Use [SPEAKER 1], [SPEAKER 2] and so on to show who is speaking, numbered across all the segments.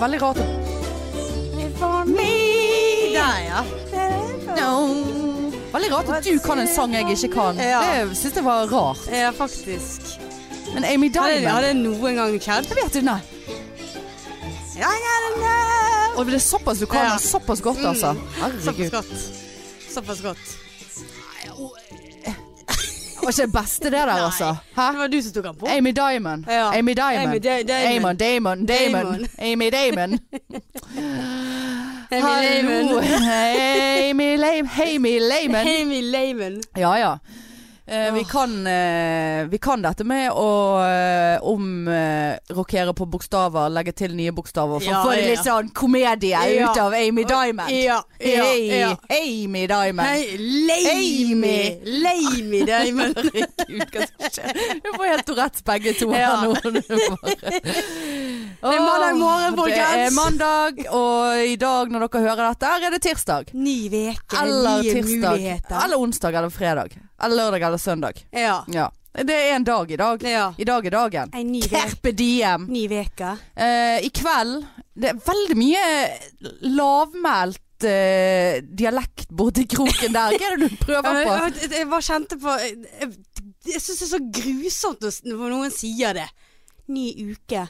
[SPEAKER 1] veldig rart. Der, ja. No. Veldig rart at du kan en sang jeg ikke kan.
[SPEAKER 2] Ja.
[SPEAKER 1] Det syns jeg var rart.
[SPEAKER 2] Ja, faktisk.
[SPEAKER 1] Men Amy
[SPEAKER 2] Har det, har
[SPEAKER 1] Diamond
[SPEAKER 2] det noen gang skjedd?
[SPEAKER 1] Jeg vet ikke, nei. Og det er såpass du kan
[SPEAKER 2] Ja.
[SPEAKER 1] såpass godt, altså.
[SPEAKER 2] eh, Mm. Såpass
[SPEAKER 1] Herregud.
[SPEAKER 2] godt. Såpass godt.
[SPEAKER 1] Var ikke det beste det der, altså. Hæ?
[SPEAKER 2] Det var du som tok den på.
[SPEAKER 1] Amy Diamond.
[SPEAKER 2] Ja.
[SPEAKER 1] Amy
[SPEAKER 2] Amy
[SPEAKER 1] Diamond.
[SPEAKER 2] Da- Diamond.
[SPEAKER 1] Damon, Damon, Damon.
[SPEAKER 2] Damon.
[SPEAKER 1] Amy Damon.
[SPEAKER 2] Amy
[SPEAKER 1] Hallo.
[SPEAKER 2] Lehman.
[SPEAKER 1] Amy Lame. Amy Layman.
[SPEAKER 2] Amy Lehman.
[SPEAKER 1] Ja, ja. Eh, vi, kan, eh, vi kan dette med å eh, omrokere på bokstaver, legge til nye bokstaver, for
[SPEAKER 2] Ja,
[SPEAKER 1] å få
[SPEAKER 2] ja,
[SPEAKER 1] det litt
[SPEAKER 2] ja.
[SPEAKER 1] sånn komedie
[SPEAKER 2] Ja.
[SPEAKER 1] ut av Amy Diamond.
[SPEAKER 2] Ja, ja,
[SPEAKER 1] Hey,
[SPEAKER 2] ja.
[SPEAKER 1] Amy Diamond.
[SPEAKER 2] Hei, Lamy.
[SPEAKER 1] Amy.
[SPEAKER 2] Lamy Diamond.
[SPEAKER 1] Gud, hva som skjer? Vi får helt Tourettes begge to her
[SPEAKER 2] Ja.
[SPEAKER 1] nå. Det er
[SPEAKER 2] mandag morgen,
[SPEAKER 1] Det er
[SPEAKER 2] folkens.
[SPEAKER 1] mandag, og i dag når dere hører dette, her er det tirsdag.
[SPEAKER 2] Ny veke,
[SPEAKER 1] Eller
[SPEAKER 2] nye
[SPEAKER 1] tirsdag.
[SPEAKER 2] muligheter.
[SPEAKER 1] Eller onsdag eller fredag. Eller lørdag eller søndag.
[SPEAKER 2] Ja.
[SPEAKER 1] Ja. Det er en dag i dag.
[SPEAKER 2] ja.
[SPEAKER 1] I dag er dagen.
[SPEAKER 2] En ny veke.
[SPEAKER 1] Carpe diem.
[SPEAKER 2] Ny veke.
[SPEAKER 1] Eh, I kveld Det er veldig mye lavmælt eh, dialekt borti kroken der. Hva er det du
[SPEAKER 2] Ja,
[SPEAKER 1] prøver
[SPEAKER 2] men,
[SPEAKER 1] på?
[SPEAKER 2] jeg, jeg, jeg bare kjente på Jeg, jeg, jeg syns det er så grusomt når s- når noen sier det. Ny uke,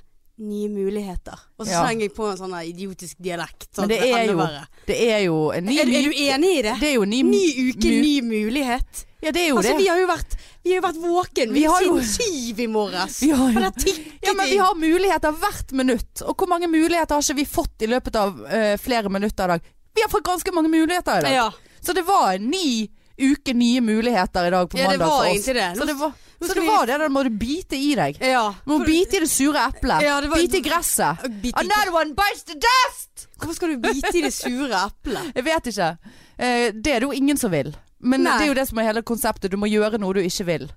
[SPEAKER 2] nye muligheter. Og så
[SPEAKER 1] Ja.
[SPEAKER 2] slenger jeg på en sånn her idiotisk dialekt.
[SPEAKER 1] Men
[SPEAKER 2] Sånn,
[SPEAKER 1] det
[SPEAKER 2] at
[SPEAKER 1] er
[SPEAKER 2] enda
[SPEAKER 1] jo
[SPEAKER 2] verre.
[SPEAKER 1] Det er jo en ny
[SPEAKER 2] er, du- er du enig i det?
[SPEAKER 1] Det er jo en ny,
[SPEAKER 2] Ny uke,
[SPEAKER 1] mu-
[SPEAKER 2] ny mulighet.
[SPEAKER 1] Ja, det er jo
[SPEAKER 2] altså,
[SPEAKER 1] det.
[SPEAKER 2] vi har jo vært, vi har jo vært våken
[SPEAKER 1] Vi har jo-
[SPEAKER 2] siden syv i morges.
[SPEAKER 1] Vi har jo-
[SPEAKER 2] For det tikket
[SPEAKER 1] Ja, men vi har muligheter hvert minutt. Og hvor mange muligheter har ikke vi fått i løpet av eh, flere minutter i dag? Vi har fått ganske mange muligheter i dag.
[SPEAKER 2] ja.
[SPEAKER 1] Så det var en ny uke nye muligheter i dag på
[SPEAKER 2] Ja, det
[SPEAKER 1] mandag
[SPEAKER 2] var
[SPEAKER 1] for oss.
[SPEAKER 2] egentlig det. Nå
[SPEAKER 1] Så det var,
[SPEAKER 2] nå
[SPEAKER 1] så
[SPEAKER 2] skal
[SPEAKER 1] det,
[SPEAKER 2] vi-
[SPEAKER 1] var det. Da må du bite i deg.
[SPEAKER 2] ja.
[SPEAKER 1] Du må
[SPEAKER 2] For-
[SPEAKER 1] bite i det sure eplet.
[SPEAKER 2] Ja, det var-
[SPEAKER 1] Bite i gresset.
[SPEAKER 2] Bit i,
[SPEAKER 1] Another one bites the dust!
[SPEAKER 2] hvorfor skal du bite i det sure eplet?
[SPEAKER 1] Jeg vet ikke. Eh, det er det jo ingen som vil. Men
[SPEAKER 2] Nei.
[SPEAKER 1] det er jo det som er hele konseptet. Du må gjøre noe du ikke vil.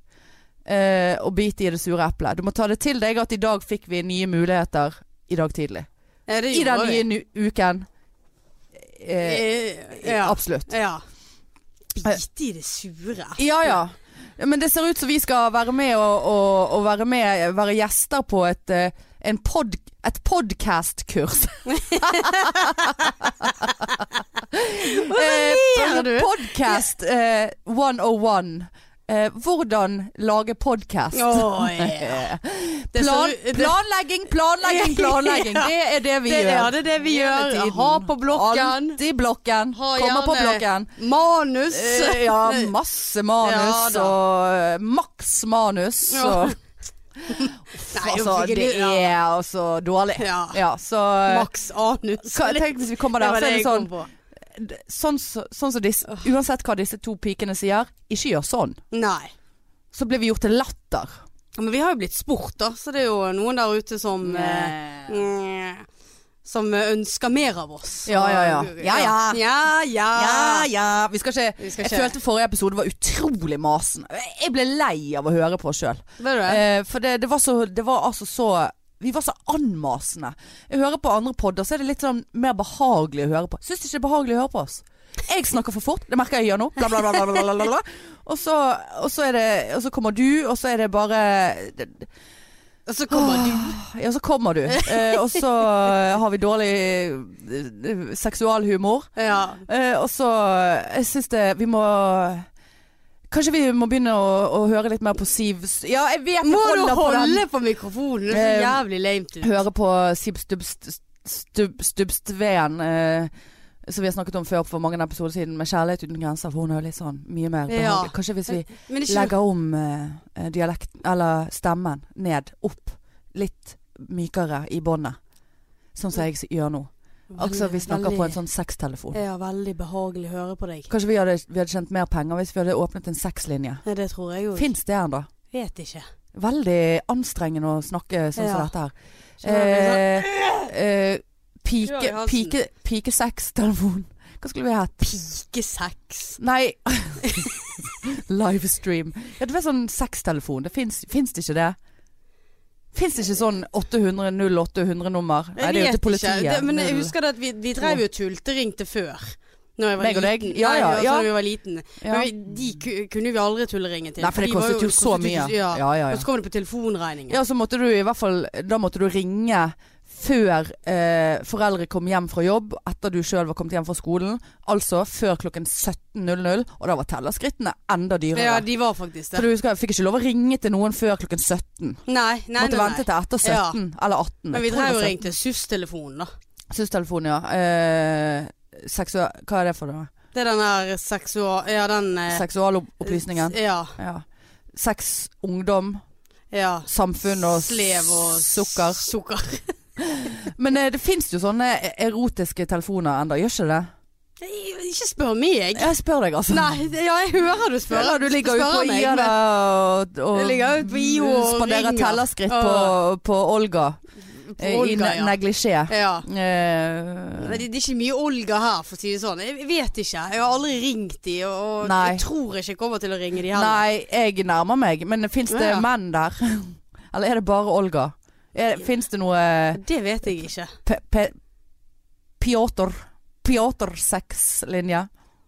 [SPEAKER 1] Eh, og bite i det sure eplet. Du må ta det til deg at i dag fikk vi nye muligheter i dag tidlig.
[SPEAKER 2] Ja, det
[SPEAKER 1] I den
[SPEAKER 2] gjorde
[SPEAKER 1] nye nu- uken. Eh,
[SPEAKER 2] vi. Ja.
[SPEAKER 1] Absolutt.
[SPEAKER 2] ja. Bite i det sure eplet.
[SPEAKER 1] Ja, ja. Men det ser ut som vi skal være med og, og, og være, med, være gjester på et, eh, en pod, et podcast-kurs. Eh,
[SPEAKER 2] ler du?
[SPEAKER 1] podcast eh, 101. Eh, hvordan lage podcast.
[SPEAKER 2] Å, ja.
[SPEAKER 1] Eh,
[SPEAKER 2] Det ser
[SPEAKER 1] Plan,
[SPEAKER 2] ut- det-
[SPEAKER 1] planlegging, planlegging, planlegging.
[SPEAKER 2] Ja.
[SPEAKER 1] Det er det vi
[SPEAKER 2] Det-
[SPEAKER 1] gjør.
[SPEAKER 2] ja, det er det vi gjør. Ha på blokken.
[SPEAKER 1] Alltid blokken.
[SPEAKER 2] Ha
[SPEAKER 1] Kommer på
[SPEAKER 2] gjerne-
[SPEAKER 1] blokken.
[SPEAKER 2] Manus.
[SPEAKER 1] Eh, ja, masse manus
[SPEAKER 2] Ja, da.
[SPEAKER 1] og eh, maks manus.
[SPEAKER 2] Ja.
[SPEAKER 1] Og,
[SPEAKER 2] Nei,
[SPEAKER 1] altså,
[SPEAKER 2] jeg-
[SPEAKER 1] det er altså dårlig.
[SPEAKER 2] Ja.
[SPEAKER 1] Ja, så eh,
[SPEAKER 2] Max anus.
[SPEAKER 1] hva, Tenk hvis vi kommer
[SPEAKER 2] Det
[SPEAKER 1] der,
[SPEAKER 2] var
[SPEAKER 1] så
[SPEAKER 2] det
[SPEAKER 1] er det
[SPEAKER 2] jeg
[SPEAKER 1] sånn
[SPEAKER 2] kom på.
[SPEAKER 1] d- Sånn som sånn, som disse Uansett hva disse to pikene sier, ikke gjør sånn.
[SPEAKER 2] Nei.
[SPEAKER 1] Så blir vi gjort til latter.
[SPEAKER 2] Men vi har jo blitt spurt, da, så det er jo noen der ute som eh, mm, Som eh, ønsker mer av oss.
[SPEAKER 1] Ja, ja, ja. Ja, ja.
[SPEAKER 2] ja, ja.
[SPEAKER 1] Ja, ja. Vi skal ikke,
[SPEAKER 2] Ah. Vi skal
[SPEAKER 1] Jeg
[SPEAKER 2] ikke-
[SPEAKER 1] følte forrige episode var utrolig masende. Jeg ble lei av å høre på sjøl.
[SPEAKER 2] Vet du det?
[SPEAKER 1] Eh, for det, det var så Det var altså så vi var så anmasende. Jeg hører på andre podder, så er det litt sånn mer behagelig å høre på. Syns ikke det er behagelig å høre på oss. Jeg snakker for fort, det merker jeg gjør nå. Bla, bla, bla, bla, bla, bla, bla, bla. Og, så, og, så er det, og så kommer du, og så er det bare
[SPEAKER 2] Og så kommer du.
[SPEAKER 1] Ja, så kommer du. Eh, og så har vi dårlig eh, seksualhumor.
[SPEAKER 2] Ja.
[SPEAKER 1] Eh, og så Jeg syns det Vi må Kanskje vi må begynne å, å høre litt mer på Siv S- Ja, jeg vet
[SPEAKER 2] Må
[SPEAKER 1] jeg
[SPEAKER 2] du
[SPEAKER 1] holder på den.
[SPEAKER 2] holde på mikrofonen? Det ser
[SPEAKER 1] Eh,
[SPEAKER 2] jævlig lame ut.
[SPEAKER 1] høre på Sib Stubbst- Stubb- Stubbstveen, eh, som vi har snakket om før for mange episoder siden, med 'Kjærlighet uten grenser', for hun er jo litt sånn mye mer behagelig.
[SPEAKER 2] Ja.
[SPEAKER 1] Kanskje hvis vi
[SPEAKER 2] Men ikke
[SPEAKER 1] legger om eh, dialekten, eller stemmen, ned, opp. Litt mykere i båndet. Sånn som jeg s- gjør nå. Altså vi snakker på en sånn sextelefon.
[SPEAKER 2] Ja, veldig behagelig å høre på deg.
[SPEAKER 1] Kanskje vi hadde, vi hadde tjent mer penger hvis vi hadde åpnet en sexlinje.
[SPEAKER 2] Nei, det tror jeg jo.
[SPEAKER 1] Fins det ennå?
[SPEAKER 2] Vet ikke.
[SPEAKER 1] Veldig anstrengende å snakke sånn som
[SPEAKER 2] Ja.
[SPEAKER 1] dette her.
[SPEAKER 2] Skjønner du?
[SPEAKER 1] Eh, eh,
[SPEAKER 2] Klør i
[SPEAKER 1] pike,
[SPEAKER 2] halsen.
[SPEAKER 1] pike, pikesextelefon. Hva skulle vi hett?
[SPEAKER 2] Pikesex.
[SPEAKER 1] Nei Livestream. Ja, det var sånn sextelefon. Det fins det ikke det? Fins det ikke sånn 800 0800 nummer? Nei, det er jo til
[SPEAKER 2] vet ikke.
[SPEAKER 1] politiet.
[SPEAKER 2] Det, men jeg
[SPEAKER 1] Null.
[SPEAKER 2] husker det at vi, vi drev jo og tulteringte før. Når jeg var
[SPEAKER 1] Meg og deg?
[SPEAKER 2] liten.
[SPEAKER 1] Ja, ja,
[SPEAKER 2] Nei, altså,
[SPEAKER 1] ja.
[SPEAKER 2] Når vi var liten.
[SPEAKER 1] Ja.
[SPEAKER 2] Men vi, de ku- kunne vi aldri tulleringe til.
[SPEAKER 1] Nei, for det
[SPEAKER 2] de var
[SPEAKER 1] kostet jo så
[SPEAKER 2] kostet
[SPEAKER 1] mye.
[SPEAKER 2] Ja.
[SPEAKER 1] Ja, ja, ja.
[SPEAKER 2] Og så kom det på telefonregningen.
[SPEAKER 1] Ja, så måtte du i hvert fall Da måtte du ringe før eh, foreldre kom hjem fra jobb, etter du sjøl var kommet hjem fra skolen. Altså før klokken 17.00, og da var tellerskrittene enda dyrere.
[SPEAKER 2] Ja, de var faktisk
[SPEAKER 1] For du
[SPEAKER 2] det.
[SPEAKER 1] husker, Jeg fikk ikke lov å ringe til noen før klokken 17.
[SPEAKER 2] Nei, nei,
[SPEAKER 1] Måtte
[SPEAKER 2] nei.
[SPEAKER 1] vente altså. til etter 17
[SPEAKER 2] Ja.
[SPEAKER 1] eller 18.
[SPEAKER 2] Men vi drev og ringte SUS-telefonen, da.
[SPEAKER 1] Sustelefonen, ja. Eh, seksual... Hva er det for noe?
[SPEAKER 2] Det er den der seksual... Ja, den eh,
[SPEAKER 1] Seksualopplysningen?
[SPEAKER 2] Ja.
[SPEAKER 1] Ja. Sex, ungdom,
[SPEAKER 2] ja.
[SPEAKER 1] samfunn og
[SPEAKER 2] Slev og s-
[SPEAKER 1] sukker.
[SPEAKER 2] sukker.
[SPEAKER 1] Men eh, det fins jo sånne erotiske telefoner enda, gjør ikke det?
[SPEAKER 2] Ikke spør meg.
[SPEAKER 1] Jeg spør deg, altså.
[SPEAKER 2] Nei, ja, jeg hører du spør.
[SPEAKER 1] Eller du ligger ute på
[SPEAKER 2] meg,
[SPEAKER 1] IA
[SPEAKER 2] men-
[SPEAKER 1] og, og
[SPEAKER 2] Jeg ligger ute på IO og
[SPEAKER 1] spanderer
[SPEAKER 2] ringer.
[SPEAKER 1] tellerskritt
[SPEAKER 2] Ja.
[SPEAKER 1] på, på Olga,
[SPEAKER 2] På
[SPEAKER 1] eh, i
[SPEAKER 2] Olga,
[SPEAKER 1] ne
[SPEAKER 2] ja.
[SPEAKER 1] neglisjé.
[SPEAKER 2] ja.
[SPEAKER 1] Eh,
[SPEAKER 2] Men Det, det er ikke mye Olga her, for å si det sånn. Jeg jeg vet ikke. Jeg har aldri ringt de, og
[SPEAKER 1] Nei.
[SPEAKER 2] jeg tror ikke jeg kommer til å ringe de heller.
[SPEAKER 1] nei, jeg nærmer meg, men fins det
[SPEAKER 2] Ja, ja.
[SPEAKER 1] menn der? Eller er det bare Olga? Fins det noe
[SPEAKER 2] Det vet jeg ikke.
[SPEAKER 1] pe, pe, Piotr Piotr-sex-linje?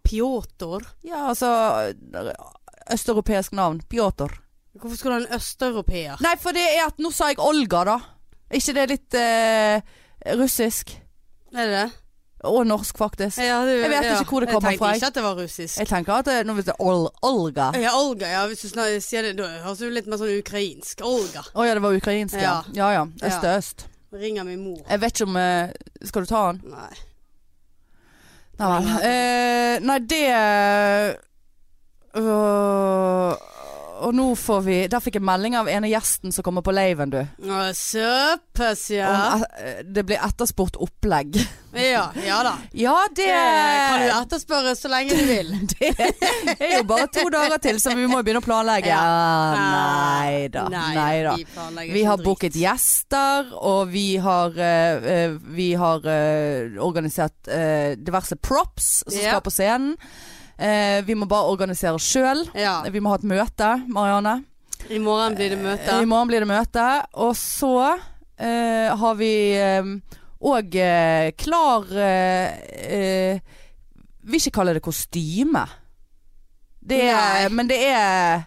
[SPEAKER 2] Pjotr?
[SPEAKER 1] Ja, altså Østeuropeisk navn. Piotr.
[SPEAKER 2] Hvorfor skulle han en østeuropeer?
[SPEAKER 1] Nei, for det er at nå sa jeg Olga, da. Er ikke det litt eh, russisk?
[SPEAKER 2] Er det det?
[SPEAKER 1] Og norsk, faktisk.
[SPEAKER 2] Ja, du,
[SPEAKER 1] Jeg vet ikke hvor det kommer fra, jeg.
[SPEAKER 2] Jeg tenkte ikke at det var russisk.
[SPEAKER 1] Jeg tenker at det, nå hvis det er Ol Olga Å
[SPEAKER 2] Ja, Olga, ja. Hvis du snak- sier det, da høres det jo litt mer sånn ukrainsk. Olga.
[SPEAKER 1] ja, det var ukrainsk, ja. Ja ja. Øst til øst.
[SPEAKER 2] Ringer min mor.
[SPEAKER 1] Jeg vet ikke om eh, Skal du ta den?
[SPEAKER 2] Nei.
[SPEAKER 1] Nei vel. Eh, nei, det øh, Og nå får vi Der fikk jeg melding av ene gjesten som kommer på laven, du.
[SPEAKER 2] Å, Såpass, ja.
[SPEAKER 1] Om, eh, det blir etterspurt opplegg.
[SPEAKER 2] Ja, ja da.
[SPEAKER 1] Ja, det
[SPEAKER 2] Det kan du etterspørre så lenge du vil.
[SPEAKER 1] Det er jo bare to dager til, så vi må begynne å planlegge.
[SPEAKER 2] Ja.
[SPEAKER 1] Ja, nei da. Nei da.
[SPEAKER 2] vi planlegger
[SPEAKER 1] Vi
[SPEAKER 2] ikke
[SPEAKER 1] har
[SPEAKER 2] dritt.
[SPEAKER 1] booket gjester, og vi har, eh, eh, vi har eh, organisert eh, diverse props som
[SPEAKER 2] Ja.
[SPEAKER 1] skal på scenen. Eh, vi må bare organisere oss sjøl.
[SPEAKER 2] Ja.
[SPEAKER 1] Vi må ha et møte, Marianne.
[SPEAKER 2] I morgen blir det møte.
[SPEAKER 1] Eh, I morgen blir det møte. Og så eh, har vi òg klar eh, eh, Vil ikke kalle det kostyme. Det er,
[SPEAKER 2] Nei.
[SPEAKER 1] men det er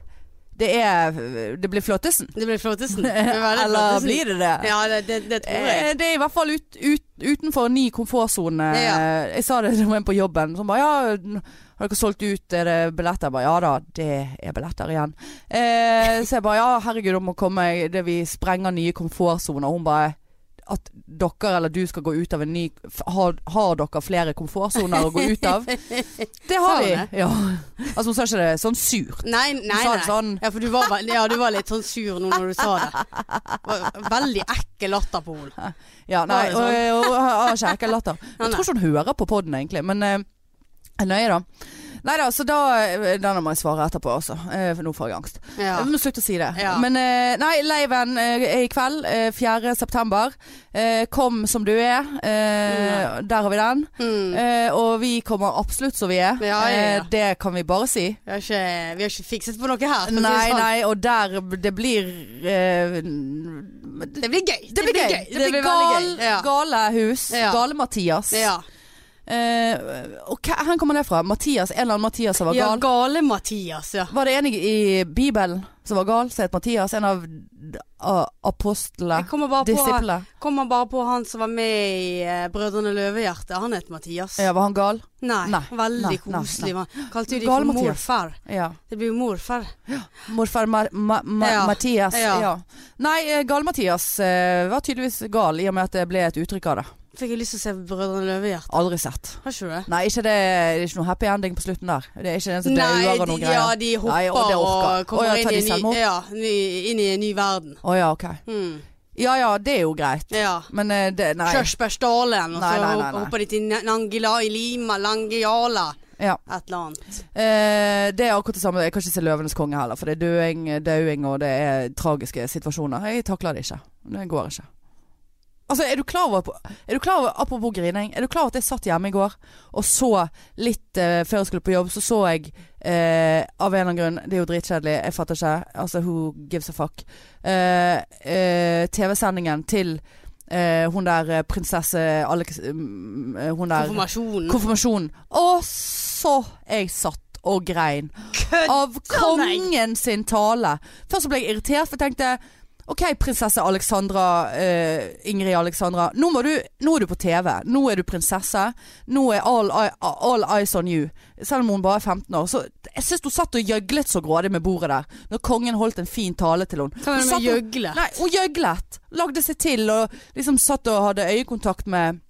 [SPEAKER 1] Det er Det blir flåttesen.
[SPEAKER 2] Det blir flottesen.
[SPEAKER 1] Eller blir det det?
[SPEAKER 2] Ja, det, det, det tror jeg.
[SPEAKER 1] Eh, Det er i hvert fall ut, ut, utenfor ny komfortsone.
[SPEAKER 2] Ja.
[SPEAKER 1] Eh, Jeg sa det til en på jobben. Som bare ja, n- har dere solgt ut er det billetter? Jeg bare ja da, det er billetter igjen. Eh, så jeg bare ja, herregud, om å komme det vi sprenger nye komfortsoner. Hun bare at dere eller du skal gå ut av en ny f- Har, har dere flere komfortsoner å gå ut av? Det
[SPEAKER 2] Sa
[SPEAKER 1] har
[SPEAKER 2] hun
[SPEAKER 1] vi.
[SPEAKER 2] det?
[SPEAKER 1] Ja. Altså hun sa ikke det sånn surt.
[SPEAKER 2] Nei, nei,
[SPEAKER 1] Hun
[SPEAKER 2] Sånn, nei.
[SPEAKER 1] sa det sånn
[SPEAKER 2] Ja, for du var, vel- ja, du var litt sånn sur nå når du sa det. Var Veldig ekkel latter på henne.
[SPEAKER 1] Ja,
[SPEAKER 2] Var
[SPEAKER 1] nei,
[SPEAKER 2] det
[SPEAKER 1] og,
[SPEAKER 2] sånn?
[SPEAKER 1] og, og, og og kjerke latter.
[SPEAKER 2] Nei,
[SPEAKER 1] Jeg tror ikke hun hører på podden egentlig, men eh, nøye da. Nei da, så da Denne må jeg svare etterpå også, eh, for nå får jeg angst.
[SPEAKER 2] Ja.
[SPEAKER 1] Jeg må slutte å si det.
[SPEAKER 2] Ja.
[SPEAKER 1] Men eh, nei, leiven eh, er i kveld, eh, 4. september. Eh, kom som du er. Eh, Der har vi den.
[SPEAKER 2] Mm.
[SPEAKER 1] Eh, og vi kommer absolutt som vi er.
[SPEAKER 2] Ja, ja, ja.
[SPEAKER 1] Eh, det kan vi bare si.
[SPEAKER 2] Vi, har ikke, vi har ikke fikset på noe her. for å si det
[SPEAKER 1] Nei,
[SPEAKER 2] sånn.
[SPEAKER 1] nei, og der Det blir eh,
[SPEAKER 2] Det blir gøy.
[SPEAKER 1] Det blir gøy. Det blir gal,
[SPEAKER 2] veldig gøy. Ja.
[SPEAKER 1] galehus.
[SPEAKER 2] Ja.
[SPEAKER 1] Gale-Mathias.
[SPEAKER 2] Ja.
[SPEAKER 1] Eh, og hva, hvor kommer det fra? Mathias, En eller annen Mathias som var
[SPEAKER 2] ja,
[SPEAKER 1] gal?
[SPEAKER 2] Gale-Mathias, ja.
[SPEAKER 1] Var det en i, i Bibelen som var gal, som het Mathias? En av d- a- apostlene?
[SPEAKER 2] Jeg kommer bare, på,
[SPEAKER 1] Disiplene?
[SPEAKER 2] kommer bare på han som var med i eh, Brødrene Løvehjerte. Han het Mathias.
[SPEAKER 1] Ja, var han gal?
[SPEAKER 2] Nei,
[SPEAKER 1] Nei,
[SPEAKER 2] veldig
[SPEAKER 1] nei, nei,
[SPEAKER 2] koselig mann. Kalte jo de for
[SPEAKER 1] Gale-Mathias.
[SPEAKER 2] morfar.
[SPEAKER 1] Ja.
[SPEAKER 2] Det blir jo morfar.
[SPEAKER 1] Morfar Ma Ma Ma
[SPEAKER 2] Ja.
[SPEAKER 1] Mathias. Ja.
[SPEAKER 2] Ja.
[SPEAKER 1] Nei, eh, Gale-Mathias eh, var tydeligvis gal, i og med at det ble et uttrykk av det.
[SPEAKER 2] Fikk jeg lyst til å se Brødrene Løvehjerte.
[SPEAKER 1] Aldri sett.
[SPEAKER 2] Har ikke du det?
[SPEAKER 1] Nei, ikke det, det er ikke noe happy ending på slutten der. Altså, Det er ikke den som dauer
[SPEAKER 2] Nei,
[SPEAKER 1] og
[SPEAKER 2] de,
[SPEAKER 1] noen
[SPEAKER 2] ja,
[SPEAKER 1] greier.
[SPEAKER 2] de hopper
[SPEAKER 1] Nei, og
[SPEAKER 2] og,
[SPEAKER 1] det orker. Å,
[SPEAKER 2] kommer
[SPEAKER 1] ja,
[SPEAKER 2] inn,
[SPEAKER 1] tar
[SPEAKER 2] i
[SPEAKER 1] de
[SPEAKER 2] en ny,
[SPEAKER 1] selvmord?
[SPEAKER 2] ja, ny, inn i en ny verden.
[SPEAKER 1] Å ja, ok.
[SPEAKER 2] Mm.
[SPEAKER 1] Ja ja, det er jo greit.
[SPEAKER 2] Ja.
[SPEAKER 1] Men eh, det Nei.
[SPEAKER 2] Kjørsbergsdalen, og
[SPEAKER 1] Nei,
[SPEAKER 2] så
[SPEAKER 1] nei, nei, nei.
[SPEAKER 2] hopper de til Na- Nangila i Lima, Langiala,
[SPEAKER 1] Ja.
[SPEAKER 2] et eller annet.
[SPEAKER 1] Eh, det er akkurat det samme. Jeg kan ikke se 'Løvenes konge' heller, for det er døing, dauing og det er tragiske situasjoner. Jeg takler det ikke. Det går ikke. Altså, er du klar over, er du klar over Apropos grining. Er du klar over at jeg satt hjemme i går og så litt eh, før jeg skulle på jobb, så så jeg eh, Av en eller annen grunn, det er jo dritkjedelig, jeg fatter ikke. Altså, who gives a fuck. Eh, eh, TV-sendingen til eh, hun der eh, prinsesse Alex... mm, eh, hun der
[SPEAKER 2] Konfirmasjonen.
[SPEAKER 1] Konfirmasjonen. Og så jeg satt og grein
[SPEAKER 2] Kødd!
[SPEAKER 1] av kongen sin tale. Først så ble jeg irritert, for jeg tenkte OK, prinsesse Alexandra, eh, Ingrid Alexandra. Nå, må du, nå er du på TV. Nå er du prinsesse. Nå er all, eye- all eyes on you. Selv om hun bare er 15 år. Så jeg syns hun satt og gjøglet så grådig med bordet der. Når kongen holdt en fin tale til henne. Hun
[SPEAKER 2] Hva var det
[SPEAKER 1] satt
[SPEAKER 2] med
[SPEAKER 1] og-
[SPEAKER 2] gjøgle?
[SPEAKER 1] Nei, hun gjøglet. Lagde seg til og liksom satt og hadde øyekontakt med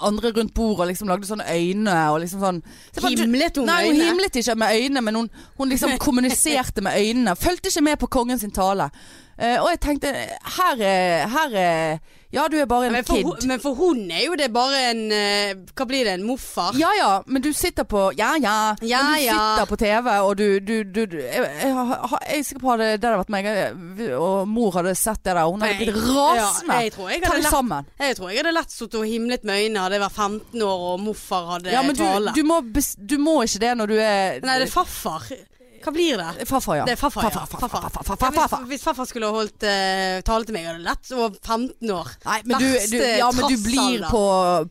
[SPEAKER 1] andre rundt bordet og liksom lagde sånne øyne og liksom sånn Så jeg bare, du-
[SPEAKER 2] Himlet hun
[SPEAKER 1] Nei,
[SPEAKER 2] med
[SPEAKER 1] hun
[SPEAKER 2] øynene?
[SPEAKER 1] himlet ikke med øynene, men hun, hun liksom kommuniserte med øynene. Fulgte ikke med på kongen sin tale. Eh, og jeg tenkte her er, her er Ja, du er bare en
[SPEAKER 2] Men for,
[SPEAKER 1] kid.
[SPEAKER 2] hun- men for hun er jo det bare en eh, Hva blir det, en morfar?
[SPEAKER 1] Ja ja, men du sitter på Ja ja.
[SPEAKER 2] Ja,
[SPEAKER 1] men du
[SPEAKER 2] ja.
[SPEAKER 1] sitter på TV, og du, du, du, du jeg, jeg, har- jeg er sikker på hadde det hadde vært meg, jeg- og mor hadde sett det der, hun hadde blitt rasende.
[SPEAKER 2] Ja, jeg, tror jeg,
[SPEAKER 1] Ta
[SPEAKER 2] hadde
[SPEAKER 1] det
[SPEAKER 2] lett,
[SPEAKER 1] sammen.
[SPEAKER 2] jeg tror jeg hadde lett sittet og himlet med øynene hadde jeg vært 15 år og morfar hadde
[SPEAKER 1] Ja, men du,
[SPEAKER 2] eh, tale.
[SPEAKER 1] du, må, bes- du må ikke det når du er
[SPEAKER 2] Nei, det er farfar. Hva blir det?
[SPEAKER 1] Farfar, ja.
[SPEAKER 2] Det er farfar, ja.
[SPEAKER 1] Farfar, farfar, farfar,
[SPEAKER 2] Ja,
[SPEAKER 1] farfar, farfar.
[SPEAKER 2] Hvis, hvis farfar skulle holdt eh, tale til meg, hadde det lett. Og 15 år.
[SPEAKER 1] Nei, men du, du,
[SPEAKER 2] Verste
[SPEAKER 1] ja, men du
[SPEAKER 2] trassalder.
[SPEAKER 1] blir på,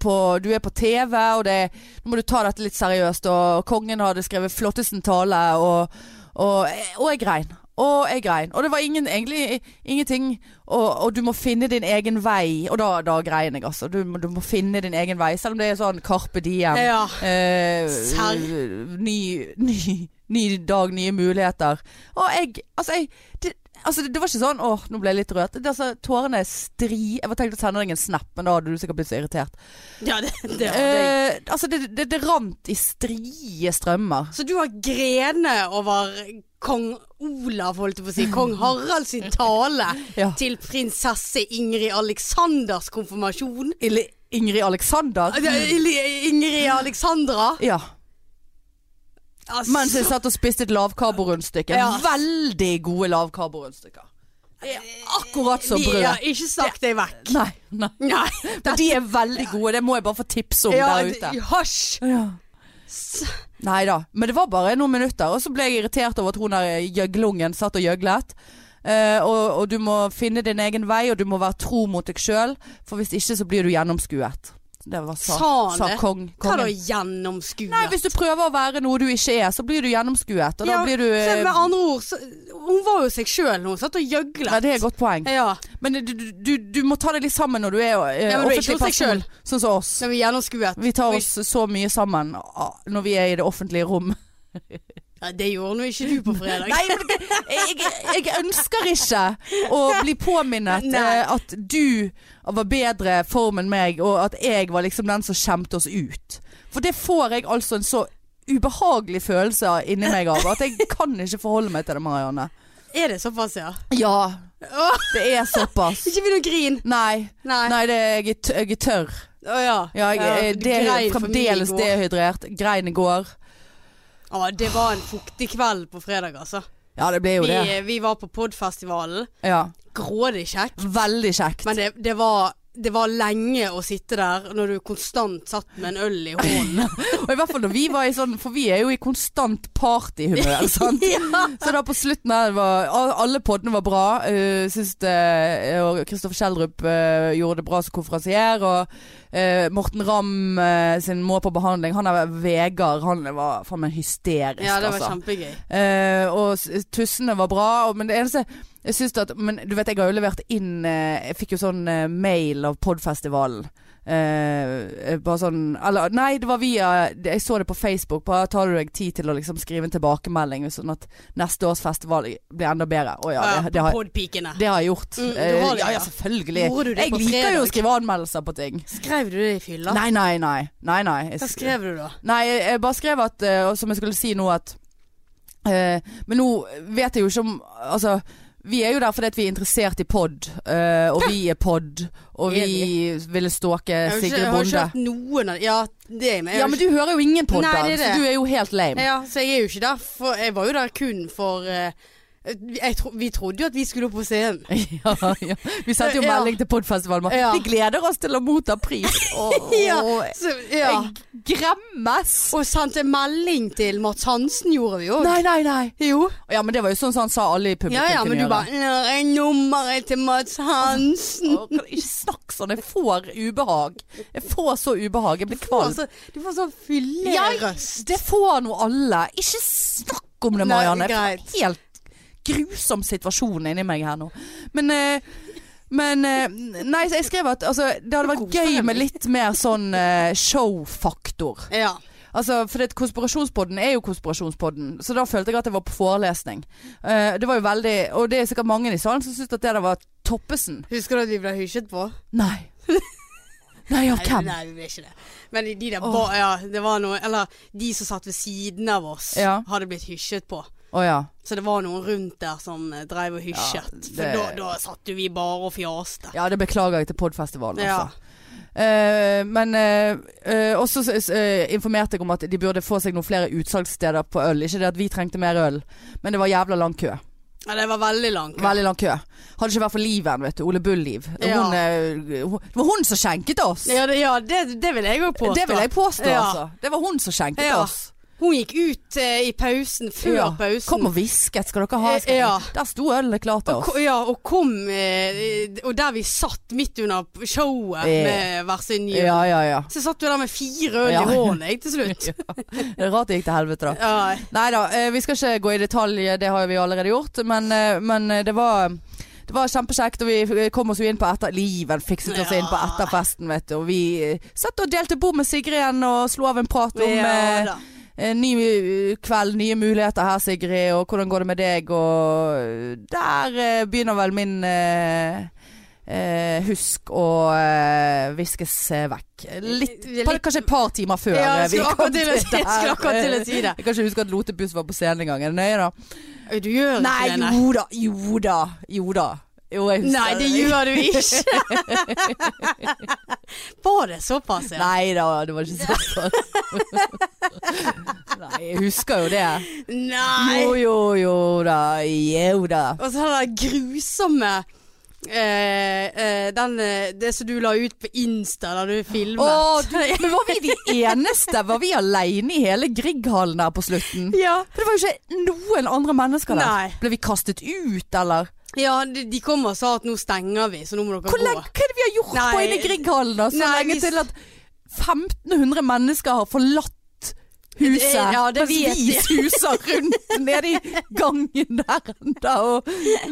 [SPEAKER 1] på Du er på TV, og det Nå må du ta dette litt seriøst, og kongen hadde skrevet flottesten tale, og, og, og jeg grein. Og jeg grein. Og det var ingen, egentlig ingenting og, og du må finne din egen vei, og da, da grein jeg, altså. Du, må- du må finne din egen vei, selv om det er sånn Carpe Diem.
[SPEAKER 2] Ja.
[SPEAKER 1] Eh,
[SPEAKER 2] Serr.
[SPEAKER 1] ny, ny, ny dag, nye muligheter. Og jeg Altså, jeg, det, altså, det var ikke sånn Åh, nå ble jeg litt rørt. Det, altså, tårene stri Jeg var tenkt å sende deg en snap, men da hadde du sikkert blitt så irritert.
[SPEAKER 2] ja, det, det hadde jeg.
[SPEAKER 1] Eh, altså, det, det, det rant i strie strømmer.
[SPEAKER 2] Så du har grene over kong Olav, holdt jeg på å si. Kong Harald sin tale
[SPEAKER 1] Ja.
[SPEAKER 2] til prinsesse Ingrid Alexanders konfirmasjon.
[SPEAKER 1] Eller Ingrid Alexander.
[SPEAKER 2] Altså, Ili- Ingrid Alexandra.
[SPEAKER 1] Ja.
[SPEAKER 2] Altså,
[SPEAKER 1] Mens jeg satt og spiste et lavkarborundstykke.
[SPEAKER 2] Ja.
[SPEAKER 1] Veldig gode lavkarborundstykker. Det er Akkurat som
[SPEAKER 2] Altså, de- Ja,
[SPEAKER 1] brød.
[SPEAKER 2] ikke snakk deg vekk.
[SPEAKER 1] Nei, nei.
[SPEAKER 2] Nei.
[SPEAKER 1] Men de er veldig gode. Det må jeg bare få tips om
[SPEAKER 2] Ja,
[SPEAKER 1] der ute.
[SPEAKER 2] hasj.
[SPEAKER 1] Ja. Nei da, men det var bare noen minutter. Og så ble jeg irritert over at hun der eh, gjøglungen satt og gjøglet. Eh, og, og du må finne din egen vei, og du må være tro mot deg sjøl. For hvis ikke så blir du gjennomskuet. Det var sa,
[SPEAKER 2] Sa han
[SPEAKER 1] sa
[SPEAKER 2] det?
[SPEAKER 1] kong,
[SPEAKER 2] Hva da
[SPEAKER 1] kongen.
[SPEAKER 2] gjennomskue?
[SPEAKER 1] Nei, hvis du prøver å være noe du ikke er, så blir du gjennomskuet. Og da
[SPEAKER 2] Ja,
[SPEAKER 1] blir du
[SPEAKER 2] så
[SPEAKER 1] eh,
[SPEAKER 2] Med andre ord, så, hun var jo seg sjøl, hun satt og
[SPEAKER 1] Nei,
[SPEAKER 2] gjøglet.
[SPEAKER 1] det er et godt poeng.
[SPEAKER 2] Ja,
[SPEAKER 1] Men du, du- du, du må ta det litt sammen når du er eh,
[SPEAKER 2] Ja, men du er ikke
[SPEAKER 1] offentlig
[SPEAKER 2] hos deg
[SPEAKER 1] person. Sånn som oss.
[SPEAKER 2] som vi gjennomskuet.
[SPEAKER 1] Vi tar oss så mye sammen ah, når vi er i det offentlige rom.
[SPEAKER 2] Ja, det gjorde nå ikke du på fredag.
[SPEAKER 1] Nei, men det- jeg, jeg ønsker ikke å bli påminnet
[SPEAKER 2] Nei.
[SPEAKER 1] eh, at du var bedre form enn meg, og at jeg var liksom den som skjemte oss ut. For det får jeg altså en så ubehagelig følelse inni meg av, at jeg kan ikke forholde meg til det, Marianne.
[SPEAKER 2] Er det såpass, ja?
[SPEAKER 1] Ja,
[SPEAKER 2] Åh,
[SPEAKER 1] det er såpass.
[SPEAKER 2] ikke begynn å grine.
[SPEAKER 1] Nei,
[SPEAKER 2] Nei.
[SPEAKER 1] nei det, jeg, er tør- jeg er tørr.
[SPEAKER 2] Å ja.
[SPEAKER 1] Ja, jeg,
[SPEAKER 2] Ja,
[SPEAKER 1] eh,
[SPEAKER 2] du
[SPEAKER 1] det er
[SPEAKER 2] grein for mye
[SPEAKER 1] fremdeles
[SPEAKER 2] i går.
[SPEAKER 1] dehydrert. Grein i går.
[SPEAKER 2] Ja, det var en fuktig kveld på fredag, altså.
[SPEAKER 1] Ja, det ble jo det.
[SPEAKER 2] Vi, vi var på podfestivalen.
[SPEAKER 1] Ja.
[SPEAKER 2] Grådig kjekk.
[SPEAKER 1] Veldig kjekt.
[SPEAKER 2] Men det, det var det var lenge å sitte der når du konstant satt med en øl i hånden.
[SPEAKER 1] Og i hvert fall når vi var i sånn For vi er jo i konstant partyhumør, sant?
[SPEAKER 2] ja.
[SPEAKER 1] Så da på slutten her var al- Alle poddene var bra. Uh, syns det eh, Og Kristoffer Schjelderup eh, gjorde det bra som konferansier. Og eh, Morten Ramm eh, sin må på behandling. Han er Vegard. Han var faen meg hysterisk,
[SPEAKER 2] ja, det var
[SPEAKER 1] altså.
[SPEAKER 2] kjempegøy.
[SPEAKER 1] Eh, og s- Tussene var bra, og, men det eneste jeg synes at, Men du vet, jeg har jo levert inn eh, Jeg fikk jo sånn eh, mail av podfestivalen. Eh, eh, bare sånn Eller nei, det var via det- Jeg så det på Facebook. Bare tar du deg tid til å liksom skrive en tilbakemelding, sånn at neste års festival blir enda bedre. Å ja, det, det, har,
[SPEAKER 2] Podpikene.
[SPEAKER 1] det har jeg gjort.
[SPEAKER 2] Mm, du
[SPEAKER 1] Eh,
[SPEAKER 2] har det,
[SPEAKER 1] ja,
[SPEAKER 2] ja.
[SPEAKER 1] ja, selvfølgelig.
[SPEAKER 2] Gjorde du det
[SPEAKER 1] Jeg
[SPEAKER 2] på
[SPEAKER 1] liker jo å
[SPEAKER 2] fredag?
[SPEAKER 1] skrive anmeldelser på ting.
[SPEAKER 2] Skrev du det i fylla?
[SPEAKER 1] Nei, eh, nei, nei. nei, nei. Jeg
[SPEAKER 2] Hva
[SPEAKER 1] sk-
[SPEAKER 2] skrev du da?
[SPEAKER 1] Nei, jeg jeg bare skrev at eh, og Som jeg skulle si nå at eh, Men nå vet jeg jo ikke om Altså vi er jo der fordi at vi er interessert i pod eh, Og vi er pod Og
[SPEAKER 2] Er
[SPEAKER 1] vi ville ståke
[SPEAKER 2] Jeg har ikke-
[SPEAKER 1] Sigrid
[SPEAKER 2] Jeg har
[SPEAKER 1] Bonde
[SPEAKER 2] ikke hørt noen av Ja, det er jeg med. Jeg
[SPEAKER 1] Ja,
[SPEAKER 2] har
[SPEAKER 1] men du hører jo ingen pod
[SPEAKER 2] Nei,
[SPEAKER 1] da
[SPEAKER 2] det er det.
[SPEAKER 1] Så du er jo helt
[SPEAKER 2] ikke-
[SPEAKER 1] lame
[SPEAKER 2] ja, så jeg er jo ikke der. For jeg var jo der kun for eh, jeg tro, Vi trodde jo at vi skulle opp på scenen.
[SPEAKER 1] ja, ja. Vi sendte jo
[SPEAKER 2] Ja.
[SPEAKER 1] melding til podfestivalen
[SPEAKER 2] Ja.
[SPEAKER 1] Vi gleder oss til å motta pris Åh,
[SPEAKER 2] Ja. Så, ja.
[SPEAKER 1] Jeg gremmes
[SPEAKER 2] Og sendte melding til Mats Hansen, gjorde vi òg.
[SPEAKER 1] Nei, nei, nei
[SPEAKER 2] Jo.
[SPEAKER 1] Ja, men det var jo sånn som han sa alle i publikum
[SPEAKER 2] Ja ja, men
[SPEAKER 1] kunne
[SPEAKER 2] du
[SPEAKER 1] gjøre.
[SPEAKER 2] bare «Nå er nummeret til Mats Hansen.
[SPEAKER 1] Åh, kan du Ikke snakk sånn, jeg får ubehag. Jeg får så ubehag, jeg blir kvalm.
[SPEAKER 2] Altså, du får sånn
[SPEAKER 1] Ja,
[SPEAKER 2] fyllerøst.
[SPEAKER 1] det får nå alle. Ikke snakk om det,
[SPEAKER 2] Nei,
[SPEAKER 1] Marianne. Jeg
[SPEAKER 2] greit.
[SPEAKER 1] får helt grusom situasjon inni meg her nå. Men eh, men eh, Nei, så jeg skrev at altså, det hadde vært
[SPEAKER 2] Koser
[SPEAKER 1] gøy
[SPEAKER 2] deg.
[SPEAKER 1] med litt mer sånn eh, showfaktor.
[SPEAKER 2] Ja.
[SPEAKER 1] Altså, for det, konspirasjonspodden er jo konspirasjonspodden, så da følte jeg at jeg var på forelesning. Eh, det var jo veldig Og det er sikkert mange i salen som syns at det der var Toppesen.
[SPEAKER 2] Husker du at vi ble hysjet på?
[SPEAKER 1] Nei. Nei, av hvem?
[SPEAKER 2] Nei, vi ble ikke det. Men de der
[SPEAKER 1] Åh.
[SPEAKER 2] ba, ja, det var noe Eller de som satt ved siden av oss,
[SPEAKER 1] Ja.
[SPEAKER 2] hadde blitt hysjet på.
[SPEAKER 1] Å ja.
[SPEAKER 2] Så det var noen rundt der som eh, dreiv og hysjet.
[SPEAKER 1] Ja,
[SPEAKER 2] For
[SPEAKER 1] det-
[SPEAKER 2] da, da satt jo vi bare og fjaste.
[SPEAKER 1] Ja, det beklager jeg til podfestivalen,
[SPEAKER 2] Ja.
[SPEAKER 1] altså. Eh, men eh, eh, også eh, informerte jeg om at de burde få seg noen flere utsalgssteder på øl. Ikke det at vi trengte mer øl, men det var jævla lang kø.
[SPEAKER 2] Ja, det var veldig langt.
[SPEAKER 1] Veldig lang kø. Hadde ikke vært for Liven, vet du. Ole Bull-Liv.
[SPEAKER 2] Ja.
[SPEAKER 1] Hun, eh, hun- Det var hun som skjenket oss!
[SPEAKER 2] Ja, det, ja, det, det vil jeg òg påstå.
[SPEAKER 1] Det vil jeg påstå,
[SPEAKER 2] Ja.
[SPEAKER 1] altså. Det var hun som skjenket
[SPEAKER 2] Ja.
[SPEAKER 1] oss.
[SPEAKER 2] Hun gikk ut eh, i pausen, før
[SPEAKER 1] Ja.
[SPEAKER 2] pausen.
[SPEAKER 1] Kom og hvisket, skal dere ha?
[SPEAKER 2] Eh,
[SPEAKER 1] Skal
[SPEAKER 2] ja.
[SPEAKER 1] Der sto ølet klart til
[SPEAKER 2] Og,
[SPEAKER 1] oss.
[SPEAKER 2] ko- ja, og kom eh, Og der vi satt midt under showet
[SPEAKER 1] Eh.
[SPEAKER 2] med hver sin jul.
[SPEAKER 1] Ja, ja, ja.
[SPEAKER 2] Så satt du der med fire øl
[SPEAKER 1] Ja.
[SPEAKER 2] i hånden jeg, til slutt.
[SPEAKER 1] Det er rart det gikk til helvete, da.
[SPEAKER 2] Ja.
[SPEAKER 1] Nei da, eh, vi skal ikke gå i detalj, eh, det har vi allerede gjort. Men, eh, men eh, det var det var kjempekjekt, og vi eh, kom oss jo inn på etter Liven fikset oss inn på
[SPEAKER 2] Ja.
[SPEAKER 1] etterfesten, vet du. Og vi eh, satt og delte bord med Sigrid igjen og slo av en prat om
[SPEAKER 2] Ja,
[SPEAKER 1] eh,
[SPEAKER 2] da.
[SPEAKER 1] eh, ny eh, kveld, nye muligheter her, Sigrid, og hvordan går det med deg, og eh, der eh, begynner vel min eh, eh, husk å eh, viskes eh, vekk. Litt,
[SPEAKER 2] Litt-
[SPEAKER 1] par- Kanskje et par timer før
[SPEAKER 2] Ja,
[SPEAKER 1] eh,
[SPEAKER 2] jeg
[SPEAKER 1] vi
[SPEAKER 2] skulle
[SPEAKER 1] kom
[SPEAKER 2] akkurat til å si- jeg skulle akkurat til å si det.
[SPEAKER 1] Jeg kan ikke huske at Lotebuss var på scenen engang. Er det nøye, da?
[SPEAKER 2] Oi, Du gjør ikke
[SPEAKER 1] Nei,
[SPEAKER 2] det, nei.
[SPEAKER 1] jo da. Jo da. Jo da. Jo, jeg husker
[SPEAKER 2] Nei, det gjør du ikke. Var det såpass, ja?
[SPEAKER 1] Nei da, det var ikke sånn. Nei, jeg husker jo det.
[SPEAKER 2] Nei.
[SPEAKER 1] Jo, jo, jo da. Jo da.
[SPEAKER 2] Og så den der grusomme eh, eh, den, eh, det som du la ut på Insta da du
[SPEAKER 1] Å,
[SPEAKER 2] filmet.
[SPEAKER 1] Men var vi de eneste? Var vi aleine i hele Grieghallen her på slutten?
[SPEAKER 2] ja.
[SPEAKER 1] For det var jo ikke noen andre mennesker der.
[SPEAKER 2] Nei.
[SPEAKER 1] Ble vi kastet ut, eller?
[SPEAKER 2] ja, de, de kom og sa at nå stenger vi, så nå må dere
[SPEAKER 1] Hvor lenge,
[SPEAKER 2] gå.
[SPEAKER 1] hva er det vi har gjort på
[SPEAKER 2] Nei.
[SPEAKER 1] inne i Grieghallen da? Så
[SPEAKER 2] Nei,
[SPEAKER 1] lenge
[SPEAKER 2] vi-
[SPEAKER 1] til at 1500 mennesker har forlatt huset.
[SPEAKER 2] Det- ja, det
[SPEAKER 1] mens
[SPEAKER 2] vet
[SPEAKER 1] vi
[SPEAKER 2] jeg.
[SPEAKER 1] suser rundt nede i gangen der enda, og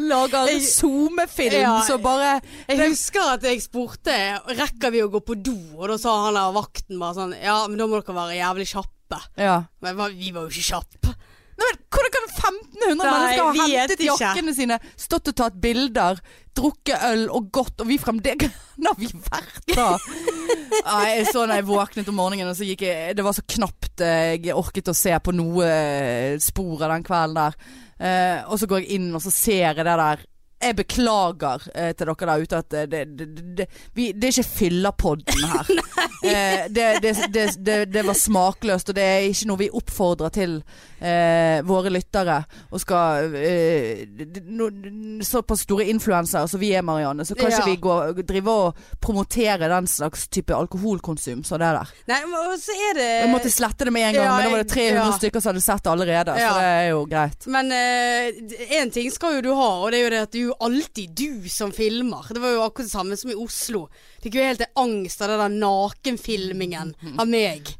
[SPEAKER 1] lager
[SPEAKER 2] Jeg-
[SPEAKER 1] SoMe-film
[SPEAKER 2] Ja.
[SPEAKER 1] så bare
[SPEAKER 2] Jeg husker at jeg spurte rekker vi å gå på do, og da sa han der vakten bare sånn ja, men da må dere være jævlig kjappe.
[SPEAKER 1] ja.
[SPEAKER 2] Men hva- vi var jo ikke kjappe.
[SPEAKER 1] Nei, men Hvordan kan 1500
[SPEAKER 2] Nei,
[SPEAKER 1] mennesker ha
[SPEAKER 2] vet
[SPEAKER 1] hentet
[SPEAKER 2] ikke.
[SPEAKER 1] jakkene sine, stått og tatt bilder, drukket øl og gått, og vi fremdeles Hvor har vi vært da? Nei, jeg så da jeg våknet om morgenen, og så gikk jeg Det var så knapt eh, jeg orket å se på noe eh, spor av den kvelden der. Eh, og så går jeg inn, og så ser jeg det der. Jeg beklager eh, til dere der ute at eh, det, det, det, det, vi, det er ikke fyllerpodden her. Eh, det, det, det, det, det var smakløst, og det er ikke noe vi oppfordrer til eh, våre lyttere. Og skal eh, d- no, Såpass store influensere som vi er, Marianne, så kan ikke
[SPEAKER 2] Ja.
[SPEAKER 1] vi gå, drive og promotere den slags type alkoholkonsum som det der.
[SPEAKER 2] Nei, men- og så er det
[SPEAKER 1] Jeg måtte slette det med en gang,
[SPEAKER 2] Eh, Ja,
[SPEAKER 1] men da var det 300
[SPEAKER 2] ja.
[SPEAKER 1] stykker som hadde sett det allerede,
[SPEAKER 2] Ja.
[SPEAKER 1] så det er jo greit.
[SPEAKER 2] Men én ting skal jo du ha, og det er jo det at det er jo alltid du som filmer. Det var jo akkurat det samme som i Oslo. Fikk jo helt angst av den der nakenfilmingen av meg.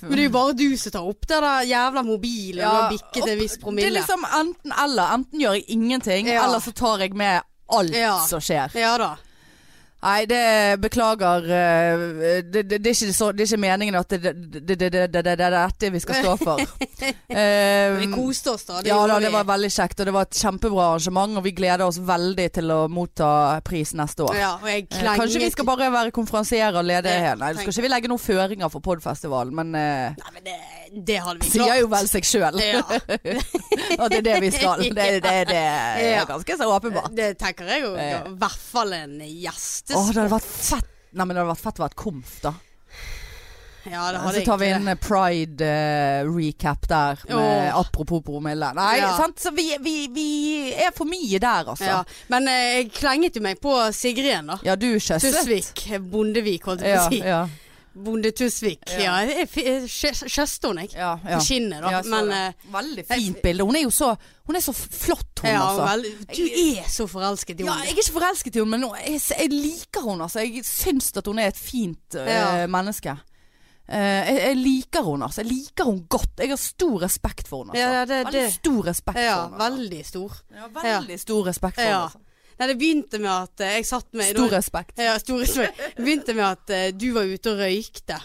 [SPEAKER 2] Men det er jo bare du som tar opp den der jævla mobilen og du har bikket en
[SPEAKER 1] opp-
[SPEAKER 2] viss promille.
[SPEAKER 1] Det er liksom enten eller. Enten gjør jeg ingenting,
[SPEAKER 2] Ja.
[SPEAKER 1] eller så tar jeg med alt
[SPEAKER 2] Ja.
[SPEAKER 1] som skjer.
[SPEAKER 2] Ja da.
[SPEAKER 1] Nei, det beklager eh, det, det, det, er ikke så, det er ikke meningen at det, det, det, det, det, det, det er dette vi skal stå for. Eh,
[SPEAKER 2] Vi koste oss da. Det
[SPEAKER 1] ja da,
[SPEAKER 2] gjorde
[SPEAKER 1] det
[SPEAKER 2] vi.
[SPEAKER 1] var veldig kjekt, og det var et kjempebra arrangement. Og vi gleder oss veldig til å motta pris neste år.
[SPEAKER 2] ja, og jeg
[SPEAKER 1] Eh,
[SPEAKER 2] klenget.
[SPEAKER 1] Kanskje vi skal bare være konferansierer og lede
[SPEAKER 2] Ja,
[SPEAKER 1] hele. Nei, du skal
[SPEAKER 2] tenk.
[SPEAKER 1] ikke vi legge noen føringer for podfestivalen, men eh,
[SPEAKER 2] Nei, men det, det hadde vi klart.
[SPEAKER 1] sier jo vel seg sjøl
[SPEAKER 2] Ja,
[SPEAKER 1] at det er det vi skal. Det, det, det er
[SPEAKER 2] Ja.
[SPEAKER 1] ganske så åpenbart.
[SPEAKER 2] det tenker jeg jo.
[SPEAKER 1] Ja.
[SPEAKER 2] I hvert fall en gjest.
[SPEAKER 1] Åh, det hadde vært fett. Nei, men det hadde vært fett å være et komf, da.
[SPEAKER 2] Ja, det hadde
[SPEAKER 1] Så tar vi en
[SPEAKER 2] egentlig
[SPEAKER 1] eh, pride eh, recap der, med
[SPEAKER 2] Åh.
[SPEAKER 1] apropos promille. Nei,
[SPEAKER 2] Ja.
[SPEAKER 1] sant? Så vi, vi, vi er for mye der,
[SPEAKER 2] det.
[SPEAKER 1] altså.
[SPEAKER 2] ja.
[SPEAKER 1] Ja,
[SPEAKER 2] Men eh, jeg klenget jo meg på Sigrid igjen, da.
[SPEAKER 1] du kjøsset.
[SPEAKER 2] Tusvik. Bondevik, holdt jeg
[SPEAKER 1] Ja,
[SPEAKER 2] på å si.
[SPEAKER 1] ja,
[SPEAKER 2] Bonde Tusvik. Ja, jeg f- kjø- kjøste hun, jeg.
[SPEAKER 1] ja, ja.
[SPEAKER 2] På skinnet, da.
[SPEAKER 1] Ja, jeg så
[SPEAKER 2] Men
[SPEAKER 1] det.
[SPEAKER 2] eh,
[SPEAKER 1] Veldig fint bilde. Hun er jo så, hun er så flott, hun,
[SPEAKER 2] ja,
[SPEAKER 1] altså.
[SPEAKER 2] vel, du er så forelsket i
[SPEAKER 1] Ja,
[SPEAKER 2] henne.
[SPEAKER 1] jeg er ikke forelsket i henne, men hun- jeg, jeg liker henne. Altså. Jeg syns at hun er et fint øh,
[SPEAKER 2] Ja.
[SPEAKER 1] menneske. Eh, jeg, jeg liker henne, altså. Jeg liker henne godt. Jeg har stor respekt for henne. Altså.
[SPEAKER 2] Ja, ja, det-
[SPEAKER 1] veldig
[SPEAKER 2] det-
[SPEAKER 1] stor respekt
[SPEAKER 2] Ja,
[SPEAKER 1] for henne. altså.
[SPEAKER 2] veldig stor.
[SPEAKER 1] Ja, veldig stor respekt for
[SPEAKER 2] Ja.
[SPEAKER 1] henne. Altså.
[SPEAKER 2] Nei, det begynte med at eh, jeg satt med
[SPEAKER 1] Stor respekt.
[SPEAKER 2] Ja, stor respekt. Det begynte med at eh, du var ute og røykte.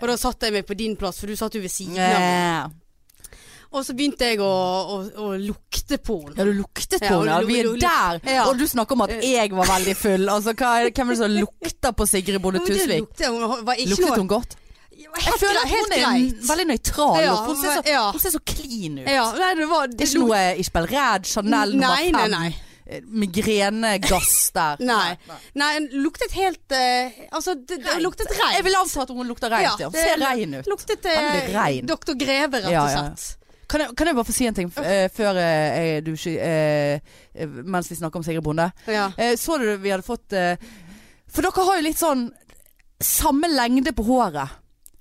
[SPEAKER 2] Og da satte jeg meg på din plass, for du satt jo ved siden av meg.
[SPEAKER 1] Ja.
[SPEAKER 2] Og så begynte jeg å, å, å lukte på henne.
[SPEAKER 1] Ja, du luktet på
[SPEAKER 2] Ja,
[SPEAKER 1] henne. Ja,
[SPEAKER 2] du-
[SPEAKER 1] vi er
[SPEAKER 2] du- du-
[SPEAKER 1] der.
[SPEAKER 2] Ja. Eh.
[SPEAKER 1] Og du snakker om at jeg var veldig full. Altså, hva er, hvem er det som lukter på Sigrid Bonde
[SPEAKER 2] Men det
[SPEAKER 1] Tusvik?
[SPEAKER 2] lukte- Hun var ikke
[SPEAKER 1] Luktet
[SPEAKER 2] noe
[SPEAKER 1] hun godt?
[SPEAKER 2] Jeg
[SPEAKER 1] Jeg føler at hun er veldig nøytral.
[SPEAKER 2] Ja,
[SPEAKER 1] for hun, ser så,
[SPEAKER 2] ja.
[SPEAKER 1] hun ser så clean ut.
[SPEAKER 2] Ja, nei, det var det
[SPEAKER 1] Det er ikke noe Ishbel Red, Chanel nummer
[SPEAKER 2] Nei, nei,
[SPEAKER 1] fem,
[SPEAKER 2] nei.
[SPEAKER 1] eh, migrenegass der.
[SPEAKER 2] Nei. Nei, den luktet helt eh, Altså, det, det luktet
[SPEAKER 1] Jeg
[SPEAKER 2] rein.
[SPEAKER 1] vil anta at hun lukter reint. Ja, Hun ser rein ut.
[SPEAKER 2] Luktet
[SPEAKER 1] Veldig
[SPEAKER 2] eh,
[SPEAKER 1] rein.
[SPEAKER 2] Dr. Greve, rett
[SPEAKER 1] Ja,
[SPEAKER 2] og
[SPEAKER 1] ja, ja.
[SPEAKER 2] slett.
[SPEAKER 1] Kan jeg, kan jeg bare få si en ting f- eh, før eh, du sky- eh, eh, Mens vi snakker om Sigrid Bonde.
[SPEAKER 2] Ja.
[SPEAKER 1] Eh, så du vi hadde fått eh, For dere har jo litt sånn samme lengde på håret.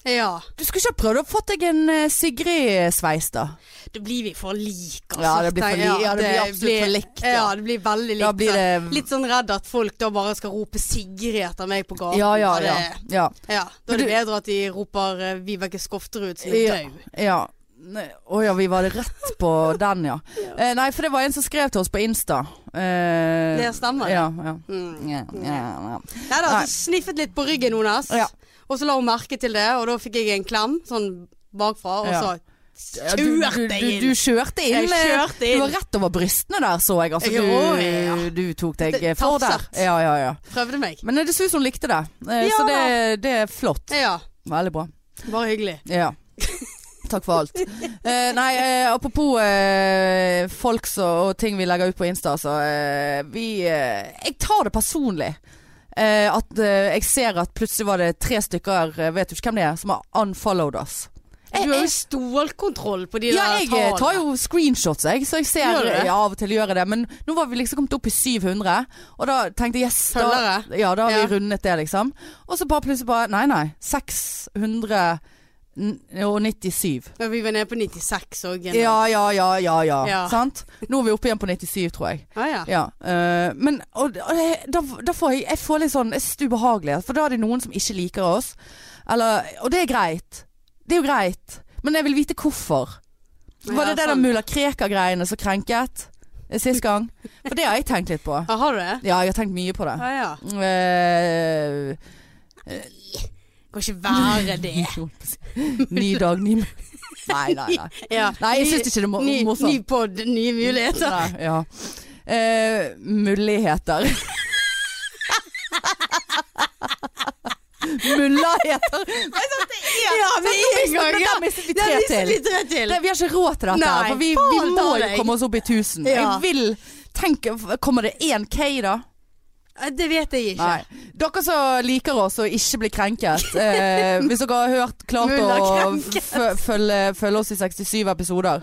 [SPEAKER 2] ja.
[SPEAKER 1] Du skulle ikke ha prøvd å få deg en eh, Sigrid-sveis, da?
[SPEAKER 2] Da blir vi for like, altså.
[SPEAKER 1] Ja, det blir for li- ja, det blir absolutt for likt,
[SPEAKER 2] Ja.
[SPEAKER 1] ja.
[SPEAKER 2] det blir veldig likt.
[SPEAKER 1] Da blir det-
[SPEAKER 2] Litt sånn redd at folk da bare skal rope Sigrid etter meg på gaten.
[SPEAKER 1] Ja, ja,
[SPEAKER 2] og
[SPEAKER 1] ja.
[SPEAKER 2] det-
[SPEAKER 1] ja.
[SPEAKER 2] ja. Da
[SPEAKER 1] Men
[SPEAKER 2] er det
[SPEAKER 1] du-
[SPEAKER 2] bedre at de roper eh, Vibeke Skofterud som er
[SPEAKER 1] Ja.
[SPEAKER 2] død.
[SPEAKER 1] Ja. Nei, Å ja, vi var det rett på den, ja. Eh, nei, for det var en som skrev til oss på Insta. Eh,
[SPEAKER 2] Det stemmer,
[SPEAKER 1] Ja, ja.
[SPEAKER 2] Mm.
[SPEAKER 1] Ja, ja, ja.
[SPEAKER 2] Nei da,
[SPEAKER 1] Nei.
[SPEAKER 2] så sniffet litt på ryggen hennes,
[SPEAKER 1] Ja.
[SPEAKER 2] og så la hun merke til det, og da fikk jeg en klem sånn bakfra, og
[SPEAKER 1] Ja.
[SPEAKER 2] så
[SPEAKER 1] Du, du,
[SPEAKER 2] kjørte
[SPEAKER 1] du,
[SPEAKER 2] jeg
[SPEAKER 1] du
[SPEAKER 2] inn.
[SPEAKER 1] kjørte inn.
[SPEAKER 2] Jeg
[SPEAKER 1] eh,
[SPEAKER 2] kjørte inn.
[SPEAKER 1] Du var rett over brystene der, så jeg. Altså,
[SPEAKER 2] Jeg- å,
[SPEAKER 1] du,
[SPEAKER 2] ja.
[SPEAKER 1] du tok deg
[SPEAKER 2] Det-
[SPEAKER 1] for der.
[SPEAKER 2] tafset.
[SPEAKER 1] Ja, ja, ja.
[SPEAKER 2] Prøvde meg.
[SPEAKER 1] Men eh, det ser ut som hun likte det. Eh,
[SPEAKER 2] Ja
[SPEAKER 1] så det,
[SPEAKER 2] da.
[SPEAKER 1] det er flott.
[SPEAKER 2] Ja,
[SPEAKER 1] Veldig bra.
[SPEAKER 2] bare hyggelig.
[SPEAKER 1] Ja. Takk for alt. Eh, nei, eh, apropos eh, folk så, og ting vi legger ut på Insta, så eh, vi eh, Jeg tar det personlig. Eh, at eh, jeg ser at plutselig var det tre stykker, eh, vet du ikke hvem det er, som har unfollowed oss.
[SPEAKER 2] Du har jo stålkontroll på de
[SPEAKER 1] Ja,
[SPEAKER 2] der
[SPEAKER 1] jeg eh, tar jo screenshots, jeg, så jeg ser
[SPEAKER 2] Gjør du det?
[SPEAKER 1] ja, av og til gjør jeg det. Men nå var vi liksom kommet opp i 700, og da tenkte jeg yes, da,
[SPEAKER 2] Følgere?
[SPEAKER 1] ja, da har
[SPEAKER 2] Ja.
[SPEAKER 1] vi rundet det, liksom. Og så bare plutselig bare Nei, nei. 697.
[SPEAKER 2] Men vi var nede på 96 òg.
[SPEAKER 1] Ja, ja, ja, ja, ja.
[SPEAKER 2] Ja.
[SPEAKER 1] Sant? Nå er vi oppe igjen på 97, tror jeg.
[SPEAKER 2] Ah, ja.
[SPEAKER 1] Ja. eh, men og, og det- da, da får jeg, jeg får litt sånn Jeg synes det er ubehagelig. For da er det noen som ikke liker oss. Eller, og det er greit. Det er jo greit. Men jeg vil vite hvorfor. Var
[SPEAKER 2] Ja,
[SPEAKER 1] det det der
[SPEAKER 2] sant.
[SPEAKER 1] mulla Krekar-greiene som krenket eh, sist gang? For det har jeg tenkt litt på.
[SPEAKER 2] Ah, har du det?
[SPEAKER 1] Ja, jeg har tenkt mye på det.
[SPEAKER 2] Ah, ja.
[SPEAKER 1] Eh,
[SPEAKER 2] Kan ikke være det.
[SPEAKER 1] ny dag, ny Nei, nei, nei.
[SPEAKER 2] Ja.
[SPEAKER 1] Nei, jeg syns ikke det er mo-
[SPEAKER 2] Ny, ny
[SPEAKER 1] morsomt.
[SPEAKER 2] pod, nye muligheter.
[SPEAKER 1] Nei, ja. Eh, muligheter. Mullaheter.
[SPEAKER 2] Ja, men
[SPEAKER 1] Men
[SPEAKER 2] en gang, ja.
[SPEAKER 1] der mistet vi
[SPEAKER 2] Det
[SPEAKER 1] tre
[SPEAKER 2] er liksom
[SPEAKER 1] til.
[SPEAKER 2] litt tre til.
[SPEAKER 1] Det, vi har ikke råd til dette.
[SPEAKER 2] Nei,
[SPEAKER 1] her, for vi, vi
[SPEAKER 2] faen
[SPEAKER 1] må
[SPEAKER 2] ta
[SPEAKER 1] jo
[SPEAKER 2] deg.
[SPEAKER 1] komme oss opp i 1000.
[SPEAKER 2] Ja.
[SPEAKER 1] Jeg vil tenke Kommer det 1K, da?
[SPEAKER 2] Eh, Det vet jeg ikke.
[SPEAKER 1] Nei. Dere som liker oss og ikke blir krenket, eh, hvis dere har hørt klart
[SPEAKER 2] Mulla
[SPEAKER 1] å
[SPEAKER 2] krenket.
[SPEAKER 1] f- følge, følge oss i 67 episoder,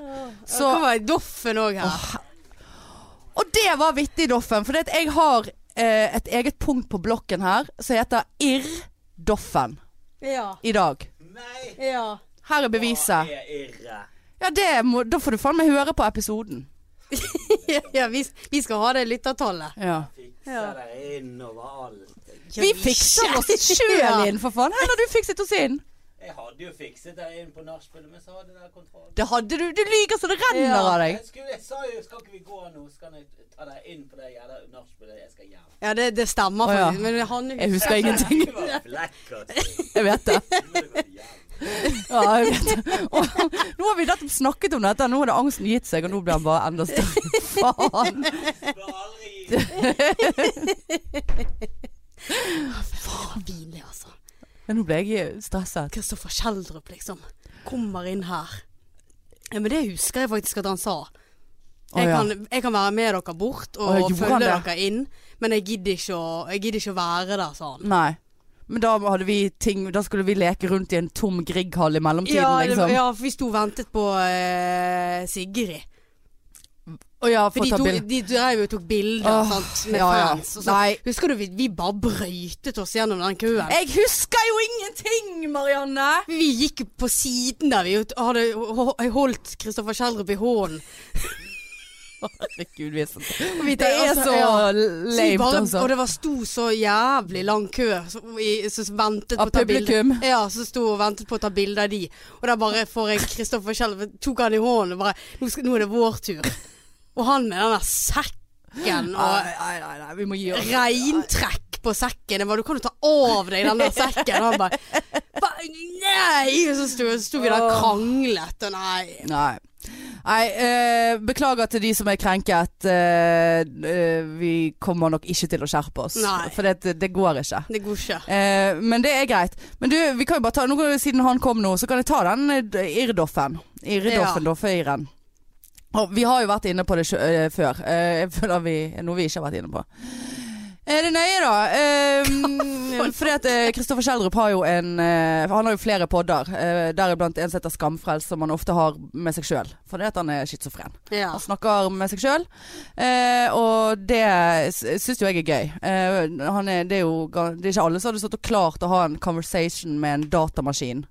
[SPEAKER 2] Så
[SPEAKER 1] så
[SPEAKER 2] var Doffen òg her.
[SPEAKER 1] Og det var vittig, Doffen. For jeg har eh, et eget punkt på blokken her som heter Irr Doffen
[SPEAKER 2] Ja.
[SPEAKER 1] i dag.
[SPEAKER 3] Nei,
[SPEAKER 2] ja.
[SPEAKER 1] Her er beviset.
[SPEAKER 3] det er irre.
[SPEAKER 1] Ja, det må, Da får du faen meg høre på episoden.
[SPEAKER 2] ja vi, vi skal ha det lyttertallet.
[SPEAKER 1] Ja.
[SPEAKER 3] Fikser
[SPEAKER 2] Ja.
[SPEAKER 3] dere inn overalt.
[SPEAKER 1] Vi fikser oss sjøl inn, for faen. Her har du fikset oss inn.
[SPEAKER 3] Jeg hadde jo fikset dere inn på nachspielet, men så hadde dere kontroll.
[SPEAKER 1] Det hadde du. Du lyver så det renner
[SPEAKER 2] Ja.
[SPEAKER 1] av
[SPEAKER 3] Jeg,
[SPEAKER 1] deg.
[SPEAKER 3] skulle, jeg sa jo skal ikke vi gå nå, så kan jeg ta dere inn på det jævla nachspielet. Jeg skal hjem.
[SPEAKER 2] Ja, det, det stemmer
[SPEAKER 1] Å, ja.
[SPEAKER 2] faktisk. Men han
[SPEAKER 1] Jeg husker ingenting.
[SPEAKER 3] Det var blackout.
[SPEAKER 1] Jeg vet det.
[SPEAKER 3] Nå må du gå hjem.
[SPEAKER 1] Ja, jeg vet det. Og, nå har vi nettopp snakket om dette. Nå hadde angsten gitt seg, og nå ble han bare enda større. Faen.
[SPEAKER 3] Skal aldri gi deg.
[SPEAKER 2] var pinlig, altså.
[SPEAKER 1] Ja, Nå ble jeg stresset.
[SPEAKER 2] Kristoffer Kjeldrup, liksom. Kommer inn her. Ja, men det husker jeg faktisk at han sa. Jeg,
[SPEAKER 1] Å, ja.
[SPEAKER 2] kan, jeg kan være med dere bort og
[SPEAKER 1] Å, ja, gjorde
[SPEAKER 2] følge
[SPEAKER 1] han det?
[SPEAKER 2] dere inn, men jeg gidder, ikke å, jeg gidder ikke å være der, sa han.
[SPEAKER 1] Nei. Men da hadde vi ting Da skulle vi leke rundt i en tom Grieg-hall i mellomtiden,
[SPEAKER 2] Ja, det,
[SPEAKER 1] liksom.
[SPEAKER 2] ja, for vi sto og ventet på eh, Sigrid.
[SPEAKER 1] Å ja, for å
[SPEAKER 2] For de,
[SPEAKER 1] ta
[SPEAKER 2] to,
[SPEAKER 1] bilde.
[SPEAKER 2] de drev jo og tok bilder
[SPEAKER 1] Åh,
[SPEAKER 2] sant, med
[SPEAKER 1] ja, ja.
[SPEAKER 2] fans. Og så,
[SPEAKER 1] Nei.
[SPEAKER 2] Husker du vi, vi bare brøytet oss gjennom den køen?
[SPEAKER 1] Jeg husker jo ingenting, Marianne!
[SPEAKER 2] Vi gikk på siden der. Vi hadde ho- ho- holdt Kristoffer Kjeldrup i hånden.
[SPEAKER 1] Herregud, vi er så
[SPEAKER 2] Vi
[SPEAKER 1] Det er
[SPEAKER 2] altså,
[SPEAKER 1] så
[SPEAKER 2] ja. Så vi
[SPEAKER 1] lame,
[SPEAKER 2] bare,
[SPEAKER 1] altså.
[SPEAKER 2] Og det var sto så jævlig lang kø som i- som ventet på
[SPEAKER 1] Av
[SPEAKER 2] å ta bilde.
[SPEAKER 1] publikum.
[SPEAKER 2] Ja, som sto og ventet på å ta bilde av de. Og der bare får jeg Kristoffer Kjell tok han i hånden og bare nå, skal, 'Nå er det vår tur'. Og han med den der sekken og
[SPEAKER 1] Nei, nei, nei, nei, vi må gi oss.
[SPEAKER 2] reintrekk på sekken. Jeg bare 'Du kan jo ta av deg den der sekken'. Og han bare "Hva? 'Nei!' Og så sto, sto vi der og kranglet, og nei.
[SPEAKER 1] Nei. Nei, eh, beklager til de som er krenket. Eh, eh, vi kommer nok ikke til å skjerpe oss.
[SPEAKER 2] Nei.
[SPEAKER 1] For det, det går ikke.
[SPEAKER 2] Det går ikke.
[SPEAKER 1] Eh, men det er greit. Men du, vi kan jo bare ta nå, kan- siden han kom nå, så kan jeg ta den eh, d- irrdoffen. Irrdoffen,
[SPEAKER 2] Ja.
[SPEAKER 1] doffeiren. Og vi har jo vært inne på det sjø- eh, før. Eh, jeg føler vi er noe vi ikke har vært inne på. Er det nøye, da? Eh, fordi at eh, Kristoffer Kjeldrup har jo en eh, Han har jo flere podder, eh, deriblant en som heter Skamfrelst, som han ofte har med seg sjøl. Fordi at han er schizofren.
[SPEAKER 2] Ja.
[SPEAKER 1] Han snakker med seg sjøl, eh, og det s- syns jo jeg er gøy. Eh, han er, det er jo ga- det er ikke alle som hadde stått og klart å ha en conversation med en datamaskin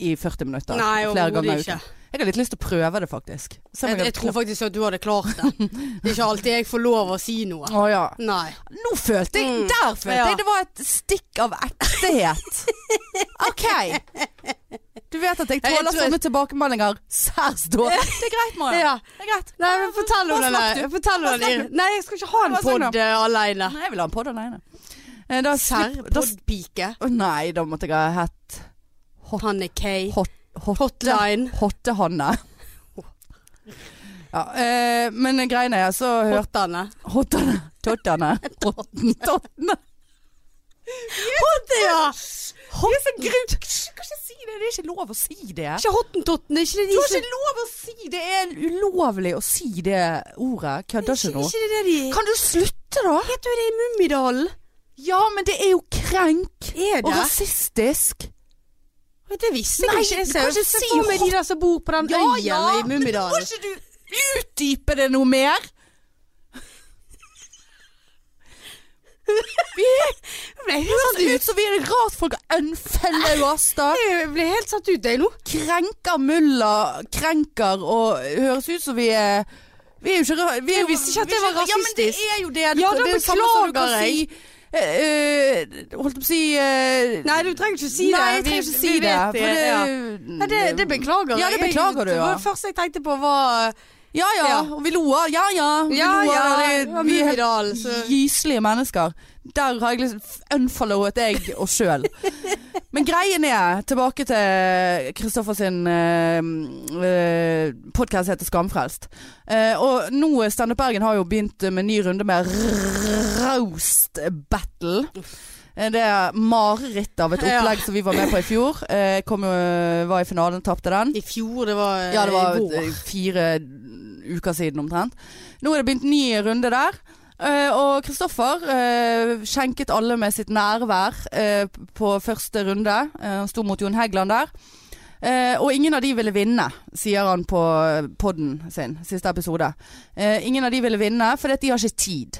[SPEAKER 1] i 40 minutter.
[SPEAKER 2] Nei,
[SPEAKER 1] flere ganger i
[SPEAKER 2] overhodet
[SPEAKER 1] uken.
[SPEAKER 2] ikke.
[SPEAKER 1] Jeg har litt lyst til å prøve det, faktisk. Se om
[SPEAKER 2] Jeg, jeg tror faktisk at du hadde klart det. Det er ikke alltid jeg får lov å si noe.
[SPEAKER 1] Å ja.
[SPEAKER 2] Nei.
[SPEAKER 1] Nå følte jeg
[SPEAKER 2] Mm.
[SPEAKER 1] Der følte
[SPEAKER 2] Ja.
[SPEAKER 1] jeg det var et stikk av ektehet. OK. Du vet at jeg
[SPEAKER 2] Jeg- jeg
[SPEAKER 1] tåler
[SPEAKER 2] tror jeg-
[SPEAKER 1] sånne tilbakemeldinger særs dårlig. Det er greit, Maria.
[SPEAKER 2] Ja.
[SPEAKER 1] Det er greit.
[SPEAKER 2] Nei, men fortell om
[SPEAKER 1] Hva
[SPEAKER 2] den
[SPEAKER 1] snakket
[SPEAKER 2] der.
[SPEAKER 1] du?
[SPEAKER 2] Fortell
[SPEAKER 1] Hva
[SPEAKER 2] om den.
[SPEAKER 1] snakket
[SPEAKER 2] Nei, jeg skal ikke ha en
[SPEAKER 1] Hva snakket
[SPEAKER 2] pod eh, alene.
[SPEAKER 1] Nei, jeg vil ha en pod alene. Eh, Da,
[SPEAKER 2] Serr,
[SPEAKER 1] slipper- da
[SPEAKER 2] podpike.
[SPEAKER 1] Å nei, da måtte jeg ha hett
[SPEAKER 2] Han er Kay.
[SPEAKER 1] hot, hot,
[SPEAKER 2] Hotline.
[SPEAKER 1] Hottehanne. Ja, eh, men greiene er så hørte
[SPEAKER 2] Hotane.
[SPEAKER 1] Hottanne. Tottanne. Tottene.
[SPEAKER 2] Det, ja.
[SPEAKER 1] Det er så grunt. Du kan ikke si det. Det er ikke lov å si det.
[SPEAKER 2] Ikke Hottentotten. er Ikke det
[SPEAKER 1] Du
[SPEAKER 2] de
[SPEAKER 1] har ikke lov å si det. Det er ulovlig å si det ordet. Kødder ikke nå.
[SPEAKER 2] Ikke det det de
[SPEAKER 1] Kan du slutte, da?
[SPEAKER 2] Heter jo det i Mummidalen?
[SPEAKER 1] Ja, men det er jo krenk.
[SPEAKER 2] Er
[SPEAKER 1] Og
[SPEAKER 2] det?
[SPEAKER 1] rasistisk.
[SPEAKER 2] Det visste
[SPEAKER 1] Nei,
[SPEAKER 2] jeg
[SPEAKER 1] du
[SPEAKER 2] ikke. Jeg ser
[SPEAKER 1] kan
[SPEAKER 2] jo
[SPEAKER 1] ikke
[SPEAKER 2] se
[SPEAKER 1] si
[SPEAKER 2] for meg de
[SPEAKER 1] hot-
[SPEAKER 2] der som bor på den øyen i
[SPEAKER 1] men
[SPEAKER 2] Mummidalen.
[SPEAKER 1] må ikke du utdype det noe mer?
[SPEAKER 2] Jeg ble helt satt
[SPEAKER 1] Ut
[SPEAKER 2] ut.
[SPEAKER 1] som vi er rart folk unfeller oss, da.
[SPEAKER 2] Jeg ble helt satt ut, jeg nå.
[SPEAKER 1] Krenker mulla, krenker og høres ut som vi er Vi er jo ikke ra- vi er jo-
[SPEAKER 2] Jeg visste ikke at det
[SPEAKER 1] vi er
[SPEAKER 2] var
[SPEAKER 1] Ja, men det
[SPEAKER 2] rasistisk.
[SPEAKER 1] er jo det. Du
[SPEAKER 2] Ja,
[SPEAKER 1] kan-
[SPEAKER 2] da
[SPEAKER 1] det er jo samme som du kan
[SPEAKER 2] beklager jeg.
[SPEAKER 1] si, eh, eh, holdt på å si eh,
[SPEAKER 2] Nei, du trenger ikke si det.
[SPEAKER 1] Nei, jeg trenger
[SPEAKER 2] Vi-
[SPEAKER 1] ikke
[SPEAKER 2] vi
[SPEAKER 1] si det.
[SPEAKER 2] vet
[SPEAKER 1] For det,
[SPEAKER 2] ja. Nei, det, det beklager
[SPEAKER 1] Ja, det
[SPEAKER 2] jeg.
[SPEAKER 1] beklager du,
[SPEAKER 2] Det
[SPEAKER 1] ja.
[SPEAKER 2] var det første jeg tenkte på var
[SPEAKER 1] Ja ja,
[SPEAKER 2] Ja.
[SPEAKER 1] og vi lo av Ja ja. Vi
[SPEAKER 2] Ja,
[SPEAKER 1] lo av
[SPEAKER 2] ja,
[SPEAKER 1] det.
[SPEAKER 2] det var
[SPEAKER 1] vi er
[SPEAKER 2] Mummidalen,
[SPEAKER 1] helt
[SPEAKER 2] så-
[SPEAKER 1] gyselige mennesker. Der har jeg liksom unfollowet jeg oss sjøl. Men greien er, tilbake til Kristoffer sin eh, eh, podkast heter Skamfrelst. Eh, og nå eh, Standup Bergen har jo begynt eh, med ny runde med roast battle. Eh, Det er mareritt av et
[SPEAKER 2] Ja.
[SPEAKER 1] opplegg som vi var med på i fjor. Eh, Kom jo, var i finalen, tapte den.
[SPEAKER 2] I fjor, det var,
[SPEAKER 1] Ja, det var
[SPEAKER 2] i vår.
[SPEAKER 1] eh, fire uker siden omtrent. Nå er det begynt ny runde der. Eh, og Kristoffer eh, skjenket alle med sitt nærvær eh, på første runde. Eh, han sto mot Jon Heggeland der. Eh, og ingen av de ville vinne, sier han på podden sin, siste episode. Eh, ingen av de ville vinne, fordi at de har ikke tid.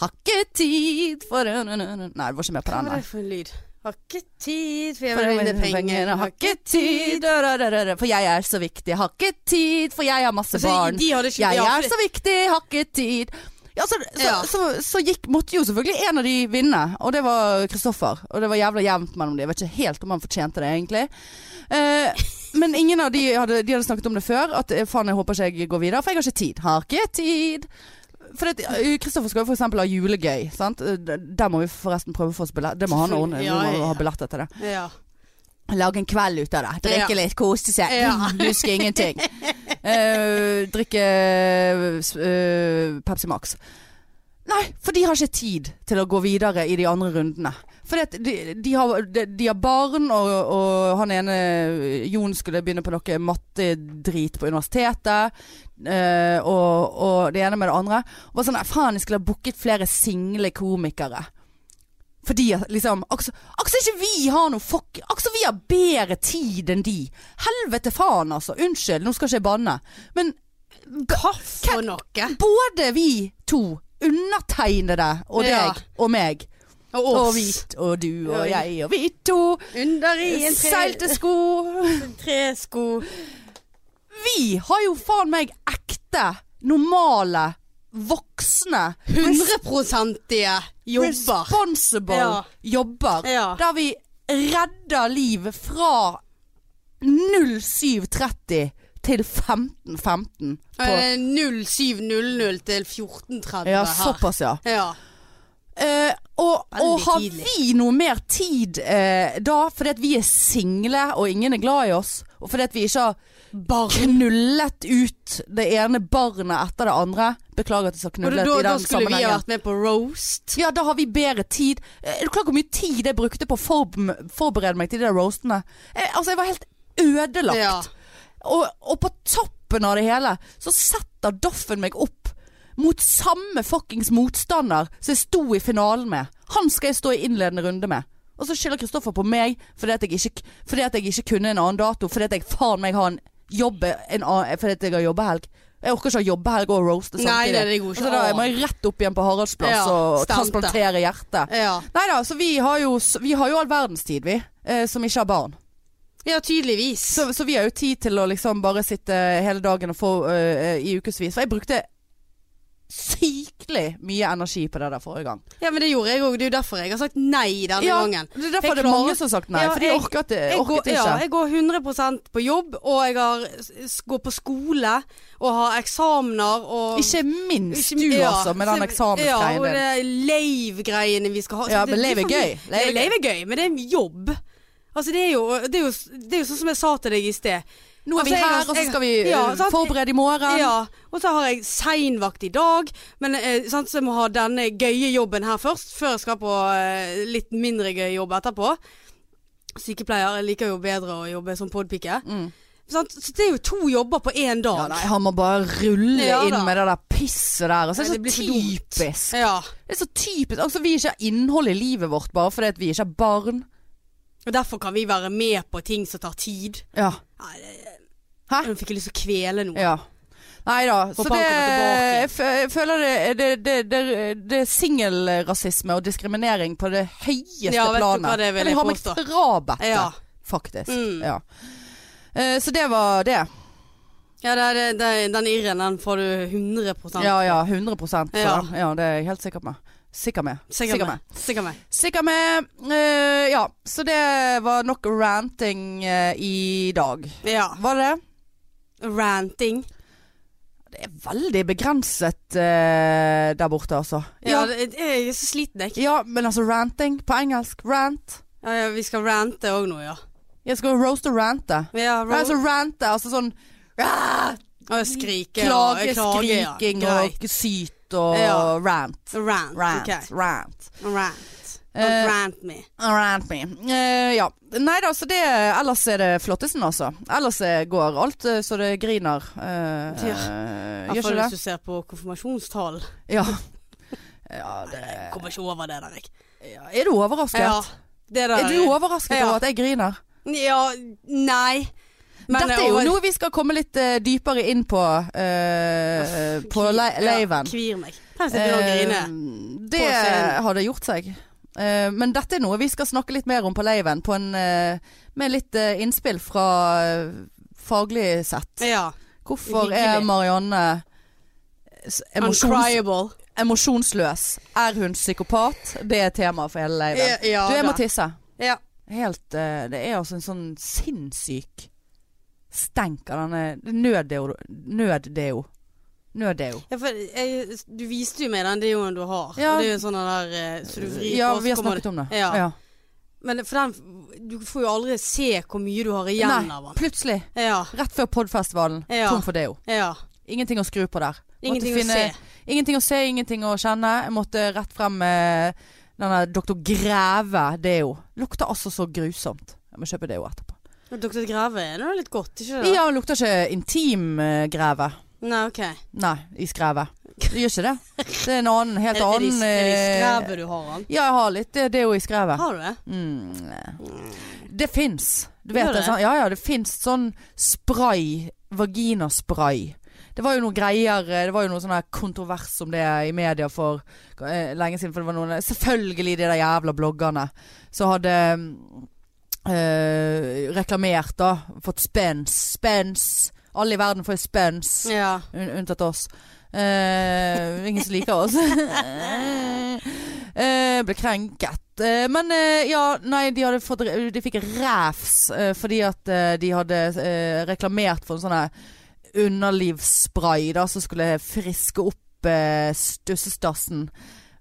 [SPEAKER 1] Har ikke tid for Nei, det var ikke med på
[SPEAKER 2] Hva
[SPEAKER 1] den.
[SPEAKER 2] var
[SPEAKER 1] Nei.
[SPEAKER 2] det for en lyd? Har ikke tid, for jeg
[SPEAKER 1] For
[SPEAKER 2] vil
[SPEAKER 1] jeg
[SPEAKER 2] vinne
[SPEAKER 1] vinner
[SPEAKER 2] penger.
[SPEAKER 1] pengene, har ikke tid, rararara, for jeg er så viktig. Har ikke tid, for jeg har masse
[SPEAKER 2] Altså,
[SPEAKER 1] barn.
[SPEAKER 2] de hadde ikke,
[SPEAKER 1] Jeg
[SPEAKER 2] ja,
[SPEAKER 1] er
[SPEAKER 2] for-
[SPEAKER 1] så viktig, har ikke tid. Ja, så, så,
[SPEAKER 2] Ja.
[SPEAKER 1] så, så gikk, måtte jo selvfølgelig en av de vinne, og det var Kristoffer. Og det var jævla jevnt mellom de. Jeg vet ikke helt om han fortjente det, egentlig. Eh, men ingen av de hadde, de hadde snakket om det før, at eh, faen, jeg håper ikke jeg går videre, for jeg har ikke tid. Har ikke tid. For det, eh, Kristoffer skal jo for eksempel ha julegøy, sant. Eh, Der må vi forresten prøve å få oss billett. Det må han ordne, vi
[SPEAKER 2] Ja, ja,
[SPEAKER 1] må
[SPEAKER 2] ja.
[SPEAKER 1] ha billetter til det.
[SPEAKER 2] Ja.
[SPEAKER 1] Lage en kveld ut av det. Drikke
[SPEAKER 2] Ja.
[SPEAKER 1] litt, kose seg.
[SPEAKER 2] Ja.
[SPEAKER 1] Huske ingenting. Eh, drikke eh, Pepsi Max. Nei, for de har ikke tid til å gå videre i de andre rundene. For det, de, de, har, de, de har barn, og, og han ene Jon skulle begynne på noe mattedrit på universitetet. eh, og, og det ene med det andre. Og bare sånn "Nei, Faen, jeg skulle ha booket flere single komikere. Fordi at liksom Akkurat akkurat ikke vi har noe fuck Akkurat vi har bedre tid enn de. Helvete faen, altså. Unnskyld, nå skal ikke jeg banne. Men
[SPEAKER 2] Hva for noe?
[SPEAKER 1] både vi to, undertegnede og deg
[SPEAKER 2] Ja.
[SPEAKER 1] og meg,
[SPEAKER 2] Og
[SPEAKER 1] og
[SPEAKER 2] oss.
[SPEAKER 1] vi og du og
[SPEAKER 2] Ja.
[SPEAKER 1] jeg og vi to,
[SPEAKER 2] Under i en tre,
[SPEAKER 1] seilte sko
[SPEAKER 2] tresko.
[SPEAKER 1] Vi har jo faen meg ekte normale, voksne,
[SPEAKER 2] 100-prosentige jobber.
[SPEAKER 1] responsible
[SPEAKER 2] Ja.
[SPEAKER 1] jobber.
[SPEAKER 2] Ja.
[SPEAKER 1] Der vi redder liv fra 07.30 til 15.15. på-
[SPEAKER 2] Eh, 07.00 til 14.30
[SPEAKER 1] Ja,
[SPEAKER 2] her.
[SPEAKER 1] såpass, ja.
[SPEAKER 2] Ja.
[SPEAKER 1] Eh, og,
[SPEAKER 2] Veldig
[SPEAKER 1] og har
[SPEAKER 2] tidlig.
[SPEAKER 1] vi noe mer tid eh, da, fordi at vi er single og ingen er glad i oss, og fordi at vi ikke har
[SPEAKER 2] Barn.
[SPEAKER 1] knullet ut det ene barnet etter det andre Beklager at jeg sa
[SPEAKER 2] Og
[SPEAKER 1] knullet
[SPEAKER 2] da, da,
[SPEAKER 1] i
[SPEAKER 2] da
[SPEAKER 1] den
[SPEAKER 2] skulle vi ha
[SPEAKER 1] sammenhengen.
[SPEAKER 2] vært med på roast.
[SPEAKER 1] Ja, da har vi bedre tid. Eh, Er du klar over hvor mye tid jeg brukte på å forb- forberede meg til de der roastene? Jeg, altså, jeg var helt ødelagt.
[SPEAKER 2] Ja.
[SPEAKER 1] Og, og på toppen av det hele så setter Doffen meg opp mot samme fuckings motstander som jeg sto i finalen med. Han skal jeg stå i innledende runde med. Og så skylder Kristoffer på meg fordi at, jeg ikke, fordi at jeg ikke kunne en annen dato. Fordi at jeg faen meg har en jobb en annen, Fordi at jeg har jobbehelg. Jeg orker ikke ha jobbehelg og roaste
[SPEAKER 2] Nei,
[SPEAKER 1] samtidig.
[SPEAKER 2] nei, det går ikke
[SPEAKER 1] Altså, da
[SPEAKER 2] an.
[SPEAKER 1] må jeg rett opp igjen på Haraldsplass
[SPEAKER 2] Ja,
[SPEAKER 1] og
[SPEAKER 2] stemte.
[SPEAKER 1] transplantere hjertet.
[SPEAKER 2] Ja.
[SPEAKER 1] Nei da, så vi har jo, s- vi har jo all verdens tid, vi. Eh, som ikke har barn.
[SPEAKER 2] ja, tydeligvis.
[SPEAKER 1] Så, så vi har jo tid til å liksom bare sitte hele dagen og få eh, i ukevis. For jeg brukte sykelig mye energi på det der forrige gang.
[SPEAKER 2] Ja, men det gjorde jeg òg. Det er jo derfor jeg har sagt nei denne
[SPEAKER 1] Ja,
[SPEAKER 2] gangen.
[SPEAKER 1] det er derfor
[SPEAKER 2] Jeg
[SPEAKER 1] det er mange
[SPEAKER 2] klarer-
[SPEAKER 1] som har sagt nei.
[SPEAKER 2] Ja,
[SPEAKER 1] for de
[SPEAKER 2] jeg-
[SPEAKER 1] orket, det-
[SPEAKER 2] Jeg går,
[SPEAKER 1] orket Eh, ikke.
[SPEAKER 2] ja, jeg går 100 på jobb, og jeg har, s- går på skole og har eksamener og
[SPEAKER 1] ikke minst
[SPEAKER 2] Ikke-
[SPEAKER 1] du,
[SPEAKER 2] ja,
[SPEAKER 1] altså, med den
[SPEAKER 2] så- Ja,
[SPEAKER 1] eksamensgreien
[SPEAKER 2] og
[SPEAKER 1] din.
[SPEAKER 2] det er Lave-greiene vi skal ha. Så
[SPEAKER 1] Ja,
[SPEAKER 2] det-
[SPEAKER 1] men
[SPEAKER 2] det
[SPEAKER 1] lave er
[SPEAKER 2] for
[SPEAKER 1] gøy.
[SPEAKER 2] mye.
[SPEAKER 1] Lave er
[SPEAKER 2] Ja, Lave er gøy, men det er en jobb. Altså, det er jo, det er jo, det er jo sånn som jeg sa til deg i sted.
[SPEAKER 1] Nå er
[SPEAKER 2] Altså,
[SPEAKER 1] vi
[SPEAKER 2] jeg-
[SPEAKER 1] her, og så
[SPEAKER 2] jeg-
[SPEAKER 1] skal vi eh,
[SPEAKER 2] ja, sant?
[SPEAKER 1] forberede i morgen.
[SPEAKER 2] Ja, og så har jeg seinvakt i dag, men eh, sant, så jeg må ha denne gøye jobben her først, før jeg skal på eh, litt mindre gøy jobb etterpå. Sykepleier, jeg liker jo bedre å jobbe som podpike.
[SPEAKER 1] Mm.
[SPEAKER 2] Sant? Så det er jo to jobber på én dag.
[SPEAKER 1] Ja, nei, han må bare rulle
[SPEAKER 2] Ja,
[SPEAKER 1] inn
[SPEAKER 2] da.
[SPEAKER 1] med det der pisset der. Og så
[SPEAKER 2] Nei,
[SPEAKER 1] er
[SPEAKER 2] Eh,
[SPEAKER 1] det
[SPEAKER 2] det blir
[SPEAKER 1] så
[SPEAKER 2] for dumt.
[SPEAKER 1] typisk.
[SPEAKER 2] Ja.
[SPEAKER 1] Det er så typisk. Altså, vi ikke har innhold i livet vårt bare fordi at vi ikke har barn.
[SPEAKER 2] Og derfor kan vi være med på ting som tar tid.
[SPEAKER 1] Ja.
[SPEAKER 2] Nei, det-
[SPEAKER 1] Hæ?
[SPEAKER 2] Nå fikk jeg lyst til å kvele noe.
[SPEAKER 1] ja. Nei da. Så
[SPEAKER 2] Håper
[SPEAKER 1] det
[SPEAKER 2] han kommer tilbake.
[SPEAKER 1] jeg fø- Jeg føler det Det, det, det, det er singelrasisme og diskriminering på det høyeste
[SPEAKER 2] Ja, vet du
[SPEAKER 1] planet.
[SPEAKER 2] hva det vil
[SPEAKER 1] Men
[SPEAKER 2] jeg
[SPEAKER 1] har meg
[SPEAKER 2] påstå.
[SPEAKER 1] frabedt det,
[SPEAKER 2] Ja.
[SPEAKER 1] faktisk.
[SPEAKER 2] Mm.
[SPEAKER 1] Ja. Eh, så det var det.
[SPEAKER 2] Ja, det, det, det, den irren den får du 100
[SPEAKER 1] Ja ja, 100 på
[SPEAKER 2] Ja.
[SPEAKER 1] det. Ja, det er jeg helt sikker med. Sikker med.
[SPEAKER 2] Sikkert meg. Sikkert meg.
[SPEAKER 1] Sikker med. Eh, ja, så det var nok ranting eh, i dag.
[SPEAKER 2] Ja.
[SPEAKER 1] Var det det?
[SPEAKER 2] Ranting.
[SPEAKER 1] Det er veldig begrenset eh, der borte, altså. Ja,
[SPEAKER 2] Ja, det- jeg er så sliten, jeg.
[SPEAKER 1] ja, men altså ranting på engelsk. Rant.
[SPEAKER 2] Ja, ja, vi skal rante òg nå, ja.
[SPEAKER 1] Jeg skal roast og rante.
[SPEAKER 2] Ja,
[SPEAKER 1] Nei, altså rante, altså sånn ah,
[SPEAKER 2] og skrike
[SPEAKER 1] Klage,
[SPEAKER 2] og klage, ja.
[SPEAKER 1] skriking
[SPEAKER 2] Greit.
[SPEAKER 1] og syt og
[SPEAKER 2] Ja.
[SPEAKER 1] rant.
[SPEAKER 2] Rant.
[SPEAKER 1] Rant.
[SPEAKER 2] ok.
[SPEAKER 1] Rant.
[SPEAKER 2] Rant.
[SPEAKER 1] Eh,
[SPEAKER 2] Don't rant me.
[SPEAKER 1] Rant me. Eh, ja. Nei da, så det Ellers er det flottesen, altså. Ellers eh, går alt eh, så det griner. Eh,
[SPEAKER 2] Ja.
[SPEAKER 1] eh,
[SPEAKER 2] I hvert
[SPEAKER 1] Gjør
[SPEAKER 2] fall
[SPEAKER 1] ikke det?
[SPEAKER 2] hvis du ser på konfirmasjonstall.
[SPEAKER 1] Ja. ja det,
[SPEAKER 2] Jeg kommer ikke over det der, jeg.
[SPEAKER 1] ja. Er du overrasket?
[SPEAKER 2] Ja, det der
[SPEAKER 1] Er du overrasket
[SPEAKER 2] Ja.
[SPEAKER 1] over at jeg griner?
[SPEAKER 2] Ja, nei. Men eh,
[SPEAKER 1] Dette er jo
[SPEAKER 2] over-
[SPEAKER 1] noe vi skal komme litt eh, dypere inn på eh,
[SPEAKER 2] Uff,
[SPEAKER 1] på
[SPEAKER 2] kvir-
[SPEAKER 1] le leiven.
[SPEAKER 2] Ja, kvir meg. Tenk å grine.
[SPEAKER 1] Eh, det
[SPEAKER 2] På scenen.
[SPEAKER 1] hadde gjort seg. Eh, men dette er noe vi skal snakke litt mer om på leiven, på en, eh, med litt eh, innspill fra eh, faglig sett.
[SPEAKER 2] Ja.
[SPEAKER 1] Hvorfor
[SPEAKER 2] hyggelig.
[SPEAKER 1] er Marianne s- emosjons
[SPEAKER 2] Uncriable.
[SPEAKER 1] emosjonsløs? Er hun psykopat? Det er temaet for hele leiven.
[SPEAKER 2] Ja,
[SPEAKER 1] Du, jeg må
[SPEAKER 2] da.
[SPEAKER 1] tisse.
[SPEAKER 2] Ja.
[SPEAKER 1] Helt eh, Det er altså en sånn sinnssyk stenk av denne nøddeo. Nøddeo. Nøddeo.
[SPEAKER 2] Ja, for jeg, du viste jo meg den deoen du har.
[SPEAKER 1] Ja.
[SPEAKER 2] Og det er jo sånn den der eh, Så du vrir
[SPEAKER 1] Ja,
[SPEAKER 2] på, og
[SPEAKER 1] vi
[SPEAKER 2] så
[SPEAKER 1] har
[SPEAKER 2] kommer det
[SPEAKER 1] snakket om det.
[SPEAKER 2] Ja. Men for den Du får jo aldri se hvor mye du har igjen
[SPEAKER 1] Nei,
[SPEAKER 2] av den.
[SPEAKER 1] plutselig.
[SPEAKER 2] Ja.
[SPEAKER 1] Rett før podfestivalen.
[SPEAKER 2] Ja.
[SPEAKER 1] Tom for deo.
[SPEAKER 2] ja.
[SPEAKER 1] Ingenting å skru på der. Måtte
[SPEAKER 2] Ingenting å
[SPEAKER 1] finne-
[SPEAKER 2] se.
[SPEAKER 1] Ingenting å se, ingenting å kjenne. Jeg måtte rett frem med denne Dr. Greve deo. Lukter altså så grusomt. Jeg må kjøpe deo etterpå.
[SPEAKER 2] Men Dr. Greve er nå litt godt, ikke det?
[SPEAKER 1] Ja, det lukter ikke eh, intimgreve.
[SPEAKER 2] Nei, ok.
[SPEAKER 1] Nei, i skrevet. Det gjør ikke det. Det er en annen, helt
[SPEAKER 2] Er, er, de,
[SPEAKER 1] annen
[SPEAKER 2] er de
[SPEAKER 1] eh,
[SPEAKER 2] skrevet du har han?
[SPEAKER 1] Ja, jeg har litt det, det er jo i skrevet.
[SPEAKER 2] Har du det?
[SPEAKER 1] Mm. Det fins. Du vet
[SPEAKER 2] Gjør
[SPEAKER 1] det?
[SPEAKER 2] det?
[SPEAKER 1] Sånn, ja ja, det fins sånn spray. Vaginaspray. Det var jo noen greier eh, Det var jo noe sånn her kontrovers om det i media for eh, lenge siden. For det var noen Selvfølgelig de der jævla bloggerne som hadde mm, eh, reklamert, da. Fått spens. Spens. Alle i verden får jo spons.
[SPEAKER 2] Ja.
[SPEAKER 1] Un unntatt oss. Eh, ingen som liker oss. Eh, ble krenket. Eh, men eh, ja, nei, de, hadde fått, de fikk ræfs eh, fordi at eh, de hadde eh, reklamert for en sånn her underlivsspray da, som skulle friske opp eh, stussestassen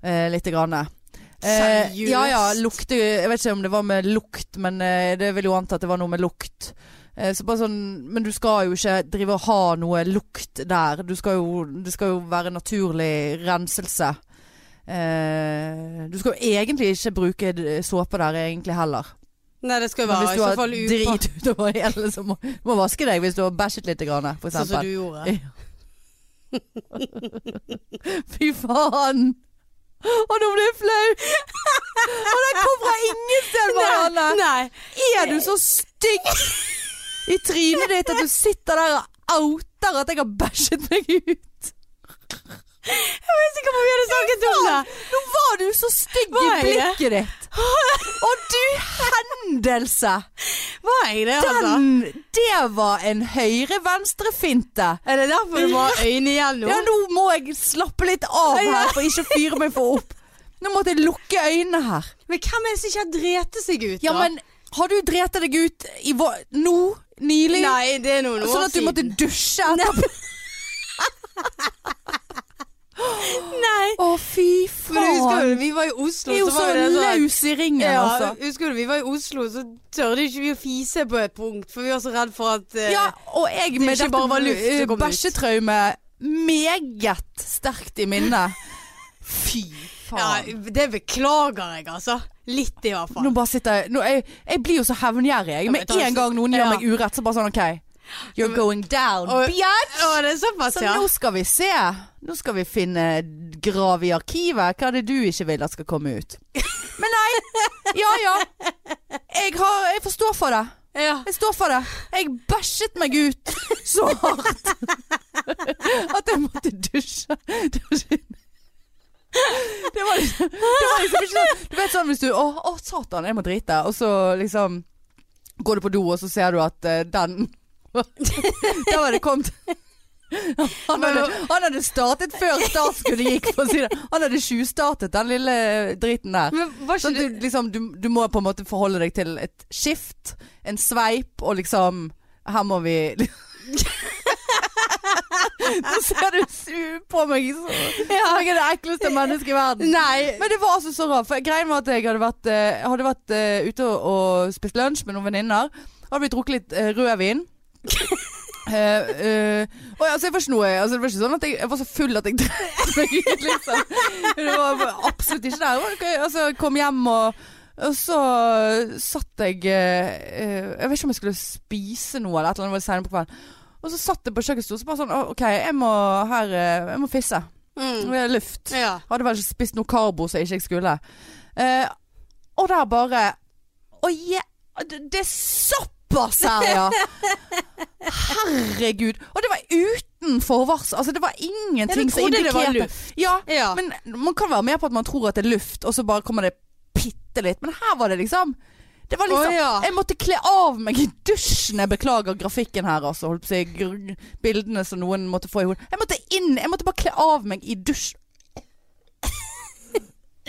[SPEAKER 1] eh, lite grann. Eh,
[SPEAKER 2] Seriøst?
[SPEAKER 1] ja ja, lukte Jeg vet ikke om det var med lukt, men eh, det vil jo anta at det var noe med lukt. Eh, så bare sånn, men du skal jo ikke drive og ha noe lukt der. Du skal jo, det skal jo være naturlig renselse. Eh, du skal jo egentlig ikke bruke d- såpe der egentlig heller.
[SPEAKER 2] Nei, det skal jo
[SPEAKER 1] Men
[SPEAKER 2] være
[SPEAKER 1] hvis
[SPEAKER 2] i
[SPEAKER 1] du
[SPEAKER 2] så
[SPEAKER 1] har
[SPEAKER 2] fall upå.
[SPEAKER 1] drit utover hele, så må du må vaske deg hvis du har bæsjet litt, grann, for
[SPEAKER 2] Sånn som
[SPEAKER 1] eksempel.
[SPEAKER 2] du gjorde.
[SPEAKER 1] Fy faen! Og nå ble jeg flau! Og den kom fra ingen sted, Marianne!
[SPEAKER 2] Nei.
[SPEAKER 1] Er du så stygg i trynet ditt at du sitter der og outer at jeg har bæsjet meg ut?
[SPEAKER 2] Jeg vet ikke hvorfor vi hadde snakket om det.
[SPEAKER 1] Nå var du så stygg i
[SPEAKER 2] Var jeg det?
[SPEAKER 1] blikket ditt. Og du hendelse!
[SPEAKER 2] Var jeg det, altså?
[SPEAKER 1] Den, det var en høyre-venstre-finte.
[SPEAKER 2] Er det derfor du må ha øynene igjen nå?
[SPEAKER 1] Ja, nå må jeg slappe litt av her for ikke å fyre meg for opp. Nå måtte jeg lukke øynene her.
[SPEAKER 2] Men hvem er det som ikke har drete seg ut, da?
[SPEAKER 1] Ja, men har du drept deg ut i vår, nå? Nylig?
[SPEAKER 2] Nei, det er noen år
[SPEAKER 1] sånn at du måtte
[SPEAKER 2] siden.
[SPEAKER 1] dusje etterpå?
[SPEAKER 2] Nei.
[SPEAKER 1] Å, fy
[SPEAKER 2] Men du husker
[SPEAKER 1] faen.
[SPEAKER 2] jo, vi var i Oslo,
[SPEAKER 1] Det er jo så
[SPEAKER 2] så var det sånn
[SPEAKER 1] løs i ringen,
[SPEAKER 2] ja,
[SPEAKER 1] altså.
[SPEAKER 2] Husker du vi var i Oslo, så tørde ikke vi å fise på et punkt, for vi var så redd for at eh,
[SPEAKER 1] Ja, og jeg med
[SPEAKER 2] ikke
[SPEAKER 1] dette
[SPEAKER 2] bare var luft som
[SPEAKER 1] eh,
[SPEAKER 2] kom ut.
[SPEAKER 1] bæsjetraume meget sterkt i minnet. Fy faen.
[SPEAKER 2] ja, Det beklager jeg, altså. Litt i hvert
[SPEAKER 1] Nå
[SPEAKER 2] fall.
[SPEAKER 1] bare sitter jeg nå, jeg, jeg blir jo så hevngjerrig. jeg. Med
[SPEAKER 2] men ta-
[SPEAKER 1] en gang noen gjør
[SPEAKER 2] ja.
[SPEAKER 1] meg urett, så bare sånn OK. You're going down,
[SPEAKER 2] Og-
[SPEAKER 1] bitch!
[SPEAKER 2] Å, det er såpass,
[SPEAKER 1] Så
[SPEAKER 2] ja.
[SPEAKER 1] Altså, Sånn, nå skal vi se. Nå skal vi finne grav i arkivet. Hva er det du ikke vil at skal komme ut? Men nei. Ja ja. Jeg, har, jeg får stå for det.
[SPEAKER 2] ja.
[SPEAKER 1] Jeg står for det. Jeg bæsjet meg ut så hardt at jeg måtte dusje. Det var ikke- det var liksom, det var liksom ikke sånn Du vet sånn hvis du Å, å satan, jeg må drite. Og så liksom går du på do, og så ser du at eh, den Der var det kommet han hadde, han hadde startet før startskuddet gikk, for å si det. Han hadde tjuvstartet den lille driten der.
[SPEAKER 2] Men var ikke
[SPEAKER 1] Sånn, at du, liksom, du, du må på en måte forholde deg til et skift, en sveip og liksom Her må vi Nå ser du su- på meg så, som jeg er det ekleste mennesket i
[SPEAKER 2] du
[SPEAKER 1] verden.
[SPEAKER 2] Nei.
[SPEAKER 1] Men det var altså så rart. For greien var at jeg hadde vært, eh, hadde vært eh, ute og, og spist lunsj med noen venninner. Hadde vi drukket litt eh, rødvin. Eh, eh, og ja, altså, jeg var ikke noe altså, Det var ikke sånn at jeg, jeg var så full at jeg drepte meg ut, liksom. Det var absolutt ikke der. Og, ok, Altså, jeg kom hjem og og så satt jeg eh, eh, Jeg vet ikke om jeg skulle spise noe eller et eller annet. Det var senere på kvelden. Og så satt jeg på kjøkkenstolen og bare sånn «Å, OK, jeg må her eh, Jeg må fisse.
[SPEAKER 2] Mm.
[SPEAKER 1] Det er luft.
[SPEAKER 2] Ja.
[SPEAKER 1] Hadde vel ikke spist noe karbo som jeg ikke skulle. Eh, og der bare Å, je... Det det er såpass her, ja! Herregud. Og det var uten forvarsel. Altså, det var ingenting
[SPEAKER 2] Jeg
[SPEAKER 1] som
[SPEAKER 2] trodde det var
[SPEAKER 1] indikerte
[SPEAKER 2] luft.
[SPEAKER 1] Ja,
[SPEAKER 2] Ja.
[SPEAKER 1] men man kan være med på at man tror at det er luft, og så bare kommer det bitte litt. Men her var det liksom det var liksom,
[SPEAKER 2] Å, ja.
[SPEAKER 1] Jeg måtte kle av meg i dusjen. Jeg beklager grafikken her, altså. Holdt på å si gr- bildene som noen måtte få i hodet. Jeg måtte inn. Jeg måtte bare kle av meg i dusj.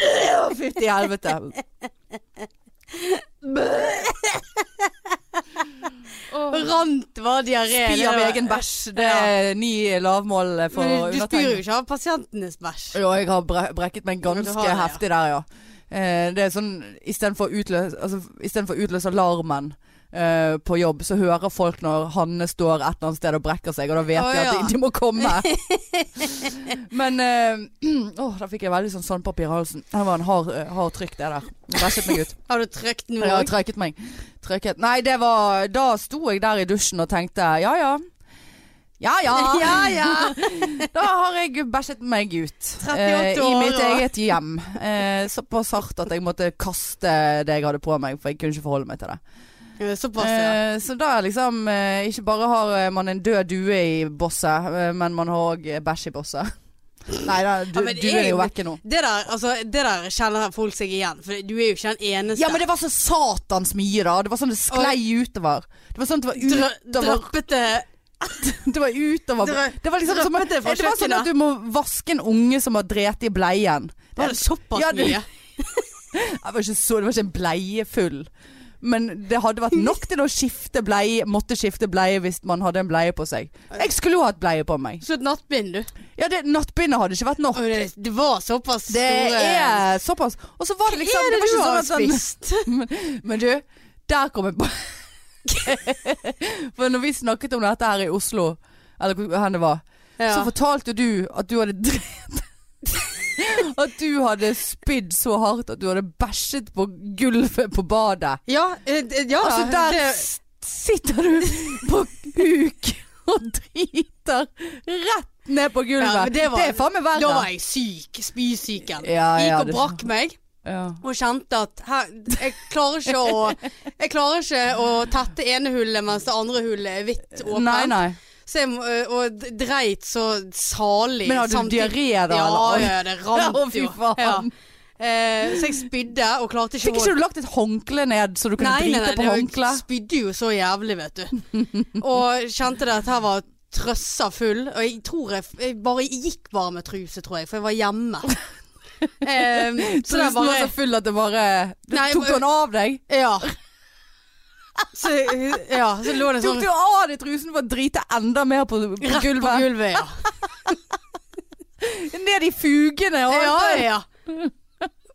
[SPEAKER 1] Å, Fytti helvete.
[SPEAKER 2] Rant var diaré.
[SPEAKER 1] Spy
[SPEAKER 2] det
[SPEAKER 1] av
[SPEAKER 2] var-
[SPEAKER 1] egen bæsj. Det er ny lavmål for
[SPEAKER 2] Men du, du spyr jo
[SPEAKER 1] undertegnede.
[SPEAKER 2] ikke av pasientenes bæsj.
[SPEAKER 1] Jo, jeg har bre brekket meg
[SPEAKER 2] Ja, du
[SPEAKER 1] ganske
[SPEAKER 2] har det, ja.
[SPEAKER 1] heftig der, ja. Eh, det er sånn istedenfor å utløse, altså, istedenfor å utløse alarmen eh, på jobb, så hører folk når Hanne står et eller annet sted og brekker seg, og da vet
[SPEAKER 2] Å,
[SPEAKER 1] de at
[SPEAKER 2] ja.
[SPEAKER 1] de, de må komme. Men eh, Åh, da fikk jeg veldig sånn sandpapir i halsen. Det var en hard, eh, hard trykk, det der. Bæsjet meg ut.
[SPEAKER 2] Har du trykt noe?
[SPEAKER 1] Jeg har trøkket meg. Trøkket. Nei, det var Da sto jeg der i dusjen og tenkte ja ja. Ja ja.
[SPEAKER 2] Ja, ja.
[SPEAKER 1] Da har jeg bæsjet meg ut. eh,
[SPEAKER 2] 38
[SPEAKER 1] I
[SPEAKER 2] år,
[SPEAKER 1] mitt
[SPEAKER 2] og-
[SPEAKER 1] eget hjem. Eh, såpass hardt at jeg måtte kaste det jeg hadde på meg, for jeg kunne ikke forholde meg til det.
[SPEAKER 2] Ja, Såpass, ja.
[SPEAKER 1] Eh, så da er liksom eh, Ikke bare har eh, man en død due i bosset, eh, men man har òg bæsj i bosset. Nei da, du,
[SPEAKER 2] Ja, men
[SPEAKER 1] duen er jo
[SPEAKER 2] jeg-
[SPEAKER 1] vekke nå.
[SPEAKER 2] Det der, altså, det der kjenner folk seg igjen, for du er jo ikke den eneste.
[SPEAKER 1] Ja, men det var så satans mye, da. Det var sånn det sklei utover. Det var sånn at det var
[SPEAKER 2] Drø-
[SPEAKER 1] utover
[SPEAKER 2] Dryppete
[SPEAKER 1] Det var utover
[SPEAKER 2] Det var-
[SPEAKER 1] Det var liksom som,
[SPEAKER 2] Dryppet det fra
[SPEAKER 1] det var sånn
[SPEAKER 2] kjøkkenet.
[SPEAKER 1] at du må vaske en unge som har drept i bleien.
[SPEAKER 2] Var det såpass
[SPEAKER 1] Ja, det-
[SPEAKER 2] mye?
[SPEAKER 1] Det var ikke, så, det var ikke en bleie full. Men det hadde vært nok til å skifte bleie, måtte skifte bleie hvis man hadde en bleie på seg. Jeg skulle jo hatt bleie på meg.
[SPEAKER 2] Slutt nattbind, du.
[SPEAKER 1] Ja, det, Nattbindet hadde ikke vært nok.
[SPEAKER 2] Oi, det, det var såpass
[SPEAKER 1] Det
[SPEAKER 2] store
[SPEAKER 1] er såpass. Og så var det liksom
[SPEAKER 2] Hva er det,
[SPEAKER 1] var
[SPEAKER 2] du
[SPEAKER 1] ikke sånn
[SPEAKER 2] har
[SPEAKER 1] at den-
[SPEAKER 2] spist?
[SPEAKER 1] Men du, der kom jeg på For når vi snakket om dette her i Oslo, eller hvor hen det var,
[SPEAKER 2] Ja.
[SPEAKER 1] så fortalte du at du hadde drept At du hadde spydd så hardt at du hadde bæsjet på gulvet på badet.
[SPEAKER 2] ja, eh, d- ja
[SPEAKER 1] Altså, der
[SPEAKER 2] det,
[SPEAKER 1] s- sitter du på huk og driter rett ned på gulvet.
[SPEAKER 2] Ja, men
[SPEAKER 1] det,
[SPEAKER 2] det var-
[SPEAKER 1] er faen meg
[SPEAKER 2] Da var
[SPEAKER 1] verre.
[SPEAKER 2] jeg syk. Spysyken.
[SPEAKER 1] Ja, ja,
[SPEAKER 2] Gikk og
[SPEAKER 1] det-
[SPEAKER 2] brakk meg.
[SPEAKER 1] Ja.
[SPEAKER 2] Og kjente at her, jeg, klarer ikke å, jeg klarer ikke å tette ene hullet mens det andre hullet er vidt åpent.
[SPEAKER 1] Nei, nei.
[SPEAKER 2] Så jeg, må- eh, og d- dreit så salig.
[SPEAKER 1] Men hadde du
[SPEAKER 2] samtidig-
[SPEAKER 1] diaré da?
[SPEAKER 2] Ja,
[SPEAKER 1] eller?
[SPEAKER 2] ja, det
[SPEAKER 1] Å,
[SPEAKER 2] rant
[SPEAKER 1] fy
[SPEAKER 2] jo.
[SPEAKER 1] faen.
[SPEAKER 2] Eh, så jeg spydde og klarte ikke
[SPEAKER 1] Fikk ikke du lagt et håndkle ned så du kunne
[SPEAKER 2] Nei, nei,
[SPEAKER 1] drite
[SPEAKER 2] nei,
[SPEAKER 1] på
[SPEAKER 2] det-
[SPEAKER 1] håndkle?
[SPEAKER 2] jeg spydde jo så jævlig, vet du. Og kjente det at her var trøssa full. Og jeg tror jeg, jeg bare jeg gikk bare med truse, tror jeg, for jeg var hjemme. Em, så det
[SPEAKER 1] Trusen
[SPEAKER 2] er
[SPEAKER 1] var så
[SPEAKER 2] bare
[SPEAKER 1] full at det bare du
[SPEAKER 2] Nei,
[SPEAKER 1] Tok du den av deg?
[SPEAKER 2] Ja. Så, ja, så lå det
[SPEAKER 1] Tok
[SPEAKER 2] sånn
[SPEAKER 1] du av deg trusen for å drite enda mer på, på
[SPEAKER 2] rett på
[SPEAKER 1] gulvet?
[SPEAKER 2] gulvet. Ja,
[SPEAKER 1] Ned i fugene og alt
[SPEAKER 2] ja.
[SPEAKER 1] det.
[SPEAKER 2] ja.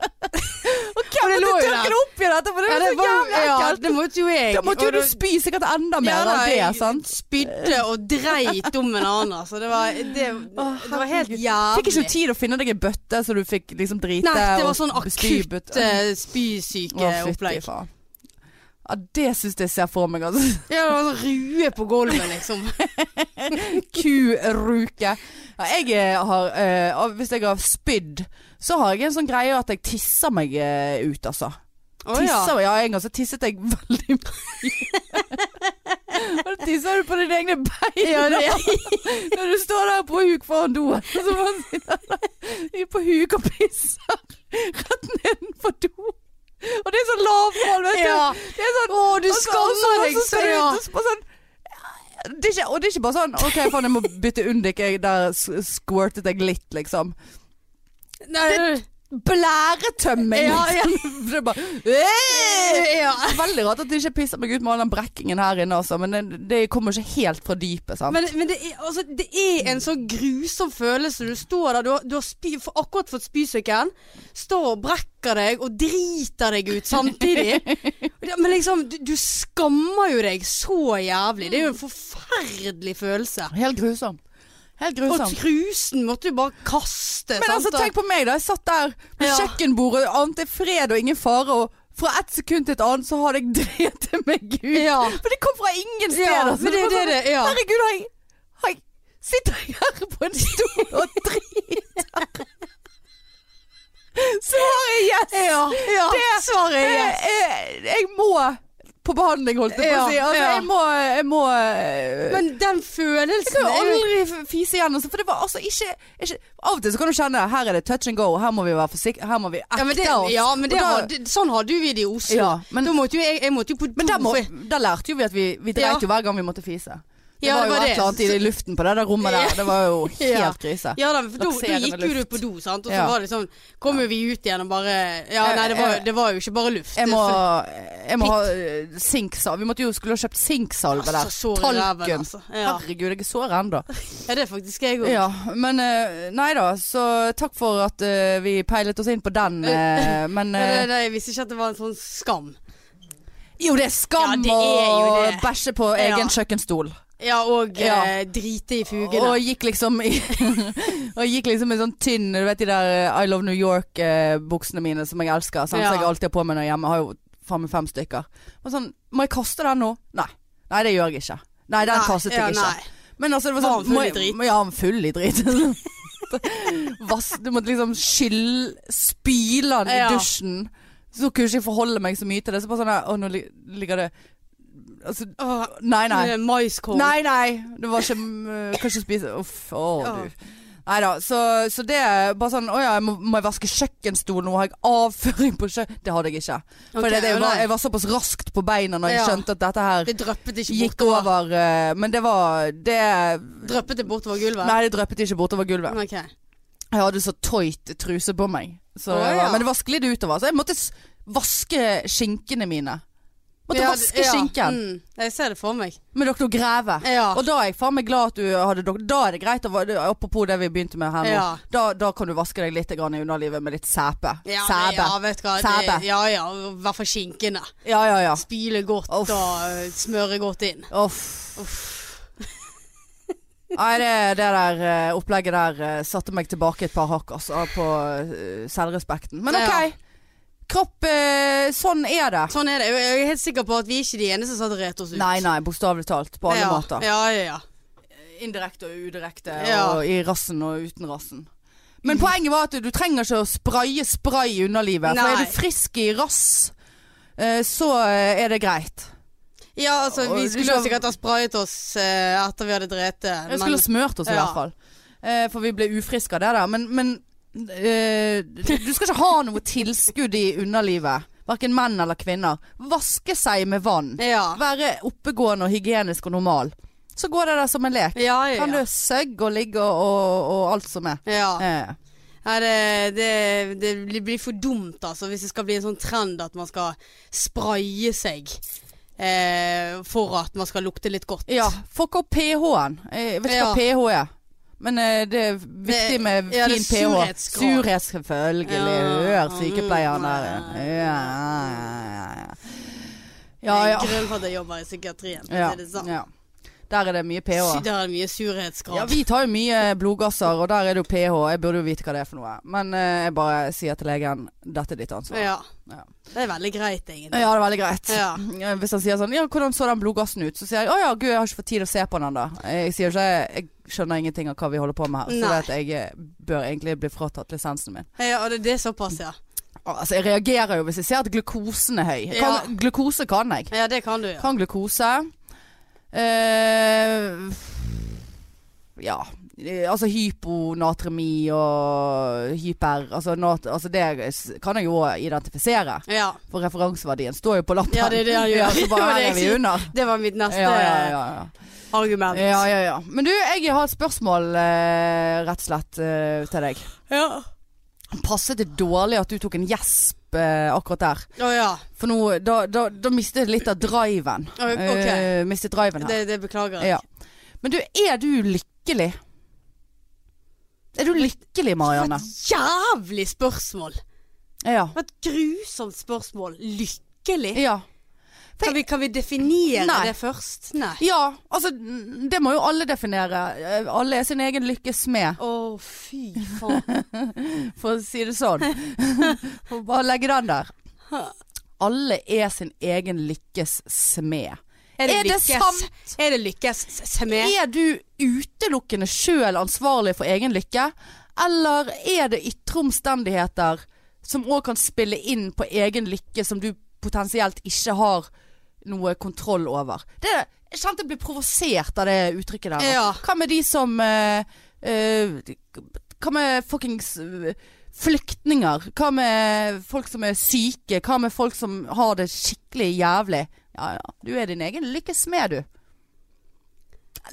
[SPEAKER 1] Og hvem måtte
[SPEAKER 2] det lå jo
[SPEAKER 1] tørke
[SPEAKER 2] der.
[SPEAKER 1] det opp igjen etterpå? Det
[SPEAKER 2] ja
[SPEAKER 1] var så jævlig
[SPEAKER 2] ja,
[SPEAKER 1] ekkelt.
[SPEAKER 2] det måtte jo jeg.
[SPEAKER 1] Da måtte
[SPEAKER 2] og
[SPEAKER 1] jo du
[SPEAKER 2] da-
[SPEAKER 1] spy sikkert enda mer
[SPEAKER 2] Ja, da,
[SPEAKER 1] av det,
[SPEAKER 2] jeg
[SPEAKER 1] sant?
[SPEAKER 2] Spydde og dreit om en annen, altså. Det var, det, det var helt
[SPEAKER 1] herregud.
[SPEAKER 2] jævlig.
[SPEAKER 1] Fikk ikke du tid å finne deg en bøtte så du fikk liksom drite
[SPEAKER 2] Nei, det var
[SPEAKER 1] og
[SPEAKER 2] sånn akutt
[SPEAKER 1] spybøtte? Å,
[SPEAKER 2] eh,
[SPEAKER 1] fytti
[SPEAKER 2] spysykeopplegg.
[SPEAKER 1] faen. Ja, det syns jeg ser for meg, altså.
[SPEAKER 2] Ja, det var sånn rue på gulvet, liksom.
[SPEAKER 1] Kuruke. Ja, jeg eh, har eh, og Hvis jeg har spydd, så har jeg en sånn greie at jeg tisser meg eh, ut, altså.
[SPEAKER 2] Å ja.
[SPEAKER 1] tisser, ja. en gang så tisset jeg veldig mye. Og da tisser du på dine egne bein.
[SPEAKER 2] Ja, det-
[SPEAKER 1] Når du står der på huk foran doen, så bare sitter du på huk og pisser rett nedenfor do. Og det er sånn lavmål, vet
[SPEAKER 2] Ja.
[SPEAKER 1] du. Det er sånn
[SPEAKER 2] Å, du
[SPEAKER 1] og så- og så-
[SPEAKER 2] skammer
[SPEAKER 1] og
[SPEAKER 2] deg,
[SPEAKER 1] så skal
[SPEAKER 2] så
[SPEAKER 1] du
[SPEAKER 2] ja.
[SPEAKER 1] ut og så bare sånn det er ikke, og det er ikke bare sånn OK, faen, jeg må bytte undik. Jeg, der s- squirtet jeg litt, liksom.
[SPEAKER 2] Nei, du-
[SPEAKER 1] Blæretømming!
[SPEAKER 2] Ja, ja.
[SPEAKER 1] liksom. Det er bare «Øh!»
[SPEAKER 2] ja.
[SPEAKER 1] Veldig rart at det ikke pisser meg ut med all den brekkingen her inne, altså. Men det, det kommer ikke helt fra dypet, sant.
[SPEAKER 2] Men, men det, er, altså, det er en så grusom følelse. Du står der, du har, du har spy, for akkurat fått spysyken. Står og brekker deg og driter deg ut samtidig. Ja, Men liksom, du, du skammer jo deg så jævlig. Det er jo en forferdelig følelse.
[SPEAKER 1] Helt grusomt. Helt
[SPEAKER 2] Og
[SPEAKER 1] grusomt.
[SPEAKER 2] trusen måtte du bare kaste.
[SPEAKER 1] Men altså, tenk på meg, da. Jeg satt der på
[SPEAKER 2] Ja.
[SPEAKER 1] kjøkkenbordet, ante fred og ingen fare, og fra ett sekund til et annet så har jeg drept meg ut.
[SPEAKER 2] Ja.
[SPEAKER 1] For det kom fra ingen steder.
[SPEAKER 2] Ja,
[SPEAKER 1] altså.
[SPEAKER 2] men det er
[SPEAKER 1] var
[SPEAKER 2] det
[SPEAKER 1] sånn,
[SPEAKER 2] det- ja.
[SPEAKER 1] Herregud, har jeg, har jeg Sitter jeg her på en stol og driter? Svaret er yes!
[SPEAKER 2] Ja, ja.
[SPEAKER 1] Det-
[SPEAKER 2] svaret er
[SPEAKER 1] Jeg,
[SPEAKER 2] yes.
[SPEAKER 1] jeg, jeg må på behandling, holdt jeg på å
[SPEAKER 2] Ja,
[SPEAKER 1] si. Altså,
[SPEAKER 2] ja.
[SPEAKER 1] jeg må, jeg må eh,
[SPEAKER 2] Men den følelsen
[SPEAKER 1] kan jo
[SPEAKER 2] er jo-
[SPEAKER 1] aldri f- fise igjen. Altså, for det var altså ikke, ikke Av og til så kan du kjenne her er det touch and go, her må vi være forsiktige, her må vi
[SPEAKER 2] ja,
[SPEAKER 1] ekte
[SPEAKER 2] men, det,
[SPEAKER 1] oss.
[SPEAKER 2] ja, men det
[SPEAKER 1] Og da-
[SPEAKER 2] hadde, sånn hadde jo vi det i Oslo.
[SPEAKER 1] Ja, men-
[SPEAKER 2] da måtte jo jeg, jeg måtte jo på do.
[SPEAKER 1] men der, må,
[SPEAKER 2] for-
[SPEAKER 1] der lærte jo vi at vi, vi dreit
[SPEAKER 2] Ja.
[SPEAKER 1] jo hver gang vi måtte fise. Det
[SPEAKER 2] Ja,
[SPEAKER 1] var
[SPEAKER 2] det
[SPEAKER 1] jo
[SPEAKER 2] var
[SPEAKER 1] et
[SPEAKER 2] det.
[SPEAKER 1] eller annet i luften på det der rommet der. Det var jo helt
[SPEAKER 2] Ja.
[SPEAKER 1] krise.
[SPEAKER 2] Ja da, for da, da
[SPEAKER 1] Laksere med
[SPEAKER 2] gikk jo du
[SPEAKER 1] luft.
[SPEAKER 2] på do, sant? og så
[SPEAKER 1] Ja.
[SPEAKER 2] var det sånn Kom jo vi ut igjen og bare Ja,
[SPEAKER 1] Jeg-
[SPEAKER 2] nei, det var,
[SPEAKER 1] jeg-
[SPEAKER 2] det var jo ikke bare luft.
[SPEAKER 1] Jeg må,
[SPEAKER 2] Det-
[SPEAKER 1] jeg må ha eh, sinksalve. Vi måtte jo skulle ha kjøpt sinksalve der.
[SPEAKER 2] altså, så ræven,
[SPEAKER 1] Talken.
[SPEAKER 2] altså. Ja.
[SPEAKER 1] Herregud, jeg er sår ennå.
[SPEAKER 2] ja, det er faktisk jeg òg.
[SPEAKER 1] Ja, men eh, nei da, så takk for at eh, vi peilet oss inn på den, eh, men eh,
[SPEAKER 2] Jeg visste ikke at det var en sånn skam.
[SPEAKER 1] Jo, det er skam
[SPEAKER 2] Ja, det er jo
[SPEAKER 1] å
[SPEAKER 2] det.
[SPEAKER 1] bæsje på
[SPEAKER 2] Ja.
[SPEAKER 1] egen kjøkkenstol.
[SPEAKER 2] Ja, og
[SPEAKER 1] Ja.
[SPEAKER 2] Eh, drite i fugene.
[SPEAKER 1] Og gikk liksom i Og gikk liksom i sånn tynn Du vet de der eh, I Love New York-buksene mine som jeg elsker, sant?
[SPEAKER 2] Ja.
[SPEAKER 1] som jeg alltid har på meg når jeg er hjemme. Har jo faen meg fem stykker. Og sånn Må jeg kaste den nå? Nei. Nei, det gjør jeg ikke. Nei, den kastet jeg
[SPEAKER 2] ja,
[SPEAKER 1] ikke.
[SPEAKER 2] nei.
[SPEAKER 1] Men altså, det var
[SPEAKER 2] Var
[SPEAKER 1] sånn
[SPEAKER 2] han full i
[SPEAKER 1] må jeg-
[SPEAKER 2] drit?
[SPEAKER 1] Ja, han full i drit. Vass, du måtte liksom skylle Spyle han
[SPEAKER 2] Ja.
[SPEAKER 1] i dusjen. Så kunne jeg ikke forholde meg så mye til det. Så bare sånn her, Å, nå li- ligger det Altså,
[SPEAKER 2] Åh,
[SPEAKER 1] nei, nei.
[SPEAKER 2] med Maiskorn.
[SPEAKER 1] eh, Nei, nei. Det var ikke mm, Kan ikke spise Uff, å
[SPEAKER 2] Ja.
[SPEAKER 1] du. Nei da, så, så det er bare sånn Å ja, jeg må, må jeg vaske kjøkkenstol nå? Har jeg avføring på kjøkken? Det hadde jeg ikke. For
[SPEAKER 2] Ok,
[SPEAKER 1] det, det
[SPEAKER 2] og
[SPEAKER 1] var,
[SPEAKER 2] nei.
[SPEAKER 1] jeg var såpass raskt på beina når jeg
[SPEAKER 2] Ja.
[SPEAKER 1] skjønte at dette her
[SPEAKER 2] Det drøppet ikke
[SPEAKER 1] gikk
[SPEAKER 2] bortover.
[SPEAKER 1] over. eh, Men det var Det
[SPEAKER 2] Drøppet det bortover gulvet?
[SPEAKER 1] Nei, det dryppet ikke bortover gulvet.
[SPEAKER 2] Ok.
[SPEAKER 1] Jeg hadde så tøyt truse på meg. Så,
[SPEAKER 2] Å, ja.
[SPEAKER 1] Men det var sklidd utover. Så jeg måtte s- vaske skinkene mine. Måtte
[SPEAKER 2] Ja,
[SPEAKER 1] vaske
[SPEAKER 2] ja,
[SPEAKER 1] skinken
[SPEAKER 2] Mm, jeg ser det for meg.
[SPEAKER 1] med doktor Greve.
[SPEAKER 2] Ja.
[SPEAKER 1] Og da er jeg faen meg glad at du hadde dok- Da er det greit å være Apropos det vi begynte med her nå.
[SPEAKER 2] Ja.
[SPEAKER 1] Da, da kan du vaske deg litt grann i underlivet med litt sæpe.
[SPEAKER 2] Ja,
[SPEAKER 1] sæbe.
[SPEAKER 2] Ja, vet du hva.
[SPEAKER 1] Sæbe.
[SPEAKER 2] Det, ja ja, i hvert fall skinkene.
[SPEAKER 1] Ja, ja, ja.
[SPEAKER 2] Spyle godt
[SPEAKER 1] Uff.
[SPEAKER 2] og smøre godt inn.
[SPEAKER 1] Uff.
[SPEAKER 2] Uff.
[SPEAKER 1] Nei, det, det der eh, opplegget der eh, satte meg tilbake et par hakk, altså, på eh, selvrespekten. Men OK.
[SPEAKER 2] Ja.
[SPEAKER 1] Kropp eh, Sånn er det.
[SPEAKER 2] Sånn er det. Jeg er helt sikker på at vi er ikke de eneste som hadde rett oss ut.
[SPEAKER 1] Nei, nei. Bokstavelig talt. På alle
[SPEAKER 2] ja.
[SPEAKER 1] måter.
[SPEAKER 2] Ja, ja, ja.
[SPEAKER 1] Indirekte og udirekte,
[SPEAKER 2] Ja.
[SPEAKER 1] og i rassen og uten rassen. Men poenget var at du trenger ikke å spraye spray i underlivet. For
[SPEAKER 2] Nei.
[SPEAKER 1] er du frisk i rass, eh, så eh, er det greit.
[SPEAKER 2] Ja, altså,
[SPEAKER 1] Og
[SPEAKER 2] vi
[SPEAKER 1] du
[SPEAKER 2] skulle
[SPEAKER 1] skal-
[SPEAKER 2] jo sikkert ha sprayet oss eh, etter vi hadde drept eh, det.
[SPEAKER 1] Jeg skulle smurt oss i
[SPEAKER 2] Ja.
[SPEAKER 1] hvert fall. Eh, for vi ble ufriske av det der. Men, men eh, du skal ikke ha noe tilskudd i underlivet. Verken menn eller kvinner. Vaske seg med vann.
[SPEAKER 2] Ja.
[SPEAKER 1] Være oppegående og hygienisk og normal. Så går det der som en lek.
[SPEAKER 2] Ja, ja,
[SPEAKER 1] Kan du
[SPEAKER 2] ja.
[SPEAKER 1] søgge og ligge og, og alt som er.
[SPEAKER 2] ja.
[SPEAKER 1] Eh.
[SPEAKER 2] Nei, det, det, det blir- blir for dumt, altså, hvis det skal bli en sånn trend at man skal spraye seg eh, for at man skal lukte litt godt.
[SPEAKER 1] Ja, fuck opp pH-en. Jeg vet ikke hva pH er. Men eh, det er viktig
[SPEAKER 2] Det-
[SPEAKER 1] med
[SPEAKER 2] ja, det
[SPEAKER 1] fin
[SPEAKER 2] er
[SPEAKER 1] pH.
[SPEAKER 2] surhetsgrad.
[SPEAKER 1] Surhet, selvfølgelig.
[SPEAKER 2] Ja.
[SPEAKER 1] Hør sykepleieren der. Ja,
[SPEAKER 2] Mm.
[SPEAKER 1] ja, ja, ja.
[SPEAKER 2] Jeg
[SPEAKER 1] ja,
[SPEAKER 2] er grunn for at jeg jobber i psykiatrien.
[SPEAKER 1] ja.
[SPEAKER 2] Er det sånn. sant?
[SPEAKER 1] ja. Der er det mye pH.
[SPEAKER 2] Der er det
[SPEAKER 1] Ja,
[SPEAKER 2] mye surhetsgrad.
[SPEAKER 1] vi tar jo mye blodgasser, og der er det jo pH. Jeg burde jo vite hva det er for noe. Men eh, jeg bare sier til legen dette er ditt ansvar.
[SPEAKER 2] Ja.
[SPEAKER 1] Ja.
[SPEAKER 2] Det er veldig greit, egentlig.
[SPEAKER 1] Ja, det er veldig greit.
[SPEAKER 2] Ja.
[SPEAKER 1] Eh, Hvis han sier sånn Ja, hvordan så den blodgassen ut? Så sier jeg å ja, gud, jeg har ikke fått tid å se på den da. Jeg sier ikke jeg skjønner ingenting av hva vi holder på med her. Så
[SPEAKER 2] Nei.
[SPEAKER 1] det at jeg eh, bør egentlig bli fratatt lisensen min.
[SPEAKER 2] Ja, og det, det er såpass, ja.
[SPEAKER 1] Altså, jeg reagerer jo hvis jeg ser at glukosen er høy. Jeg Kan, Glukose kan jeg.
[SPEAKER 2] Ja, det kan du, ja.
[SPEAKER 1] Kan glukose. Eh, ja. Eh, Altså hyponatremi og hyper altså, nat, altså det kan jeg jo også identifisere.
[SPEAKER 2] ja.
[SPEAKER 1] For referanseverdien står jo på lappen.
[SPEAKER 2] Ja, det er det han gjør.
[SPEAKER 1] så
[SPEAKER 2] Det
[SPEAKER 1] bare
[SPEAKER 2] var det
[SPEAKER 1] henger
[SPEAKER 2] jeg
[SPEAKER 1] vi
[SPEAKER 2] skulle-
[SPEAKER 1] under.
[SPEAKER 2] Det var mitt neste
[SPEAKER 1] Ja, ja, ja,
[SPEAKER 2] argument.
[SPEAKER 1] ja. ja, ja, ja. Men du, jeg har et spørsmål eh, rett og slett eh, til deg.
[SPEAKER 2] Ja.
[SPEAKER 1] Passet det dårlig at du tok en gjesp eh, akkurat der?
[SPEAKER 2] Å ja.
[SPEAKER 1] For nå, da, da, da mistet jeg litt av driven.
[SPEAKER 2] Ok.
[SPEAKER 1] Eh, mistet driven her.
[SPEAKER 2] Det, det beklager jeg.
[SPEAKER 1] ja. Men du, er du lykkelig? Er du lykkelig,
[SPEAKER 2] For
[SPEAKER 1] Marianne?
[SPEAKER 2] et jævlig spørsmål!
[SPEAKER 1] Ja.
[SPEAKER 2] For et grusomt spørsmål. Lykkelig?
[SPEAKER 1] ja.
[SPEAKER 2] Kan vi, kan vi definere
[SPEAKER 1] Nei.
[SPEAKER 2] det først? Nei.
[SPEAKER 1] Ja, altså n- Det må jo alle definere. Eh, Alle er sin egen lykkes smed,
[SPEAKER 2] Å, fy faen.
[SPEAKER 1] for å si det sånn. Og Bare legge den der. Alle er sin egen lykkes smed.
[SPEAKER 2] Er det,
[SPEAKER 1] Er det
[SPEAKER 2] lykkes? Er det lykkes med?
[SPEAKER 1] Er du utelukkende sjøl ansvarlig for egen lykke, eller er det ytre omstendigheter som òg kan spille inn på egen lykke som du potensielt ikke har noe kontroll over? Det, jeg kjente jeg ble provosert av det uttrykket der. nå.
[SPEAKER 2] Ja.
[SPEAKER 1] Hva med de som eh, eh, Hva med fuckings eh, flyktninger? Hva med folk som er syke? Hva med folk som har det skikkelig jævlig? Ja ja, du er din egen lykkes smed, du.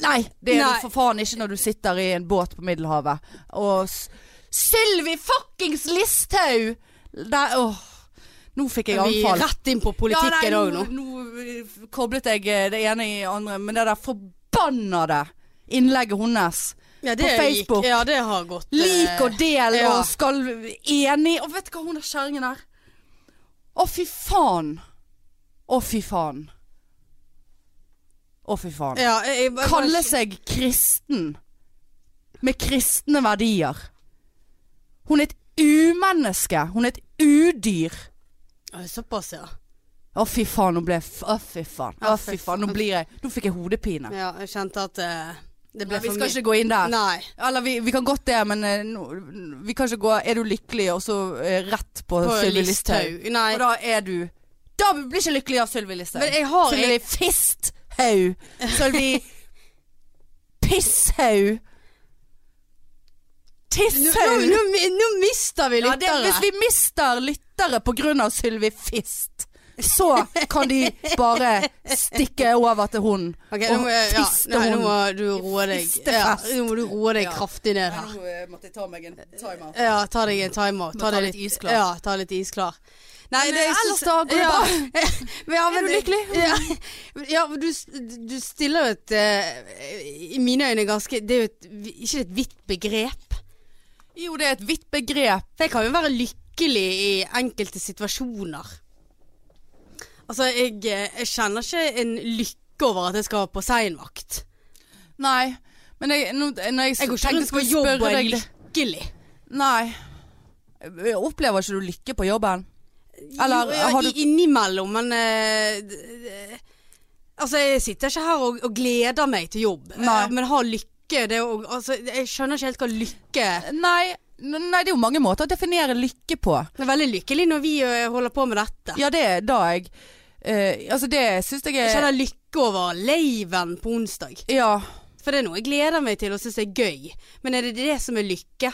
[SPEAKER 1] Nei, det er
[SPEAKER 2] Nei.
[SPEAKER 1] du for faen ikke når du sitter i en båt på Middelhavet og s- Sylvi fuckings Listhaug! Der, åh. Nå fikk jeg
[SPEAKER 2] Vi
[SPEAKER 1] anfall.
[SPEAKER 2] rett inn på
[SPEAKER 1] Ja, nei,
[SPEAKER 2] politikken òg nå.
[SPEAKER 1] Nå eh, koblet jeg eh, det ene i det andre, men det der forbannede innlegget hennes
[SPEAKER 2] Ja,
[SPEAKER 1] på Facebook.
[SPEAKER 2] Gikk, ja, det har gått. eh,
[SPEAKER 1] Lik og del
[SPEAKER 2] ja.
[SPEAKER 1] og skal enig Og vet du hva hun der kjerringen er? Å, fy faen. Å, fy faen. Å, fy faen.
[SPEAKER 2] ja, jeg, jeg,
[SPEAKER 1] Kalle seg kristen med kristne verdier. Hun er et umenneske. Hun er et udyr.
[SPEAKER 2] Oi, Såpass, ja.
[SPEAKER 1] Å, fy faen. Nå ble jeg f- Å, fy faen. Å, fy faen. Nå blir jeg Nå fikk jeg hodepine.
[SPEAKER 2] Ja, jeg kjente at eh, det ble
[SPEAKER 1] Nei, vi
[SPEAKER 2] for
[SPEAKER 1] skal
[SPEAKER 2] mye.
[SPEAKER 1] ikke gå inn der.
[SPEAKER 2] Nei.
[SPEAKER 1] Eller vi, vi kan godt det, men eh, nå- vi kan ikke gå Er du lykkelig, og så eh, rett på,
[SPEAKER 2] På
[SPEAKER 1] Sylvi Listhaug.
[SPEAKER 2] Listhaug. Nei.
[SPEAKER 1] Og da er du Da blir ikke lykkelig av Sylvi Listhaug.
[SPEAKER 2] Men jeg har
[SPEAKER 1] Sylvi
[SPEAKER 2] jeg,
[SPEAKER 1] Fisthaug. Sylvi Pisshaug. Tisse
[SPEAKER 2] Nå, nå, nå, nå mister vi
[SPEAKER 1] Ja, det,
[SPEAKER 2] lyttere.
[SPEAKER 1] hvis vi mister lyttere pga. Sylvi Fist, så kan de bare stikke over til hun
[SPEAKER 2] Ok, nå
[SPEAKER 1] og
[SPEAKER 2] må jeg- ja,
[SPEAKER 1] fiste
[SPEAKER 2] nei, nå
[SPEAKER 1] hun.
[SPEAKER 2] må du roe deg. Ja,
[SPEAKER 1] Fistefest.
[SPEAKER 2] nå må du roe deg
[SPEAKER 1] Ja.
[SPEAKER 2] kraftig ned her.
[SPEAKER 1] måtte jeg ta meg en timeout.
[SPEAKER 2] Ja, ta deg en timeout.
[SPEAKER 1] Må
[SPEAKER 2] Ta
[SPEAKER 1] ta
[SPEAKER 2] deg
[SPEAKER 1] litt isklar.
[SPEAKER 2] Ja, ta litt isklar. Nei,
[SPEAKER 1] Men,
[SPEAKER 2] det,
[SPEAKER 1] eh,
[SPEAKER 2] jeg
[SPEAKER 1] ellers
[SPEAKER 2] synes-
[SPEAKER 1] da, går det
[SPEAKER 2] ja.
[SPEAKER 1] bra?
[SPEAKER 2] ja,
[SPEAKER 1] Er
[SPEAKER 2] men,
[SPEAKER 1] du lykkelig?
[SPEAKER 2] Ja, ja men du, s- du stiller jo et eh, I mine øyne ganske Det er jo et, ikke et vidt begrep.
[SPEAKER 1] Jo, det er et vidt begrep.
[SPEAKER 2] For jeg kan jo være lykkelig i enkelte situasjoner. Altså, jeg, eh, jeg kjenner ikke en lykke over at jeg skal på seinvakt.
[SPEAKER 1] Nei. Men jeg, nå, når jeg,
[SPEAKER 2] Jeg går ikke
[SPEAKER 1] tenkte
[SPEAKER 2] rundt på
[SPEAKER 1] jeg skulle
[SPEAKER 2] jobb
[SPEAKER 1] spørre
[SPEAKER 2] og er
[SPEAKER 1] deg det-
[SPEAKER 2] lykkelig.
[SPEAKER 1] Nei. Opplever ikke du lykke på jobben? Eller
[SPEAKER 2] jo, ja,
[SPEAKER 1] har du
[SPEAKER 2] i- Innimellom, men eh, d- d- Altså, jeg sitter ikke her og, og gleder meg til jobb,
[SPEAKER 1] Nei.
[SPEAKER 2] Eh, men har lykke det er jo- altså, Jeg skjønner ikke helt hva lykke er.
[SPEAKER 1] Nei, n- nei, det er jo mange måter å definere lykke på.
[SPEAKER 2] Jeg er veldig lykkelig når vi eh, holder på med dette.
[SPEAKER 1] Ja, det er da jeg eh, Altså, det syns jeg
[SPEAKER 2] Jeg
[SPEAKER 1] er
[SPEAKER 2] kjenner lykke over laven på onsdag.
[SPEAKER 1] Ja.
[SPEAKER 2] For det er noe jeg gleder meg til og syns er gøy. Men er det det som er lykke?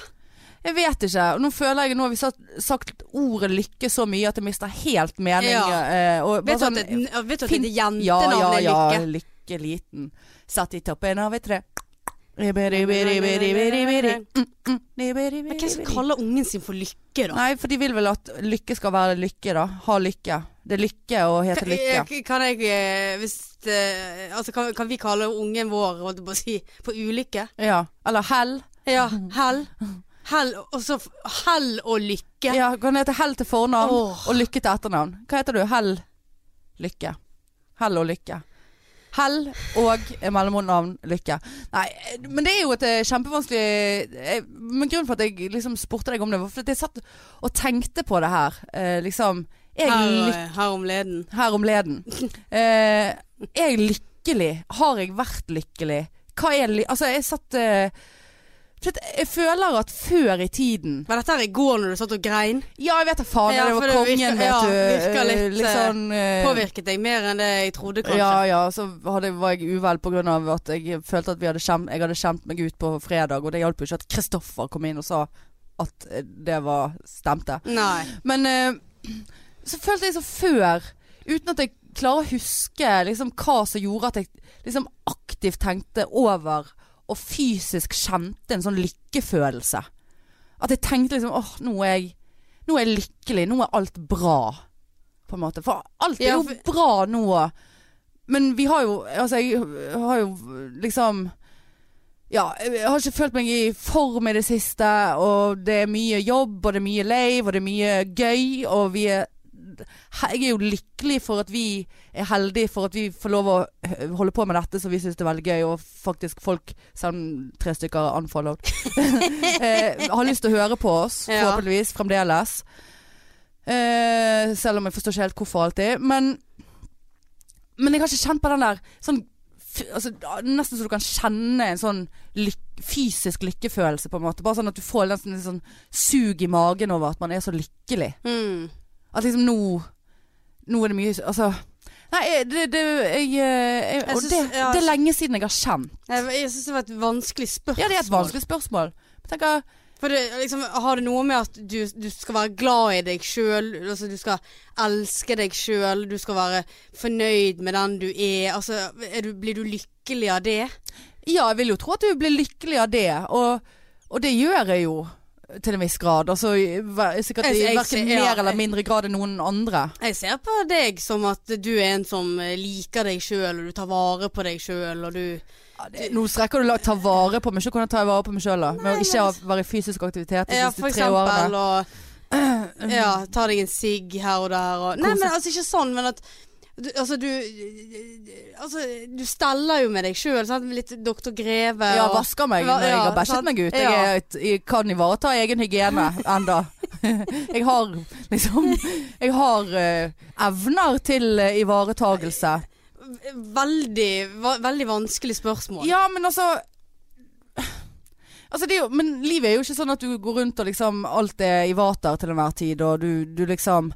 [SPEAKER 1] Jeg vet ikke. og Nå føler jeg Nå har vi sagt, sagt ordet lykke så mye at det mister helt mening.
[SPEAKER 2] Ja.
[SPEAKER 1] eh, og bare
[SPEAKER 2] Vet du
[SPEAKER 1] sånn-
[SPEAKER 2] at et, n- vet du at
[SPEAKER 1] fint.
[SPEAKER 2] et jentenavn
[SPEAKER 1] ja, ja,
[SPEAKER 2] er
[SPEAKER 1] ja,
[SPEAKER 2] lykke?
[SPEAKER 1] lykke liten. Satt i toppen av et tre. Men
[SPEAKER 2] Men hvem som kaller ungen sin for lykke, da?
[SPEAKER 1] Nei, for de vil vel at lykke skal være lykke, da. Ha lykke. Det er lykke å hete
[SPEAKER 2] Kan,
[SPEAKER 1] lykke.
[SPEAKER 2] eh, kan jeg eh, hvis, eh, altså, kan, kan vi kalle ungen vår holdt jeg på å si, for ulykke?
[SPEAKER 1] Ja. Eller hell.
[SPEAKER 2] Ja. Hell. Hell, og så f- hell og lykke.
[SPEAKER 1] Ja, kan hete hell til fornavn
[SPEAKER 2] Åh.
[SPEAKER 1] og lykke til etternavn. Hva heter du? Hell lykke. Hell og lykke. Hell og eh, mellomnavn lykke. Nei, eh, men det er jo et eh, kjempevanskelig eh, Men grunnen for at jeg liksom spurte deg om det, var fordi jeg satt og tenkte på det her. Eh, liksom Er jeg
[SPEAKER 2] Her,
[SPEAKER 1] lykkelig?
[SPEAKER 2] eh, her om leden.
[SPEAKER 1] her om leden. Eh, er jeg lykkelig? Har jeg vært lykkelig? Hva er ly... Altså, jeg satt eh, for at Jeg føler at før i tiden
[SPEAKER 2] Men dette her i går når du satt og grein,
[SPEAKER 1] Ja, jeg vet da faen.
[SPEAKER 2] Ja,
[SPEAKER 1] det
[SPEAKER 2] for
[SPEAKER 1] var
[SPEAKER 2] det
[SPEAKER 1] kongen,
[SPEAKER 2] virker-
[SPEAKER 1] vet
[SPEAKER 2] ja,
[SPEAKER 1] du.
[SPEAKER 2] virker litt,
[SPEAKER 1] eh, litt sånn eh,
[SPEAKER 2] påvirket deg mer enn det jeg trodde, kanskje.
[SPEAKER 1] Ja, ja. Så hadde, var jeg uvel pga. at jeg følte at vi hadde kjem, jeg hadde kjent meg ut på fredag, og det hjalp jo ikke at Kristoffer kom inn og sa at eh, det var stemte.
[SPEAKER 2] Nei.
[SPEAKER 1] Men eh, så følte jeg så før, uten at jeg klarer å huske liksom, hva som gjorde at jeg liksom, aktivt tenkte over og fysisk kjente en sånn lykkefølelse. At jeg tenkte liksom åh, nå er jeg, nå er jeg lykkelig, nå er alt bra. På en måte. For alt er
[SPEAKER 2] Ja,
[SPEAKER 1] jo
[SPEAKER 2] for-
[SPEAKER 1] bra nå. Men vi har jo Altså, jeg har jo liksom ja, jeg har ikke følt meg i form i det siste, og det er mye jobb, og det er mye leiv, og det er mye gøy, og vi er Jeg er jo lykkelig for at vi er heldige for at vi får lov å h- holde på med dette som vi syns er veldig gøy, og faktisk folk, selv om tre stykker er unfollowed, eh, har lyst til å høre på oss,
[SPEAKER 2] Ja.
[SPEAKER 1] forhåpentligvis, fremdeles. Eh, selv om jeg forstår ikke helt hvorfor alltid. Men, men jeg har ikke kjent på den der sånn f- altså, da- Nesten så du kan kjenne en sånn lyk, fysisk lykkefølelse, på en måte. Bare sånn at du får nesten en sånn sug i magen over at man er så lykkelig.
[SPEAKER 2] Mm.
[SPEAKER 1] At liksom nå Nå er det mye Altså. Nei, jeg- det, det, jeg, eh, jeg,
[SPEAKER 2] Jeg
[SPEAKER 1] og
[SPEAKER 2] synes-
[SPEAKER 1] det,
[SPEAKER 2] ja.
[SPEAKER 1] det er lenge siden jeg har kjent.
[SPEAKER 2] Jeg, jeg syns det var et vanskelig spørsmål.
[SPEAKER 1] Ja, det er et vanskelig spørsmål. Jeg tenker,
[SPEAKER 2] For det, liksom, har det noe med at du, du skal være glad i deg sjøl, altså, du skal elske deg sjøl, du skal være fornøyd med den du er. Altså, er du, blir du lykkelig av det?
[SPEAKER 1] Ja, jeg vil jo tro at du blir lykkelig av det, og, og det gjør jeg jo til en viss grad. Altså i- hver- sikkert
[SPEAKER 2] Jeg-
[SPEAKER 1] i
[SPEAKER 2] jeg ser-
[SPEAKER 1] hverken
[SPEAKER 2] ja,
[SPEAKER 1] mer eller
[SPEAKER 2] jeg-
[SPEAKER 1] mindre grad enn noen andre.
[SPEAKER 2] Jeg ser på deg som at du er en som eh, liker deg sjøl, og du tar vare på deg sjøl, og du
[SPEAKER 1] Nå strekker du langt. Ta vare på meg. Ikke kunne ta vare på meg sjøl, da. Med å ikke ha- være i fysisk aktivitet de
[SPEAKER 2] Ja,
[SPEAKER 1] siste
[SPEAKER 2] for
[SPEAKER 1] tre
[SPEAKER 2] eksempel,
[SPEAKER 1] årene.
[SPEAKER 2] og Ja, tar deg en sigg her og der, og Nei,
[SPEAKER 1] Kose-
[SPEAKER 2] men altså ikke sånn, men at du, altså, du Altså, du steller jo med deg sjøl, sant? Med Litt Dr. Greve
[SPEAKER 1] Ja,
[SPEAKER 2] og
[SPEAKER 1] vasker meg
[SPEAKER 2] Ja,
[SPEAKER 1] når jeg har bæsjet
[SPEAKER 2] sant.
[SPEAKER 1] meg ut.
[SPEAKER 2] Ja.
[SPEAKER 1] Jeg, er, et- jeg kan ivareta egen hygiene enda. Jeg har liksom Jeg har eh, evner til eh, ivaretagelse.
[SPEAKER 2] Veldig, va- veldig vanskelig spørsmål.
[SPEAKER 1] Ja, men altså Altså, det er jo, men livet er jo ikke sånn at du går rundt og liksom Alt er i vater til enhver tid, og du, du liksom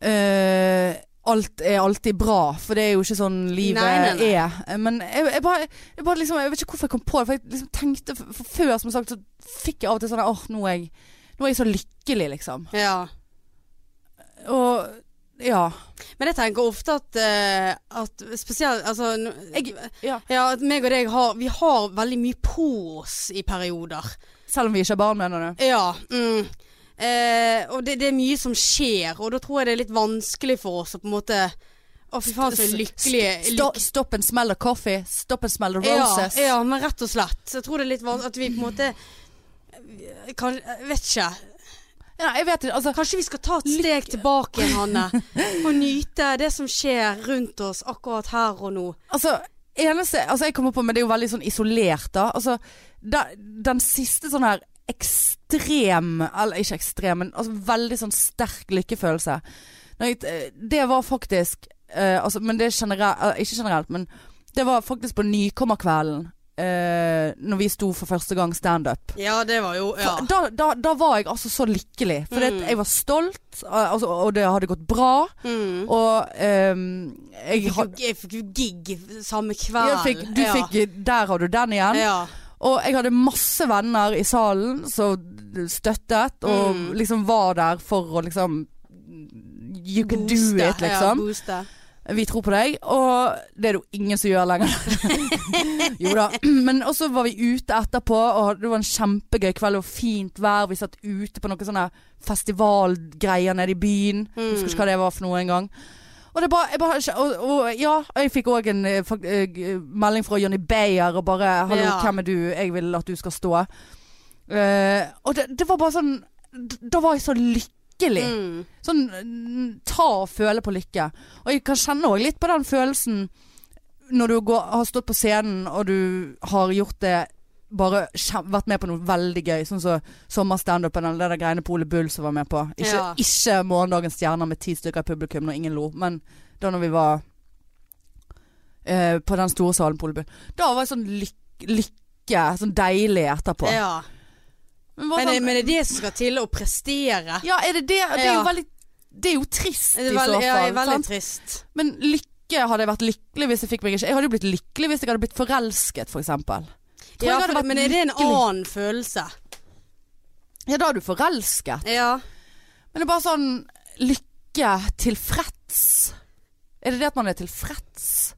[SPEAKER 1] eh, alt er alltid bra, for det er jo ikke sånn livet
[SPEAKER 2] Nei, nei, nei.
[SPEAKER 1] er. Eh, Men jeg, jeg, bare, jeg bare liksom Jeg vet ikke hvorfor jeg kom på det, for jeg liksom tenkte for, for før, som sagt, så fikk jeg av og til sånn Åh, nå er jeg Nå er jeg så lykkelig, liksom.
[SPEAKER 2] Ja.
[SPEAKER 1] Og ja.
[SPEAKER 2] Men jeg tenker ofte at, eh, at spesielt Altså jeg,
[SPEAKER 1] ja.
[SPEAKER 2] Ja, at meg og deg har Vi har veldig mye på oss i perioder.
[SPEAKER 1] Selv om vi ikke er barn, mener du?
[SPEAKER 2] Ja. Mm. Eh, og det, det er mye som skjer, og da tror jeg det er litt vanskelig for oss å på en måte Å, fy faen, så lykkelige
[SPEAKER 1] Sto, stop and smell of coffee. Stop and smell of
[SPEAKER 2] ja,
[SPEAKER 1] roses.
[SPEAKER 2] ja, men rett og slett. Jeg tror det er litt vanskelig at vi på en måte eh, kan, jeg Vet ikke.
[SPEAKER 1] Ja, jeg vet ikke. Altså,
[SPEAKER 2] Kanskje vi skal ta et steg tilbake igjen, Hanne. Og nyte det som skjer rundt oss akkurat her og nå.
[SPEAKER 1] Altså, eneste altså jeg kommer på, men det er jo veldig sånn isolert, da. Altså, da den siste sånn her ekstrem Eller ikke ekstrem, men altså, veldig sånn sterk lykkefølelse. Når jeg, eh, det var faktisk eh, altså, Men det er generelt Ikke generelt, men det var faktisk på Nykommerkvelden. Uh, når vi sto for første gang standup.
[SPEAKER 2] Ja, det var jo ja.
[SPEAKER 1] For Da, da, da var jeg altså så lykkelig. For
[SPEAKER 2] Mm.
[SPEAKER 1] jeg var stolt, al- altså, og det hadde gått bra.
[SPEAKER 2] Mm.
[SPEAKER 1] Og ehm, jeg,
[SPEAKER 2] Jeg
[SPEAKER 1] had-
[SPEAKER 2] fikk jo- Jeg fikk jo gig samme kveld.
[SPEAKER 1] jeg fikk, du
[SPEAKER 2] ja.
[SPEAKER 1] fikk Der har du den igjen.
[SPEAKER 2] ja.
[SPEAKER 1] Og jeg hadde masse venner i salen som støttet og
[SPEAKER 2] Mm.
[SPEAKER 1] liksom var der for å liksom You can do
[SPEAKER 2] Booste,
[SPEAKER 1] it, liksom.
[SPEAKER 2] Ja, booste.
[SPEAKER 1] Vi tror på deg, og det er det jo ingen som gjør lenger. jo da. Men også var vi ute etterpå, og det var en kjempegøy kveld. Det var fint vær. Vi satt ute på noen sånne festivalgreier nede i byen. Husker ikke hva det var for noe engang. Og, det er bare, jeg bare, og, og ja, og jeg fikk òg en eh, fak- eh, melding fra Johnny Beyer og bare 'Hallo,
[SPEAKER 2] Ja.
[SPEAKER 1] hvem er du? Jeg vil at du skal stå'. Eh, og det, det var bare sånn d- Da var jeg så lykkelig.
[SPEAKER 2] Mm.
[SPEAKER 1] Sånn mm, ta og føle på lykke. Og jeg kan kjenne òg litt på den følelsen når du går, har stått på scenen og du har gjort det bare kjem- vært med på noe veldig gøy, sånn som sommerstandupen eller det der greiene Pole Bull som var med på. Ikke,
[SPEAKER 2] Ja.
[SPEAKER 1] ikke Morgendagens stjerner med ti stykker i publikum når ingen lo, men da når vi var eh, på den store salen Pole Bull. Da var jeg sånn lyk lykke, sånn deilig etterpå.
[SPEAKER 2] Ja.
[SPEAKER 1] Men bare
[SPEAKER 2] Men, det,
[SPEAKER 1] sånn-
[SPEAKER 2] men det er det som skal til å prestere.
[SPEAKER 1] ja, er det det? Det er jo
[SPEAKER 2] Ja.
[SPEAKER 1] veldig Det er jo trist
[SPEAKER 2] Det er
[SPEAKER 1] i så
[SPEAKER 2] veldig,
[SPEAKER 1] fall.
[SPEAKER 2] ja, det er veldig
[SPEAKER 1] sant?
[SPEAKER 2] trist.
[SPEAKER 1] Men lykke hadde jeg vært lykkelig hvis jeg fikk meg ikke Jeg hadde jo blitt lykkelig hvis jeg hadde blitt forelsket, for eksempel. Tror
[SPEAKER 2] Ja,
[SPEAKER 1] jeg hadde
[SPEAKER 2] for,
[SPEAKER 1] vært
[SPEAKER 2] men er det en
[SPEAKER 1] lykkelig.
[SPEAKER 2] annen følelse?
[SPEAKER 1] Ja, da er du forelsket.
[SPEAKER 2] Ja.
[SPEAKER 1] Men det er bare sånn lykke, tilfreds. Er det det at man er tilfreds?